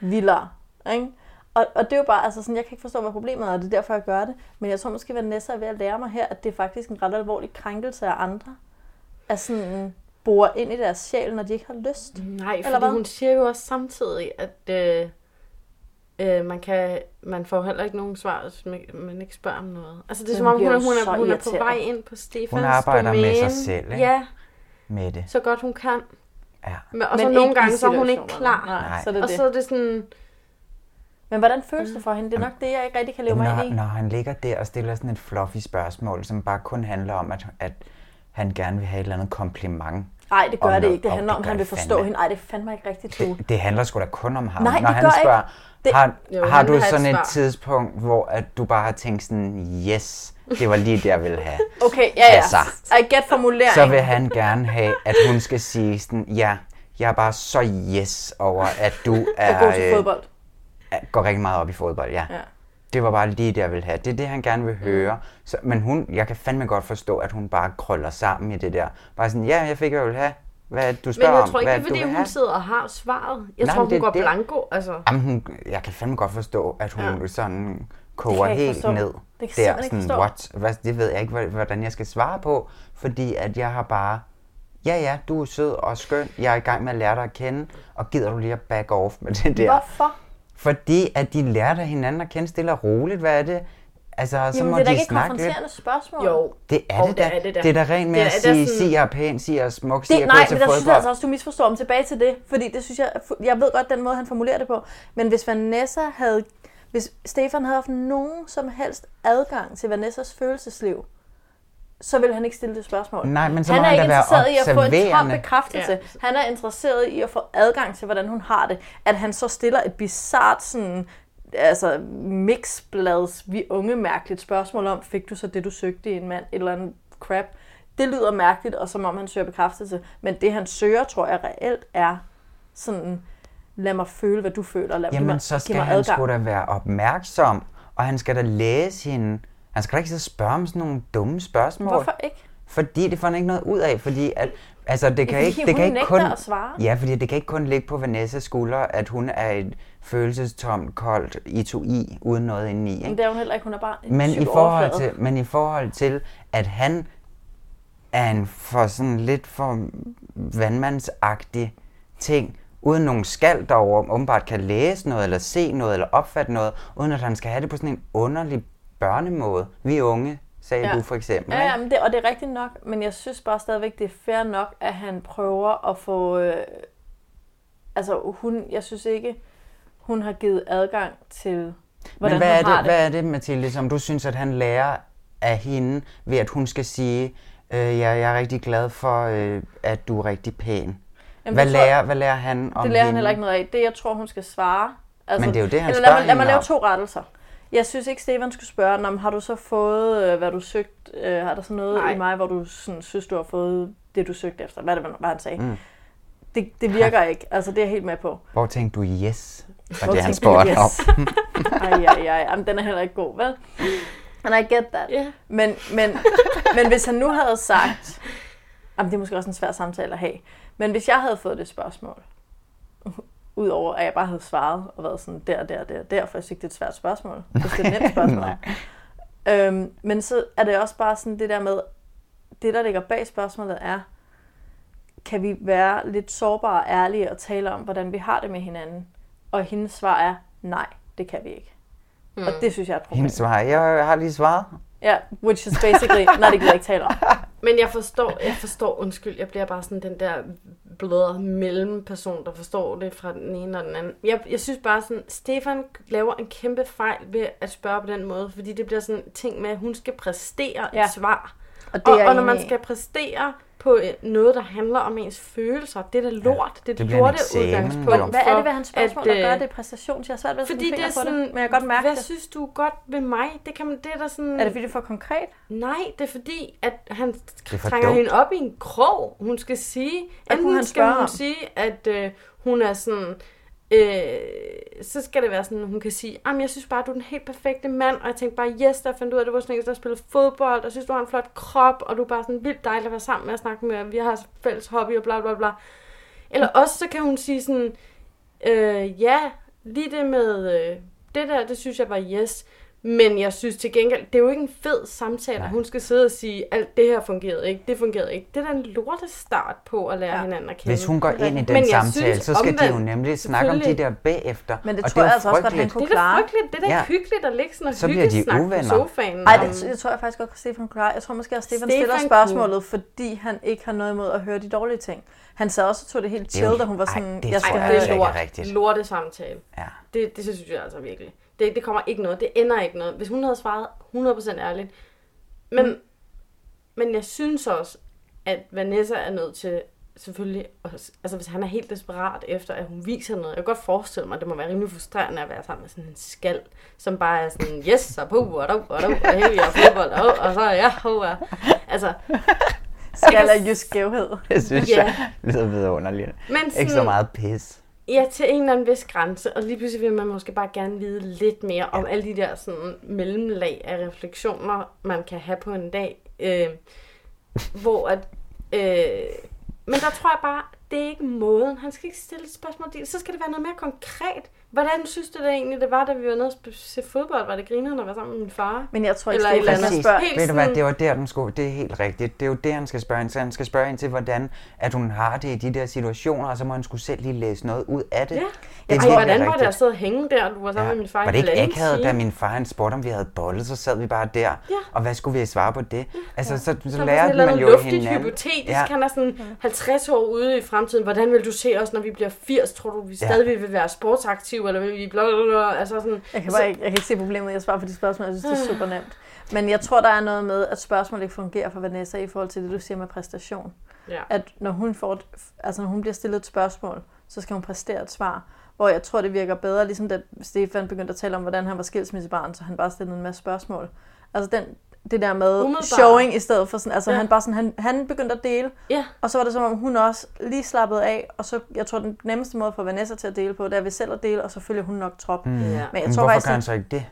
S10: vildere, ikke? Og, og det er jo bare, altså sådan, jeg kan ikke forstå, hvad problemet er, og det er derfor, jeg gør det. Men jeg tror måske, Vanessa er ved at lære mig her, at det er faktisk en ret alvorlig krænkelse af andre. At sådan borer ind i deres sjæl, når de ikke har lyst.
S1: Nej, fordi hun siger jo også samtidig, at øh, øh, man, kan, man får heller ikke nogen svar, hvis man, man ikke spørger om noget. Altså det er
S10: Men
S1: som om,
S10: hun
S1: hun,
S10: bliver
S1: er-
S10: jo
S1: hun,
S10: så
S1: er, hun er på
S10: irriteret.
S1: vej ind på Stefans
S11: Hun arbejder
S1: domæne.
S11: med sig selv, ikke?
S1: Ja,
S11: Med det.
S1: så godt hun kan.
S11: Ja.
S1: Men, og
S10: Men
S1: så
S10: ikke
S1: nogle
S10: i
S1: gange, så er hun ikke
S10: situationerne.
S1: klar.
S10: Nej, så er det
S1: og
S10: det.
S1: så er det sådan...
S10: Men hvordan føles det for hende? Det er nok det, jeg ikke rigtig kan leve mig ind
S11: Når,
S10: i.
S11: når han ligger der og stiller sådan et fluffy spørgsmål, som bare kun handler om, at, at han gerne vil have et eller andet kompliment.
S10: Nej, det gør
S11: om
S10: det
S11: noget.
S10: ikke. Det
S11: Og
S10: handler om, at
S11: gør
S10: han vil
S11: det
S10: forstå
S11: fandme. Altså.
S10: hende. Nej, det fandt mig ikke rigtigt, du.
S11: Det handler sgu da kun om ham.
S10: Nej,
S11: Når
S10: det
S11: han
S10: gør
S11: spørger,
S10: ikke. Det-
S11: har,
S10: Jo,
S11: har
S10: han
S11: du
S10: vil have et
S11: sådan et,
S10: svar.
S11: tidspunkt, hvor at du bare har tænkt sådan, yes, det var lige det, jeg ville have.
S10: Okay, ja, ja.
S11: Altså.
S10: I get formulering.
S11: Så vil han gerne have, at hun skal sige sådan, ja, jeg er bare så yes over, at du er...
S10: god til
S11: øh,
S10: fodbold.
S11: er- Går rigtig meget op i fodbold, ja.
S10: Ja. Mm.
S11: Det var bare lige det, jeg ville have. Det er det, han gerne vil høre. Så, men hun, jeg kan fandme godt forstå, at hun bare krøller sammen i det der. Bare sådan, ja, jeg fik, hvad jeg ville have. Hvad er det, du
S1: Men
S11: spørger
S1: jeg
S11: om?
S1: tror ikke,
S11: Hvad
S1: det er,
S11: det,
S1: fordi
S11: du vil
S1: hun
S11: have?
S1: sidder og har svaret. Jeg
S11: Nej,
S1: tror,
S11: men
S1: hun
S11: det er
S1: går
S11: det.
S1: blanko. Altså.
S11: Jamen, hun, jeg kan fandme godt forstå, at hun ja. sådan koger
S1: Det kan jeg ikke
S11: helt
S1: forstå.
S11: ned.
S1: Det kan jeg
S11: der,
S1: simpelthen ikke
S11: sådan,
S1: forstå.
S11: what? Hvad, det ved jeg ikke, hva- hvordan jeg skal svare på, fordi at jeg har bare, ja ja, du er sød og skøn, jeg er i gang med at lære dig at kende, og gider du lige at back off med det der?
S10: Hvorfor?
S11: Fordi at de lærer dig hinanden at kende stille og roligt, hvad er det? Altså, så
S10: Jamen,
S11: må
S10: det er da
S11: de
S10: ikke et
S11: snakke lidt.
S10: konfronterende spørgsmål.
S1: Jo.
S11: Det er,
S1: Jo, det
S11: det, da.
S1: er det da.
S11: det er da rent med
S1: Det
S11: at
S1: er da
S11: sige,
S1: sådan-
S11: sig jeg er pæn, sig jeg er smuk, sig jeg
S10: Det,
S11: er
S10: nej,
S11: god til
S10: men der synes jeg
S11: fodbold.
S10: altså også, du misforstår ham tilbage til det, fordi det synes jeg, jeg ved godt den måde, han formulerer det på, men hvis Vanessa havde, hvis Stefan havde haft nogen som helst adgang til Vanessas følelsesliv, så ville han ikke stille det spørgsmål.
S11: Nej, men så
S10: han
S11: må
S10: er
S11: han da
S10: ikke
S11: være
S10: interesseret i at få en tom
S11: observerende.
S10: bekræftelse. Ja. Han er interesseret i at få adgang til, hvordan hun har det. At han så stiller et bizart sådan, altså mixblads, vi unge mærkeligt spørgsmål om, fik du så det, du søgte i en mand, et eller andet crap. Det lyder mærkeligt, og som om han søger bekræftelse. Men det, han søger, tror jeg reelt er sådan, lad mig føle, hvad du føler. Lad giv
S11: Jamen,
S10: mig,
S11: så skal
S10: giv mig
S11: han
S10: adgang.
S11: sgu da være opmærksom, og han skal da læse hende. Han skal da ikke sidde og spørge om sådan nogle dumme spørgsmål.
S10: Hvorfor ikke?
S11: Fordi det får han ikke noget ud af, fordi at, altså, det kan
S10: fordi
S11: ikke,
S10: hun
S11: det kan ikke
S10: nægter
S11: kun,
S10: at svare.
S11: Ja, fordi det kan ikke kun ligge på Vanessas skuldre, at hun er et følelsestomt, koldt itui uden noget indeni. Ikke?
S10: Men det er hun heller ikke, hun er bare en
S11: men i,
S10: psykoverflade.
S11: forhold til, men i forhold til, at han er en for sådan lidt for vandmandsagtig ting, uden nogen skal derover, åbenbart kan læse noget, eller se noget, eller opfatte noget, uden at han skal have det på sådan en underlig børnemåde. Vi er unge, sagde ja. du for eksempel.
S10: Ja, ja
S11: ikke?
S10: men det, og det er rigtigt nok, men jeg synes bare stadigvæk, det er fair nok, at han prøver at få... Øh, altså, hun, jeg synes ikke, hun har givet adgang til, hvordan
S11: Men hvad er,
S10: hun
S11: det,
S10: har det.
S11: hvad er det, Mathilde, som du synes, at han lærer af hende, ved at hun skal sige, Øh, ja, jeg er rigtig glad for, øh, at du er rigtig pæn.
S10: Jamen,
S11: hvad,
S10: det tror-
S11: lærer, hvad lærer han om
S10: det lærer han
S11: hende?
S10: heller ikke noget af. Det, jeg tror, hun skal svare. altså,
S11: Men det er jo det, han
S10: eller lad,
S11: spørger
S10: mig, lad mig
S11: hende
S10: lave
S11: om.
S10: to rettelser. Jeg synes ikke, Stefan skulle spørge, "Nå, men har du så fået, øh, hvad du søgt, øh, har der sådan noget
S1: Nej.
S10: Nej. i mig, hvor du sådan, synes, du har fået det, du søgte efter? Hvad er det, hvad han sagde?
S11: Mm.
S10: Mm. Det, det virker ikke. Altså, det er jeg helt med på.
S11: Hvor tænkte du yes? Var
S10: Hvor
S11: det, han
S10: tænkte du,
S11: spurgte
S10: yes?
S11: om.
S10: Ej, ej, ej. Jamen, den er heller ikke god, vel? And I get that.
S1: Yeah.
S10: Men, men, men hvis han nu havde sagt... Jamen, det er måske også en svær samtale at have. Men hvis jeg havde fået det spørgsmål, udover at jeg bare havde svaret og været sådan der, der, der, der, for jeg synes ikke, det er et svært spørgsmål. Hvis det er et nemt spørgsmål.
S12: Nej.
S10: øhm, men så er det også bare sådan det der med, det der ligger bag spørgsmålet er, kan vi være lidt sårbare og ærlige og tale om, hvordan vi har det med hinanden? Og hendes svar er, nej, det kan vi ikke. Mm. Og det synes jeg er et problem.
S11: Hendes svar, jeg har lige svaret.
S10: Ja, which is basically, nej, det kan jeg ikke tale om.
S1: Men jeg forstår, jeg forstår, undskyld, jeg bliver bare sådan den der bladre mellemperson, der forstår det fra den ene og den anden. Jeg, jeg synes bare sådan, Stefan laver en kæmpe fejl ved at spørge på den måde, fordi det bliver sådan en ting med, at hun skal præstere ja.
S10: Ja.
S1: et svar.
S10: Og det er
S1: og,
S10: jeg
S1: og når
S10: enig
S1: man
S10: i.
S1: skal præstere på øh, noget, der handler om ens følelser, det er da lort, det er
S10: det
S1: det
S10: bliver en
S1: lorte
S10: eksamen,
S1: udgangspunkt.
S10: jo. Hvad er det ved hans
S1: for,
S10: spørgsmål, der
S1: øh,
S10: gør det præstation? Jeg har svært ved at sætte
S1: Fordi
S10: en
S1: det er
S10: finger på
S1: sådan,
S10: det, men jeg kan godt mærke
S1: hvad
S10: det.
S1: synes du er godt ved mig? Det, kan man, det er da sådan...
S10: Er det, fordi det er for konkret?
S1: Nej, det er fordi, at han
S10: er for
S1: trænger
S10: dumt.
S1: hende op i en krog. Hun skal sige...
S10: Hvad kunne
S1: Enten
S10: han
S1: skal
S10: spørge
S1: hun
S10: om?
S1: sige, at øh, hun er sådan... Øh, så skal det være sådan, at hun kan sige, at jeg synes bare, du er den helt perfekte mand, og jeg tænkte bare, yes, der fandt ud af, at du var sådan en, der spillede fodbold, og jeg synes, du har en flot krop, og du er bare sådan vildt dejlig at være sammen med og snakke med, og vi har altså fælles hobby og bla bla bla. Eller også så kan hun sige sådan, øh, ja, lige det med øh, det der, det synes jeg var yes. Men jeg synes til gengæld, det er jo ikke en fed samtale, at hun skal sidde og sige, alt det her fungerede ikke, det fungerede ikke. Det er da en lorte start på at lære ja. hinanden at kende.
S11: Hvis hun går ind i den
S1: Men jeg
S11: samtale,
S1: synes
S11: så skal de jo
S1: omvendt,
S11: nemlig snakke om de
S1: selvfølgelig.
S11: der bagefter.
S10: Men det
S11: og
S10: tror
S11: er jo
S10: jeg altså også godt, han
S11: frygteligt.
S10: kunne klare.
S1: Det er frygteligt, det er da
S11: Ja.
S1: ja. hyggeligt at ligge sådan og
S11: Så bliver de
S1: hyggesnakke på
S11: uvenner.
S1: sofaen.
S10: Nej,
S1: om-
S10: det, det tror jeg faktisk godt, at Stefan kunne klare. Jeg tror måske, at Stefan,
S1: Stefan
S10: stiller
S1: kunne.
S10: spørgsmålet, fordi han ikke har noget imod at høre de dårlige ting. Han sad også og tog det helt
S1: Det er jo-
S10: chill, da hun var
S1: Ej,
S10: sådan,
S1: det
S10: jeg
S1: tror
S10: skal
S1: jeg
S10: høre
S1: altså ikke er
S10: lort.
S1: rigtigt. lorte samtale. Ja. Det, det synes jeg altså virkelig. Det, det kommer ikke noget. Det ender ikke noget. Hvis hun havde svaret 100% ærligt. Men, mm. men jeg synes også, at Vanessa er nødt til selvfølgelig, også- altså hvis han er helt desperat efter, at hun viser noget. Jeg kan godt forestille mig, at det må være rimelig frustrerende at være sammen med sådan en skal, som bare er sådan, yes, og på, og dog, og dog, og hey, og fodbold, og, og så er jeg, og, og. Altså,
S10: Skal er jysk skævhed.
S11: Det synes
S1: Ja.
S11: jeg lyder vidunderligt.
S1: Men
S11: Ikke så
S1: sådan-
S11: meget pis.
S1: Ja, til en eller anden vis grænse, og lige pludselig vil man måske bare gerne vide lidt mere om alle de der sådan mellemlag af refleksioner, man kan have på en dag, øh, hvor at... Øh, men der tror jeg bare, det er ikke måden. Han skal ikke stille et spørgsmål. Det- Så skal det være noget mere konkret. Hvordan synes du det egentlig, det var, da vi var nede og sp- se fodbold? Var det grineren at være sammen med min far?
S10: Men jeg tror ikke,
S1: Eller et eller andet
S11: Præcis.
S1: spørg.
S11: Ved du hvad, det var der, den skulle, det er helt rigtigt. Det er jo det, han skal spørge ind til. Han skal spørge ind til, hvordan at hun har det i de der situationer, og så må han skulle selv lige læse noget ud af øh, det.
S1: Ja.
S11: er
S1: Jeg tror,
S11: virkelig
S1: hvordan var det
S11: rigtigt.
S1: at sidde og hænge der, og du var sammen ja. med min far? i
S11: Var det ikke
S1: halvanden
S11: akavet,
S1: time?
S11: da min far han spurgte, om vi havde bollet, så sad vi bare der. Ja. Og hvad skulle vi svare på det? Altså, så, så,
S1: Så
S11: lærer
S1: sådan et
S11: man
S1: eller
S11: jo
S1: andet luftigt
S11: hinanden.
S1: hypotetisk. Ja. Han er sådan 50 år ude i fremtiden. Hvordan vil du se os, når vi bliver 80? Tror du, vi
S11: Ja.
S1: stadig vil være sportsaktive? Eller vil vi bla, bla, bla, altså sådan,
S10: Jeg kan, bare ikke, jeg kan ikke se problemet, jeg svarer på de spørgsmål, jeg synes, det
S1: Ah.
S10: er super nemt. Men jeg tror, der er noget med, at spørgsmålet ikke fungerer for Vanessa i forhold til det, du siger med præstation.
S1: Ja.
S10: At når hun, får et, altså, når hun bliver stillet et spørgsmål, så skal hun præstere et svar. Hvor jeg tror, det virker bedre, ligesom da Stefan begyndte at tale om, hvordan han var skilsmissebarn, så han bare stillede en masse spørgsmål. Altså den, det der med
S1: Umiddelbart.
S10: showing i stedet for sådan, altså
S1: Ja.
S10: ja. han bare sådan, han, han begyndte at dele,
S1: ja.
S10: og så var det som om hun også lige slappede af, og så, jeg tror den nemmeste måde for Vanessa til at dele på, det er ved selv at dele, og så følger hun nok trop.
S11: Mm.
S10: Men
S11: Men
S10: jeg tror
S11: Hvorfor
S10: faktisk,
S11: gør han så ikke det?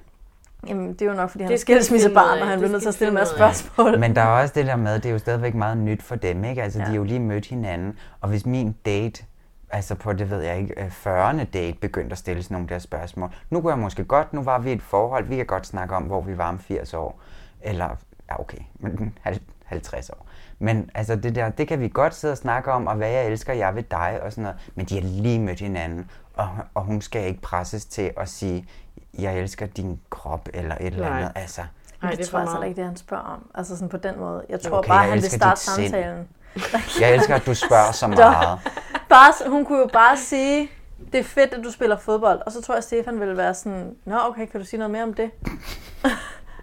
S10: Jamen, det er jo nok, fordi han
S1: Det
S10: er
S1: skal vi finde ud
S10: skilsmissebarn,
S1: af.
S10: og han
S1: Det
S10: bliver nødt til
S1: skal
S10: at stille en
S1: vi
S10: masse
S1: finde ud af.
S10: spørgsmål.
S11: Men der er også det der med, det er jo stadigvæk meget nyt for dem, ikke? Altså, ja. de har jo lige mødt hinanden, og hvis min date, altså på, det ved jeg ikke, øh, 40. date, begyndte at stille sådan nogle der spørgsmål. Nu kunne jeg måske godt, nu var vi i et forhold, vi kan godt snakke om, hvor vi var om 80 år. Eller, ja okay, men hal- 50 år. Men altså det der, det kan vi godt sidde og snakke om, og hvad jeg elsker, jeg ved dig og sådan noget. Men de har lige mødt hinanden, og, og hun skal ikke presses til at sige, jeg elsker din krop, eller et eller
S10: Nej.
S11: andet. Altså,
S10: Men det,
S1: det er
S10: tror jeg
S1: for
S10: altså
S1: meget.
S10: ikke, det er, han spørger om. Altså sådan på den måde. Jeg
S11: Jo, okay,
S10: tror okay, bare,
S11: jeg
S10: han vil
S11: elsker
S10: starte
S11: dit sind.
S10: samtalen.
S11: Jeg elsker, at du spørger så
S10: Stop.
S11: meget.
S10: Bare, s- hun kunne jo bare sige, det er fedt, at du spiller fodbold. Og så tror jeg, at Stefan ville være sådan, Nå, okay, kan du sige noget mere om det?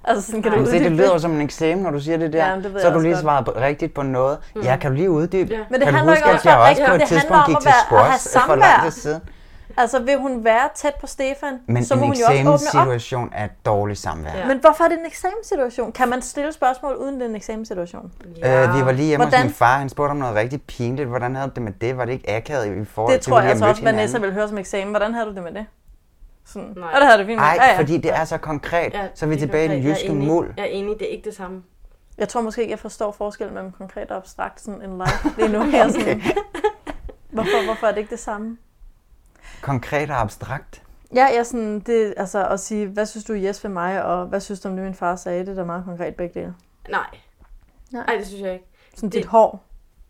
S10: Altså, sådan, kan du
S11: Kan du se, det
S10: uddybe
S11: lyder jo som en eksamen, når du siger det der.
S10: Ja, men det ved
S11: så har
S10: jeg
S11: du
S10: også
S11: lige
S10: godt.
S11: svaret på- rigtigt på noget.
S10: Mm.
S11: Ja, kan du lige uddybe?
S10: Ja. Men det
S11: kan du
S10: handler
S11: huske,
S10: ikke om
S11: at jeg
S10: at-
S11: også på
S10: det
S11: et
S10: handler
S11: tidspunkt
S10: om
S11: gik
S10: at
S11: til
S10: være- at have
S11: squash for lang tid
S10: samvær.
S11: siden?
S10: Altså, vil hun være tæt på Stefan,
S11: Men
S10: så må
S11: en
S10: hun jo også åbne op.
S11: eksamenssituation er et dårligt samvær.
S10: Ja. Men hvorfor er det en eksamenssituation? Kan man stille spørgsmål uden den eksamenssituation?
S11: Øh, vi var lige hjemme Hvordan?
S10: Hvordan?
S11: hos min far, han spurgte om noget rigtig pinligt. Hvordan havde du det med det? Var det ikke akavet i forhold
S10: Det
S11: til,
S10: tror
S11: vi
S10: jeg altså
S11: har
S10: også,
S11: mødt
S10: Vanessa
S11: hinanden?
S10: ville høre som eksamen. Hvordan havde du det med det? Sådan. Nej. Og det havde det fint. med.
S11: Nej,
S10: ja, ja.
S11: fordi det er så konkret. Ja, så er vi tilbage i den jyske mul.
S10: Jeg er enig, det er ikke det samme. Jeg tror måske ikke, jeg forstår forskellen mellem konkret og abstrakt sådan en live. Det er nu mere sådan... hvorfor, hvorfor er det ikke det samme?
S11: Konkret og abstrakt.
S10: Ja, jeg er sådan, det, altså at sige, hvad synes du yes ved mig, og hvad synes du om det, min far sagde, det er da meget konkret begge dele.
S1: Nej. Nej, Ej, det synes jeg ikke.
S10: Sådan
S1: Det-
S10: dit hår,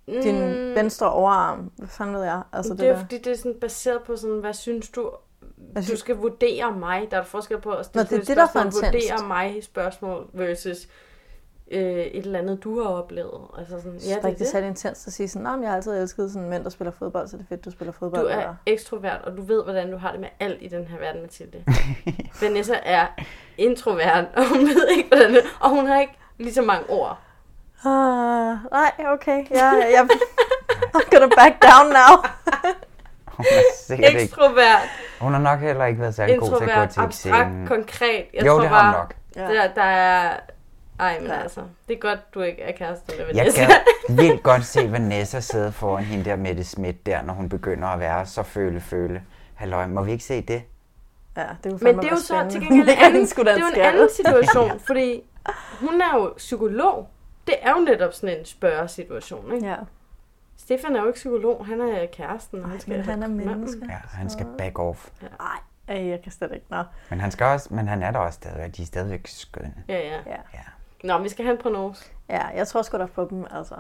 S10: din
S1: Mm.
S10: venstre overarm, hvad fanden ved jeg? Altså det,
S1: det er
S10: der.
S1: fordi, det er sådan baseret på sådan, hvad synes du,
S10: Hvad
S1: du
S10: synes-
S1: skal vurdere mig. Der er et forskel på at
S10: Nå,
S1: stille
S10: det er
S1: et
S10: det, der er
S1: spørgsmål,
S10: fantastisk.
S1: vurdere mig spørgsmål versus øh, et eller andet, du har oplevet. Altså sådan,
S10: Jeg
S1: ja,
S10: synes
S1: det
S10: ja,
S1: er
S10: det, det
S1: det.
S10: er særlig intenst at sige sådan, "Nå, men jeg har altid elsket sådan mænd, der spiller fodbold, så det er fedt, du spiller fodbold.
S1: Du er
S10: eller-
S1: ekstrovert, og du ved, hvordan du har det med alt i den her verden, Mathilde. Vanessa er introvert, og hun ved ikke, hvordan det Og hun har ikke lige så mange ord.
S10: Ah, nej, okay. Ja, ja, jeg, I'm gonna back down now.
S11: Hun er sikkert ikke.
S1: Ekstrovert,
S11: Hun har nok heller ikke været særlig god til at gå
S1: introvert,
S11: til
S1: abstrakt,
S11: eksamen.
S1: konkret. Jeg
S11: Jo,
S1: tror
S11: det har hun
S1: bare,
S11: nok.
S1: Der, der er... Ej, men altså, det er godt, du ikke er kæreste med
S11: Jeg
S1: Vanessa.
S11: kan vildt godt se Vanessa sidde foran hende der Mette Schmidt der, når hun begynder at være så føle-føle. Halløj, må vi ikke se det?
S10: Ja, det kunne
S1: Men
S10: fandme
S1: det er jo
S10: være
S1: så til
S10: spændende.
S1: gengæld en
S10: Ja,
S1: anden,
S10: den
S1: det
S10: skulle da
S1: er jo en
S10: skalle.
S1: anden situation, fordi hun er jo psykolog. Det er jo netop sådan en spørgesituation, ikke?
S10: Ja.
S1: Stefan er jo ikke psykolog, han er kæresten. og Han, skal
S10: men han er
S1: manden.
S10: menneske.
S11: Ja, han skal back off.
S10: Nej, ej, jeg kan slet ikke. Nå.
S11: Men han, skal også, men han er der også stadigvæk. De er stadigvæk skønne.
S1: Ja, ja.
S10: ja.
S1: Nå, vi skal have en prognose.
S10: Ja, jeg tror sgu da på dem, altså.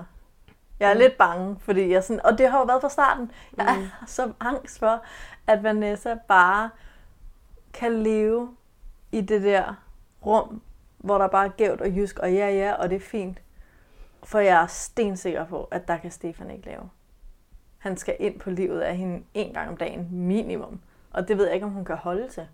S10: Jeg er mm. lidt bange, fordi jeg sådan, og det har jo været fra starten. Jeg er så angst for, at Vanessa bare kan leve i det der rum, hvor der bare er gævt og jysk, og ja, ja, og det er fint. For jeg er stensikker på, at der kan Stefan ikke lave. Han skal ind på livet af hende en gang om dagen, minimum. Og det ved jeg ikke, om hun kan holde til.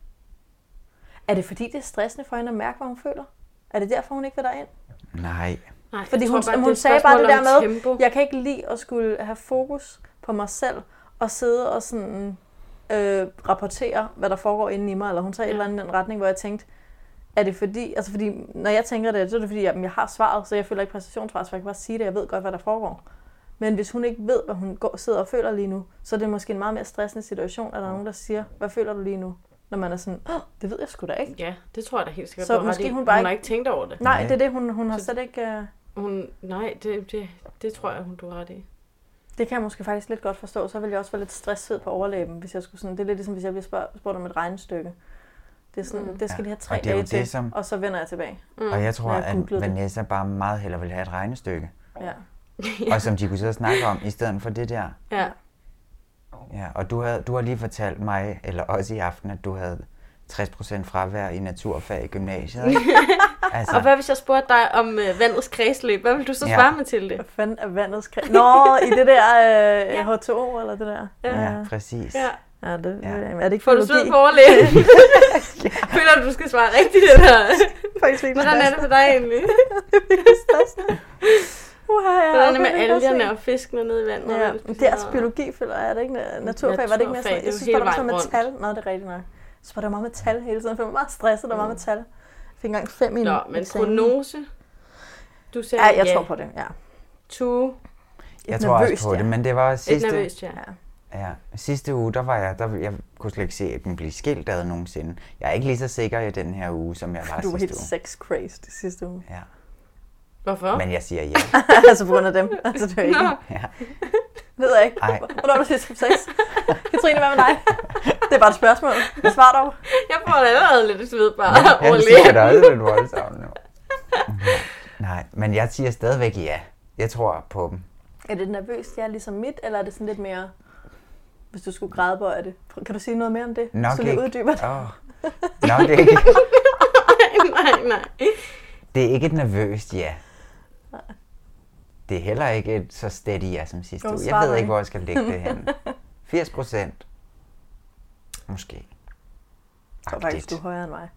S10: Er det fordi, det er stressende for hende at mærke, hvad hun føler? Er det derfor, hun ikke vil derind?
S11: Nej.
S1: Nej,
S10: Fordi
S1: jeg
S10: hun,
S1: tror bare,
S10: bare,
S1: det er
S10: hun
S1: et
S10: sagde bare det
S1: spørgsmål
S10: der
S1: om
S10: med, tempo. jeg kan ikke lide at skulle have fokus på mig selv og sidde og sådan, øh, rapportere, hvad der foregår inde i mig. Eller hun sagde ja. et eller andet i den retning, hvor jeg tænkte, er det fordi, altså fordi, når jeg tænker det, så er det fordi, at jeg har svaret, så jeg føler ikke præstationsfars, for jeg kan bare sige det, jeg ved godt, hvad der foregår. Men hvis hun ikke ved, hvad hun går, sidder og føler lige nu, så er det måske en meget mere stressende situation, at der er nogen, der siger, hvad føler du lige nu? Når man er sådan, "Åh, det ved jeg sgu da ikke.
S1: Ja, det tror jeg da helt sikkert,
S10: Så
S1: du har ret
S10: måske
S1: i.
S10: hun bare
S1: hun har ikke tænkt over det.
S10: Nej, det er det, hun, hun har
S1: Så-
S10: slet ikke... øh,
S1: Hun, nej, det, det, det tror jeg, hun du har ret i.
S10: Det kan jeg måske faktisk lidt godt forstå. Så ville jeg også være lidt stresset på overlæben, hvis jeg skulle sådan... Det er lidt ligesom, hvis jeg bliver spurgt, spurgt om et regnestykke. Det er sådan, mm. det skal
S11: Ja,
S10: lige have
S11: og
S10: tre
S11: det er jo
S10: dage
S11: det,
S10: til,
S11: som-
S10: og så vender jeg tilbage.
S1: Mm,
S11: Og jeg tror,
S10: Når
S11: at
S10: googlede det.
S11: Vanessa bare meget hellere vil have et regnestykke.
S10: Ja.
S11: Og som de kunne sidde og snakke om, i stedet for det der.
S1: Ja.
S11: Ja, og du, havde, du har lige fortalt mig, eller også i aften, at du havde 60% fravær i naturfag i gymnasiet. ikke?
S1: Altså. Og hvad hvis jeg spurgte dig om øh, vandets kredsløb? Hvad vil du så
S11: Ja.
S1: svare mig til det? Hvad
S10: fanden er vandets kredsløb? Nå, i det der øh, ja. H2O eller det der.
S11: Ja, præcis.
S1: Ja.
S10: Ja, det, ja. Er det ikke
S1: Får du
S10: biologi?
S1: sved på overlæben? Føler du, du skal svare rigtigt, eller?
S10: Faktisk ikke.
S1: Hvordan er det for dig egentlig?
S10: Uha, ja,
S1: Hvordan er det
S10: okay,
S1: med
S10: det kan jeg
S1: algerne
S10: se.
S1: og fiskene nede i vandet?
S10: Ja, men det er altså biologi, føler jeg. Er det ikke na- naturfag? Var det ikke
S1: Naturfag,
S10: mere sådan?
S1: det er
S10: Jeg
S1: jo
S10: synes
S1: hele
S10: bare, der var sådan med
S1: vejen
S10: tal. Nå, det er rigtigt nok. Jeg synes bare, der var meget med tal hele tiden. Jeg følte mig meget stresset, der var meget med tal. Jeg fik engang fem i en
S1: Mm. Nå, men
S10: eksamen.
S1: prognose? Du sagde
S10: Ja, jeg
S1: ja.
S10: tror på det, ja.
S1: Tue?
S11: Jeg tror også på det, men det var
S1: Et
S11: også sidste...
S1: nervøst, ja. ja.
S11: Ja, sidste uge, der var jeg, der, jeg kunne slet ikke se, at den blev skilt ad nogensinde. Jeg er ikke lige så sikker i den her uge, som jeg var
S10: Du var
S11: sidste
S10: helt
S11: uge.
S10: sex crazed sidste uge.
S11: Ja.
S1: Hvorfor?
S11: Men jeg siger ja.
S10: altså på grund af dem. Altså det er ikke.
S11: Ja.
S10: Det ved jeg ikke.
S11: Ej.
S10: Hvornår har du sidst haft sex? Katrine, hvad med dig? Det er bare et spørgsmål. Svar dog.
S1: Jeg får da allerede lidt sved bare.
S11: Ja,
S1: over
S11: det
S1: læben.
S11: siger da også lidt voldsomt nu. Nej, men jeg siger stadigvæk ja. Jeg tror på dem.
S10: Er det nervøst, jeg er ligesom mit, eller er det sådan lidt mere, hvis du skulle græde på, er det? Kan du sige noget mere om det?
S11: Nok
S10: Hvis du lige
S11: ikke.
S10: uddyber det.
S11: Åh. Nok ikke.
S1: nej, nej.
S11: Det er ikke et nervøst ja. Det er heller ikke et så steady ja som sidste
S10: Jo,
S11: uge.
S10: svar
S11: Jeg ved
S10: mig.
S11: ikke, hvor jeg skal lægge det hen. 80 procent. Måske.
S10: Jeg tror faktisk, du er højere end mig.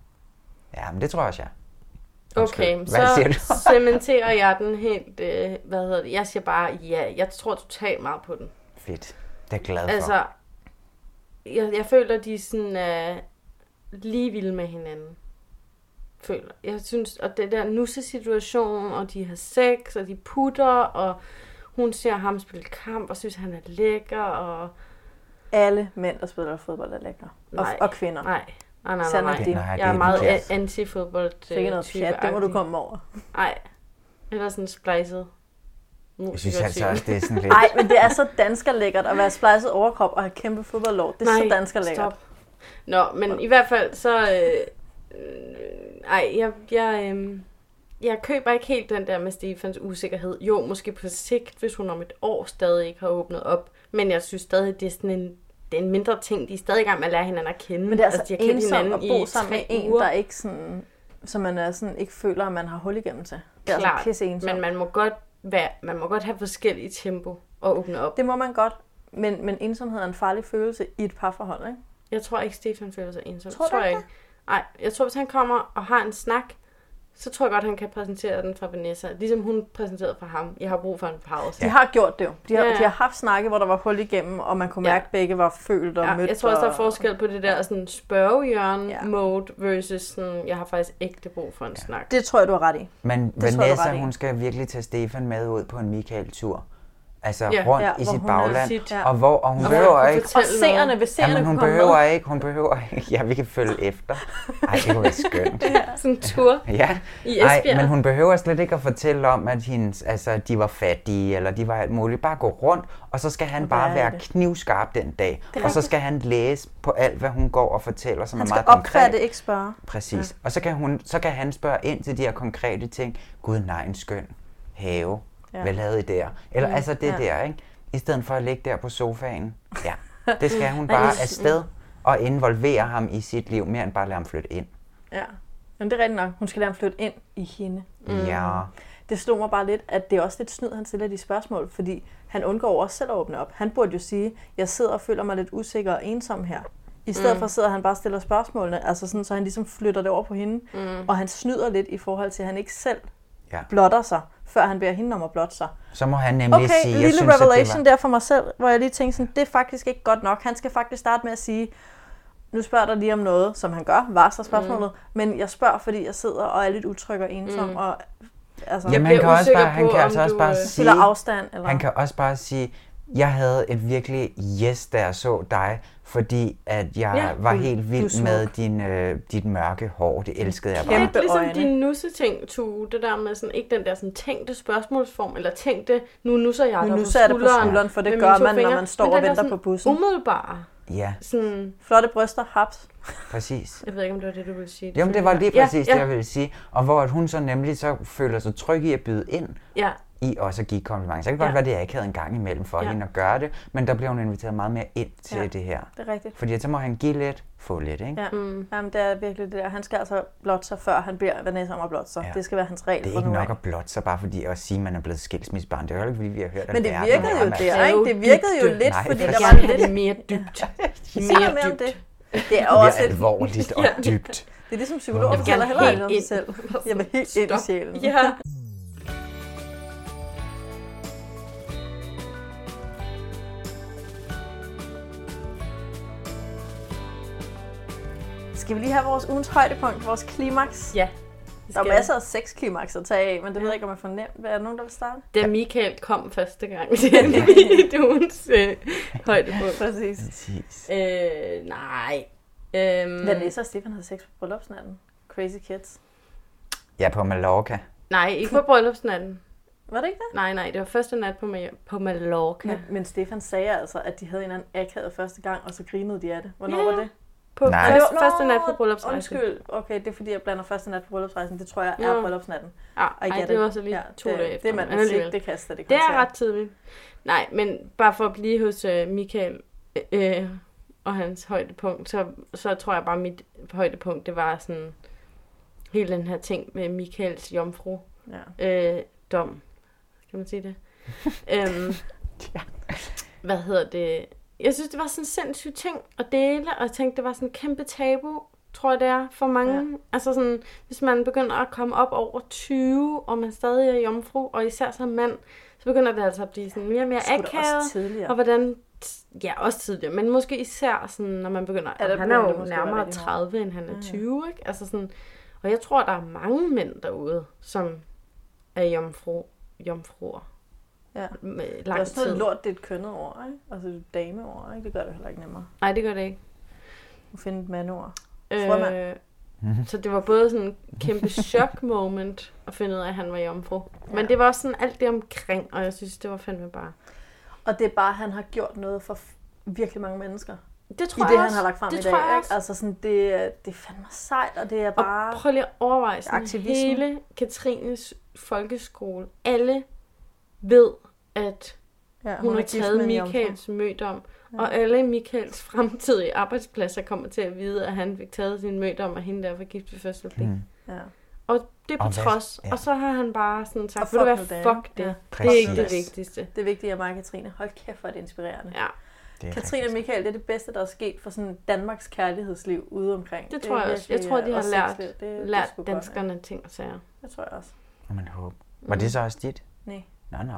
S11: Ja, men det tror jeg også, jeg er.
S1: Okay,
S11: Undskyld. Hvad siger
S1: så
S11: du?
S1: cementerer jeg den helt, øh, hvad hedder det, jeg siger bare, ja, jeg tror totalt meget på den.
S11: Fedt. Det er jeg glad for.
S1: Altså, jeg, jeg føler, de er sådan øh, lige vilde med hinanden. Føler. Jeg synes, og det der nusse-situation, og de har sex, og de putter, og hun ser ham spille kamp, og synes, han er lækker, og...
S10: Alle mænd, der spiller fodbold, er lækre. Og,
S1: Nej.
S10: og kvinder.
S1: Nej, nej, nej, nej.
S10: Sådan er
S1: nej.
S10: det. Nej, det
S1: jeg er
S10: er
S1: meget
S10: forkert.
S1: a- anti-fodbold øh,
S10: Sikke noget pjat, det må du komme over.
S1: Nej, eller sådan splicet.
S11: Jeg synes altså også, det er sådan lidt...
S10: Nej, men det er så danskerlækkert at være splejset overkrop og have kæmpe fodboldlov. Det er
S1: Nej,
S10: så danskerlækkert.
S1: stop. Nå, men i hvert fald så... Øh, øh, ej, jeg, jeg, øh, jeg køber ikke helt den der med Stefans usikkerhed. Jo, måske på sigt, hvis hun om et år stadig ikke har åbnet op. Men jeg synes stadig, det er sådan en, det er en mindre ting. De er stadig i gang med at lære hinanden at kende.
S10: Men det er altså,
S1: de har kendt
S10: ensomt at
S1: hinanden
S10: bo
S1: i
S10: sammen med
S1: tre
S10: en,
S1: uger.
S10: der ikke sådan, som man er sådan, ikke føler, at man har hul igennem til. Det er
S1: Klart,
S10: altså pisse ensomt.
S1: men man må godt være, man må godt have forskellige tempo og åbne op.
S10: Det må man godt, men, men ensomhed er en farlig følelse i et parforhold, ikke?
S1: Jeg tror ikke, Stefan føler sig ensom.
S10: Tror du
S1: tror jeg
S10: ikke
S1: ikke. Nej, jeg tror, hvis han kommer og har en snak, så tror jeg godt, han kan præsentere den fra Vanessa. Ligesom hun præsenterede for ham. Jeg har brug for en pause.
S10: De har gjort det jo. De har,
S1: Ja,
S10: ja,
S1: ja.
S10: de har haft snakke, hvor der var hul igennem, og man kunne mærke, at begge var følt og
S1: Ja,
S10: mødt.
S1: jeg tror også, der er
S10: og-
S1: forskel på det der sådan spørgehjørne-mode versus sådan, jeg har faktisk ægte brug for en ja. snak.
S10: Det tror jeg, du har ret i.
S11: Men
S10: Det tror jeg, du har ret
S11: Vanessa,
S10: i.
S11: hun skal virkelig tage Stefan med ud på en Michael-tur. Altså
S10: Ja,
S11: ja, rundt
S10: ja,
S11: ja, i
S10: hvor
S11: sit
S10: hun er
S11: bagland.
S10: sit-
S11: Sit,
S10: ja.
S11: ja. Og hvor og hun
S10: Og
S11: og
S10: hvor
S11: behøver
S10: hun kan
S11: ikke...
S10: fortælle Og seerne, hvis seerne
S11: Jamen, hun
S10: kunne komme
S11: behøver
S10: med.
S11: ikke, hun behøver ikke. Ja, vi kan følge efter. Ej, det kunne være skønt.
S1: sådan en tur
S11: Ja,
S1: i
S11: Ej,
S1: Esbjerg.
S11: men hun behøver slet ikke at fortælle om, at hendes, altså, de var fattige, eller de var alt muligt. Bare gå rundt, og så skal han
S1: Og
S11: bare
S1: være i
S11: være
S1: det.
S11: knivskarp den dag.
S10: er
S11: Og så
S10: rigtigt.
S11: skal han læse på alt, hvad hun går og fortæller, som
S10: Han
S11: er
S10: skal
S11: meget konkret.
S10: opfatte, ikke spørge.
S11: Præcis. Ja. Og så kan, hun, så kan han spørge ind til de her konkrete ting. Gud, nej, en skøn have.
S10: Ja.
S11: Ja. Hvad lavede I der? Eller
S10: Mm,
S11: mm, altså det
S10: ja.
S11: ja. der, ikke? I stedet for at ligge der på sofaen. Ja, det skal hun
S10: Mm.
S11: bare
S10: Mm.
S11: afsted og involvere ham i sit liv, mere end bare lade ham flytte ind.
S10: Ja. Men det er rigtigt nok. Hun skal lade ham flytte ind i hende.
S11: Ja.
S10: Det slog mig bare lidt, at det er også lidt snyd, han stiller de spørgsmål, fordi han undgår jo også selv at åbne op. Han burde jo sige, jeg sidder og føler mig lidt usikker og ensom her. I stedet
S1: Mm.
S10: mm. for sidder han bare og stiller spørgsmålene, altså sådan, så han ligesom flytter det over på hende.
S1: Mm.
S10: Og han snyder lidt i forhold til, at han ikke selv
S11: Ja.
S10: blotter sig, før han beder hende om at blotte sig.
S11: Så må han nemlig
S10: Okay,
S11: sige,
S10: lille
S11: synes, at
S10: revelation
S11: det var...
S10: der for mig selv, hvor jeg lige tænkte sådan, det er faktisk ikke godt nok. Han skal faktisk starte med at sige, nu spørger der lige om noget, som han gør, var så spørgsmålet, mm. men jeg spørger, fordi jeg sidder og er lidt utryg og ensom, mm. og altså,
S11: Jamen, han kan, også bare, han kan altså også bare sige...
S10: Eller afstand, eller...
S11: Han kan også bare sige, jeg havde et virkelig yes, da jeg så dig, fordi at jeg
S1: Ja,
S11: ja, var
S1: du-
S11: helt
S1: du er
S11: vild
S1: smuk.
S11: med din, øh, dit mørke hår. Det elskede jeg bare.
S1: Lidt ligesom din nusse-ting, Tue, det der med sådan, ikke den der sådan tænkte spørgsmålsform, eller tænkte, nu nusser jeg
S10: Nu
S1: dig
S10: nusser jeg dig på
S1: skulderen
S10: skulderen, for det
S1: med
S10: gør
S1: mine to
S10: man, når
S1: fingre.
S10: man står
S1: Men
S10: og
S1: den der
S10: venter
S1: sådan
S10: på bussen.
S1: Umiddelbare.
S11: Ja,
S1: Sådan,
S10: Flotte bryster, haps.
S11: præcis.
S1: jeg ved ikke, om det var det, du ville sige.
S11: Jamen, det var lige
S1: Ja,
S11: præcis ja, det, jeg ville sige. Og hvor at hun så nemlig så føler sig tryg i at byde ind
S1: Ja,
S11: i også at give komplimenter. Så kan det godt
S1: Ja.
S11: ja. være, det er ikke havde en gang imellem for
S1: Ja.
S11: ja. hende at gøre det, men der bliver hun inviteret meget mere ind til
S10: Ja,
S11: det her.
S10: det er rigtigt.
S11: Fordi så må han give lidt, få lidt, ikke?
S10: Ja, mm. Jamen, det er virkelig det der. Han skal altså blotte sig, før han beder Vanessa om at blotte sig. Ja.
S11: Ja.
S10: Det skal være hans regel
S11: Det er
S10: fra
S11: ikke
S10: nu af.
S11: nok at blotte sig bare fordi at sige, at man er blevet skilsmissebarn. Det er jo heller ikke, fordi vi har hørt, at
S10: Men det
S11: verden
S10: virkede
S11: er
S10: jo
S11: mand.
S10: der, ikke? Det virkede jo
S11: dybde.
S10: lidt,
S11: Nej,
S10: fordi
S11: for
S10: der
S11: s-
S10: var lidt...
S1: lidt mere dybt.
S10: Sig
S1: Mere
S10: noget mere om
S1: dybt.
S10: det. Det er
S11: Det
S10: også
S11: bliver
S10: et...
S11: alvorligt og
S10: Ja.
S11: dybt.
S10: Det er ligesom psykologer
S11: Jeg vil
S10: fortæller
S11: gerne
S10: heller ikke
S11: helt
S10: om sig selv. Jeg vil helt ind i sjælen.
S1: Ja.
S10: Skal vi lige have vores ugens højdepunkt, vores klimaks?
S1: Ja.
S10: Der er
S1: skal
S10: masser af seks klimaks at tage af, men det ved jeg ikke, om jeg får nemt. Er der nogen, der vil starte?
S1: Da Michael kom første gang, det er lige det ugens øh, højdepunkt.
S10: Præcis.
S1: Øh, nej.
S11: Mm.
S1: Øhm,
S10: Vanessa og Stefan havde sex på bryllupsnatten. Crazy kids.
S11: Ja, på Mallorca.
S1: Nej, ikke på bryllupsnatten.
S10: Var det ikke det?
S1: Nej, nej, det var første nat på, Ma- på Mallorca.
S10: Men, men Stefan sagde altså, at de havde en eller anden akavet første gang, og så grinede de af det. Hvornår
S1: Ja.
S10: var det?
S1: På
S11: Nej.
S1: første,
S10: Nå,
S1: første nat på bryllupsrejsen.
S10: Undskyld. Okay, det er fordi, jeg blander første nat på bryllupsrejsen. Det tror jeg
S1: Nå.
S10: er bryllupsnatten.
S1: Ja,
S10: I
S1: ej,
S10: get
S1: det
S10: it.
S1: var så lige ja, to
S10: det-
S1: dage
S10: det
S1: efter.
S10: er
S1: men
S10: mandagsik,
S1: alligevel.
S10: det kan jeg slet ikke
S1: Det er
S10: håndtere.
S1: ret tidligt. Nej, men bare for at blive hos øh, Michael øh, øh, og hans højdepunkt, så, så tror jeg bare, mit højdepunkt, det var sådan hele den her ting med Michaels jomfru øh, dom. Kan man sige det? øhm, Hvad hedder det? Jeg synes, det var sådan en sindssyg ting at dele, og jeg tænkte, det var sådan en kæmpe tabu tror jeg det er for mange. Ja. Altså sådan, hvis man begynder at komme op over 20, og man stadig er jomfru, og især som mand, så begynder det altså at blive sådan mere og mere
S10: Sgu da også
S1: akavet.
S10: tidligere.
S1: Og hvordan, ja også tidligere, men måske især sådan, når man begynder,
S10: Ja,
S1: ja,
S10: der
S1: han er
S10: begynder det
S1: jo
S10: måske at
S1: nærmere
S10: være rigtig
S1: 30, end han
S10: Ja,
S1: er
S10: ja.
S1: 20, ikke? Altså sådan, og jeg tror, der er mange mænd derude, som er jomfru, jomfruer.
S10: Ja.
S1: Med lang
S10: det er også noget
S1: tid.
S10: lort, det er et kønnet ord, ikke? Altså det er et dameord, ikke? Det gør det heller ikke nemmere.
S1: Nej, det gør det ikke.
S10: Du finder et mandord.
S1: Øh,
S10: Frømand.
S1: så det var både sådan en kæmpe chok moment at finde ud af, at han var jomfru. Men det var også sådan alt det omkring, og jeg synes, det var fandme bare...
S10: Og det er bare, at han har gjort noget for f- virkelig mange mennesker.
S1: Det tror
S10: I
S1: jeg
S10: det, han
S1: også.
S10: har lagt frem
S1: Det
S10: i dag.
S1: tror jeg
S10: ikke?
S1: også.
S10: Altså sådan, det, er- det er fandme sejt, og det er
S1: Og
S10: bare...
S1: prøv lige at overveje sådan
S10: Aktivisme.
S1: hele Katrines folkeskole. Alle ved, at
S10: Ja,
S1: ja,
S10: hun
S1: hun,
S10: er
S1: har
S10: gift
S1: taget
S10: med en jomfru.
S1: Michaels mødom.
S10: Ja.
S1: Ja. Og alle Michaels fremtidige arbejdspladser kommer til at vide, at han fik taget sin mødom, og hende der var gift ved første blik.
S11: Mm.
S10: Ja.
S1: Og det er på
S11: Og hvad-
S1: trods.
S11: ja.
S1: Og så har han bare sådan
S10: Og
S1: sagt, vil du være,
S10: nu da,
S1: fuck
S10: ikke?
S1: det.
S10: Ja.
S1: Det er ikke det vigtigste.
S10: Det vigtige er mig og Katrine. Hold kæft, hvor er det inspirerende.
S1: Ja.
S10: Det
S1: Det
S10: er
S1: er
S10: Katrine og Michael, det er det bedste, der er sket for sådan Danmarks kærlighedsliv ude omkring.
S1: Det tror
S10: er
S1: jeg også. Jeg
S10: virkelig,
S1: tror, de
S10: øh,
S1: har
S10: og
S1: lært,
S10: sexliv. Det- det er
S1: lært
S10: sgu godt,
S1: danskerne ting og sager.
S10: ikke? Det tror jeg også.
S11: Må man håbe. Var det så også dit?
S10: Mm. Nej.
S11: Nå, nå.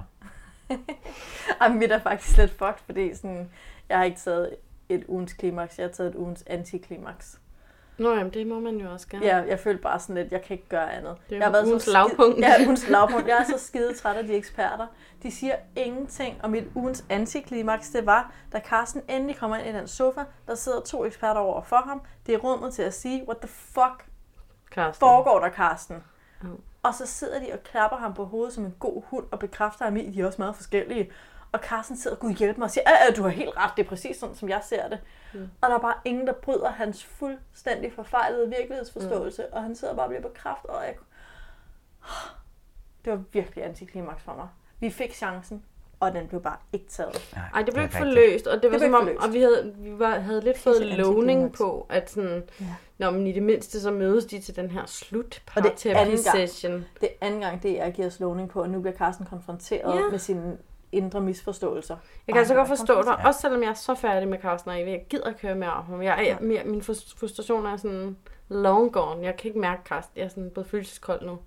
S10: Ej, mit er faktisk lidt fucked, fordi sådan, jeg har ikke taget et ugens klimaks, jeg har taget et ugens antiklimaks.
S1: Nå, jamen, det må man jo også gerne.
S10: Ja, jeg følte bare sådan lidt, jeg kan ikke gøre andet.
S1: Det er
S10: jeg har været så
S1: ugens
S10: skide-
S1: lavpunkt.
S10: Ja, ugens lavpunkt. Jeg er så skide træt af de eksperter. De siger ingenting om mit ugens antiklimaks. Det var, da Carsten endelig kommer ind i den sofa, der sidder to eksperter over for ham. Det er rummet til at sige, what the fuck
S1: Carsten.
S10: foregår der, Carsten?
S1: Mm.
S10: Og så sidder de og klapper ham på hovedet som en god hund og bekræfter ham i, at de er også meget forskellige. Og Carsten sidder og gud hjælpe mig og siger, at du har helt ret, det er præcis sådan, som jeg ser det.
S1: Mm.
S10: Og der er bare ingen, der bryder hans fuldstændig forfejlede virkelighedsforståelse, og han sidder bare og bliver bekræftet, og jeg... Det var virkelig antiklimaks for mig. Vi fik chancen, og den blev bare ikke taget.
S1: Ej, det blev ikke forløst, og det var
S10: blev
S1: som om,
S10: ikke
S1: og vi havde, vi var, havde lidt fået lovning på, at sådan,
S10: Ja.
S1: ja. når men i det mindste, så mødes de til den her
S10: Og det er anden gang,
S1: slutparterapi-session.
S10: det er anden gang, det er giver os lovning på, og nu bliver Carsten konfronteret
S1: Ja.
S10: ja. med sine indre misforståelser.
S1: Jeg kan altså
S10: Ej,
S1: godt
S10: hvor er
S1: forstå dig,
S10: konfronteret.
S1: også selvom jeg er så færdig med Carsten, og jeg gider ikke køre mere om ham. Jeg, jeg, mere, min frus- frustration er sådan long gone. Jeg kan ikke mærke Carsten. Jeg er sådan blevet følelseskold nu.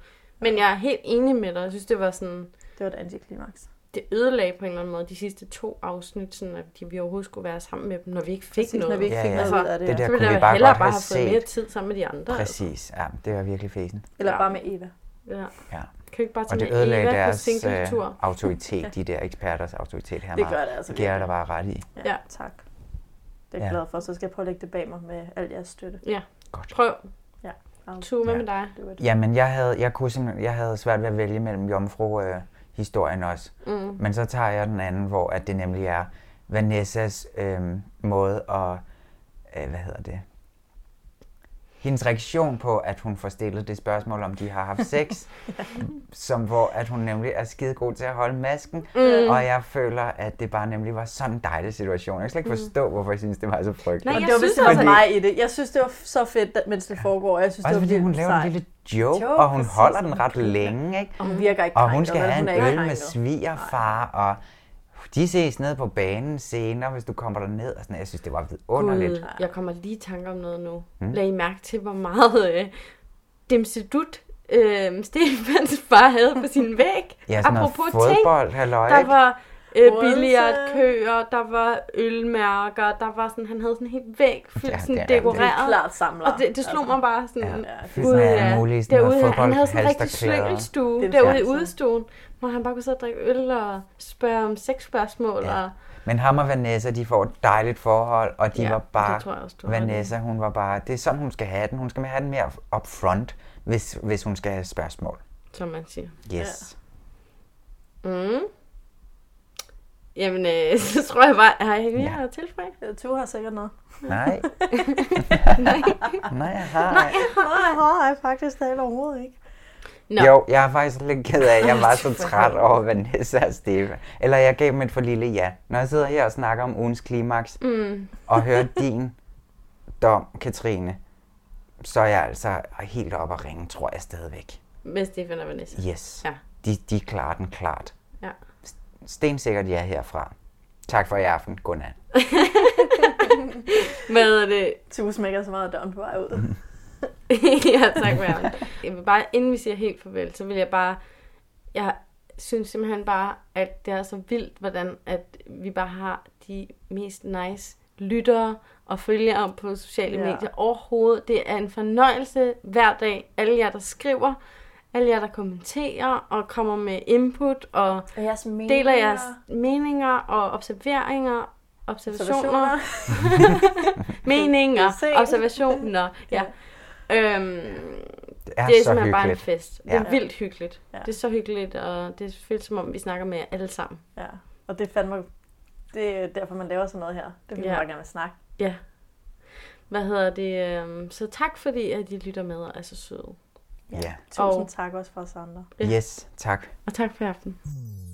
S1: Men jeg er helt enig med dig. Jeg synes, det var sådan...
S10: Ah, Det var et antiklimaks.
S1: Det ødelagde på en eller anden måde de sidste to afsnit, sådan at de, vi overhovedet skulle være sammen med dem, når vi ikke fik
S10: Præcis, når
S1: noget.
S10: vi ikke Ja, fik ja. noget ud af det,
S11: Det ja. der
S1: så
S11: kunne
S1: ville
S11: vi
S1: jeg
S11: bare
S1: hellere
S11: godt
S1: bare
S11: have
S1: have fået
S11: set.
S1: mere tid sammen med de andre.
S11: Præcis, ja, det var virkelig fæsen.
S10: Eller bare med Eva.
S1: Ja.
S11: Ja.
S1: Kan vi ikke bare tage
S11: og det
S1: med
S11: ødelagde
S1: Eva på
S11: deres
S1: singletur?
S11: øh, autoritet, de der eksperters autoritet her
S10: Det gør det altså
S11: Det giver jeg dig
S10: virkelig.
S11: bare ret i.
S10: Ja, ja. tak. Det er jeg
S11: Ja.
S10: glad for, så skal jeg prøve at lægge det bag mig med al jeres støtte.
S1: Ja,
S11: Godt.
S1: prøv.
S10: Ja.
S1: Tue, hvad med dig?
S10: Det var det.
S11: Jamen, jeg havde, jeg, kunne simpelthen, jeg havde svært ved at vælge mellem jomfru-historien også.
S1: Mm.
S11: Men så tager jeg den anden, hvor at det nemlig er Vanessas øh, måde at... Øh, hvad hedder det? Hendes reaktion på, at hun får stillet det spørgsmål, om de har haft sex, som hvor at hun nemlig er skide god til at holde masken,
S1: Mm.
S11: og jeg føler, at det bare nemlig var sådan en dejlig situation. Jeg kan slet ikke
S10: Mm.
S11: forstå, hvorfor jeg synes, det var så frygteligt.
S10: Nej, og det var vist også mig i det. Jeg synes, det var f- så fedt, at- mens det foregår. Jeg synes,
S11: Også
S10: det var
S11: fordi hun
S10: vildt
S11: laver en
S10: sejt.
S11: lille joke,
S10: Jo,
S11: og hun
S10: præcis.
S11: holder den ret længe, ikke?
S10: Og hun Mm. virker ikke
S11: Og hun
S10: krænket,
S11: skal
S10: vel?
S11: have en
S10: Hun er ikke
S11: øl med
S10: krænket.
S11: svigerfar, og de ses nede på banen senere, hvis du kommer derned. Og sådan. Jeg synes, det var vidunderligt.
S1: Gud, jeg kommer lige i tanke om noget nu.
S11: Mm.
S1: Mm. Lad I mærke til, hvor meget øh, demsedut øh, Stefans far havde på sin væg.
S11: Ja, sådan noget fodbold, halløj,
S1: Der
S11: ikke?
S1: var øh,
S10: Odense.
S1: billiardkøer, der var ølmærker, der var sådan, han havde sådan en helt væg fyldt,
S11: Ja,
S1: ja,
S11: det er
S1: sådan
S11: rigtigt.
S1: dekoreret.
S10: Klart samler.
S1: Og det, det slog mig bare sådan,
S11: fyldt med alle mulige sådan noget
S1: derude, han havde sådan en rigtig
S11: fodboldhalsterklæder.
S1: slyngelstue
S11: Det er
S1: derude i
S11: det.
S1: udestuen, hvor han bare kunne sidde og drikke øl og spørge om sexspørgsmål. Ja. Og,
S11: Men ham og Vanessa, de får et dejligt forhold, og de
S1: Ja,
S11: var
S1: det
S11: bare...
S1: tror jeg også, du har ret i.
S11: Vanessa, hun var bare... Det er sådan, hun skal have den. Hun skal have den mere up front, hvis, hvis hun skal have spørgsmål.
S1: som man siger.
S11: Yes.
S1: Mm. Jamen, øh, så tror jeg bare, har jeg mere ja. at tilføje?
S10: Du har sikkert noget.
S11: Nej. Nej, jeg har...
S10: Nej, jeg har, Nej, jeg har jeg faktisk det overhovedet ikke.
S11: No. Jo, jeg er faktisk lidt ked af, at jeg var så træt over Vanessa og Stefan. Eller jeg gav dem et for lille ja. Når jeg sidder her og snakker om ugens klimaks,
S1: Mm.
S11: og hører din dom, Katrine, så er jeg altså helt oppe at ringe, tror jeg stadigvæk.
S1: Med Stefan og Vanessa.
S11: Yes.
S1: Ja.
S11: De, de klarer den klart.
S1: ja.
S11: Stensikkert ja herfra. Tak for i aften. Godnat.
S1: Hvad er det?
S10: Du smækker så meget døren på vej ud.
S11: Mm.
S1: ja, tak Marianne. Jeg vil bare, inden vi siger helt farvel, så vil jeg bare... Jeg synes simpelthen bare, at det er så vildt, hvordan at vi bare har de mest nice lyttere og følgere på sociale
S10: Ja.
S1: ja. medier overhovedet. Det er en fornøjelse hver dag. Alle jer, der skriver, alle jer, der kommenterer og kommer med input og,
S10: og jeres
S1: deler
S10: meninger.
S1: jeres meninger og observeringer, observationer, meninger, observationer. Ja. Øhm, det
S11: er
S1: er, det er
S11: så
S1: simpelthen bare en
S11: hyggeligt.
S1: fest. Det er
S10: Ja.
S1: vildt hyggeligt.
S10: Ja.
S1: Det er så hyggeligt, og det føles som om, vi snakker med jer alle sammen.
S10: Ja, og det er fandme... Det er derfor, man laver sådan noget her. Det vil ja.
S1: Ja.
S10: man bare gerne vil snakke.
S1: Ja. Hvad hedder det? øhm, Så tak fordi, at I lytter med og er så søde.
S11: Ja.
S10: Tusind og... tak også for os andre.
S11: Yes, tak.
S1: Og tak for i aften.
S11: Mm.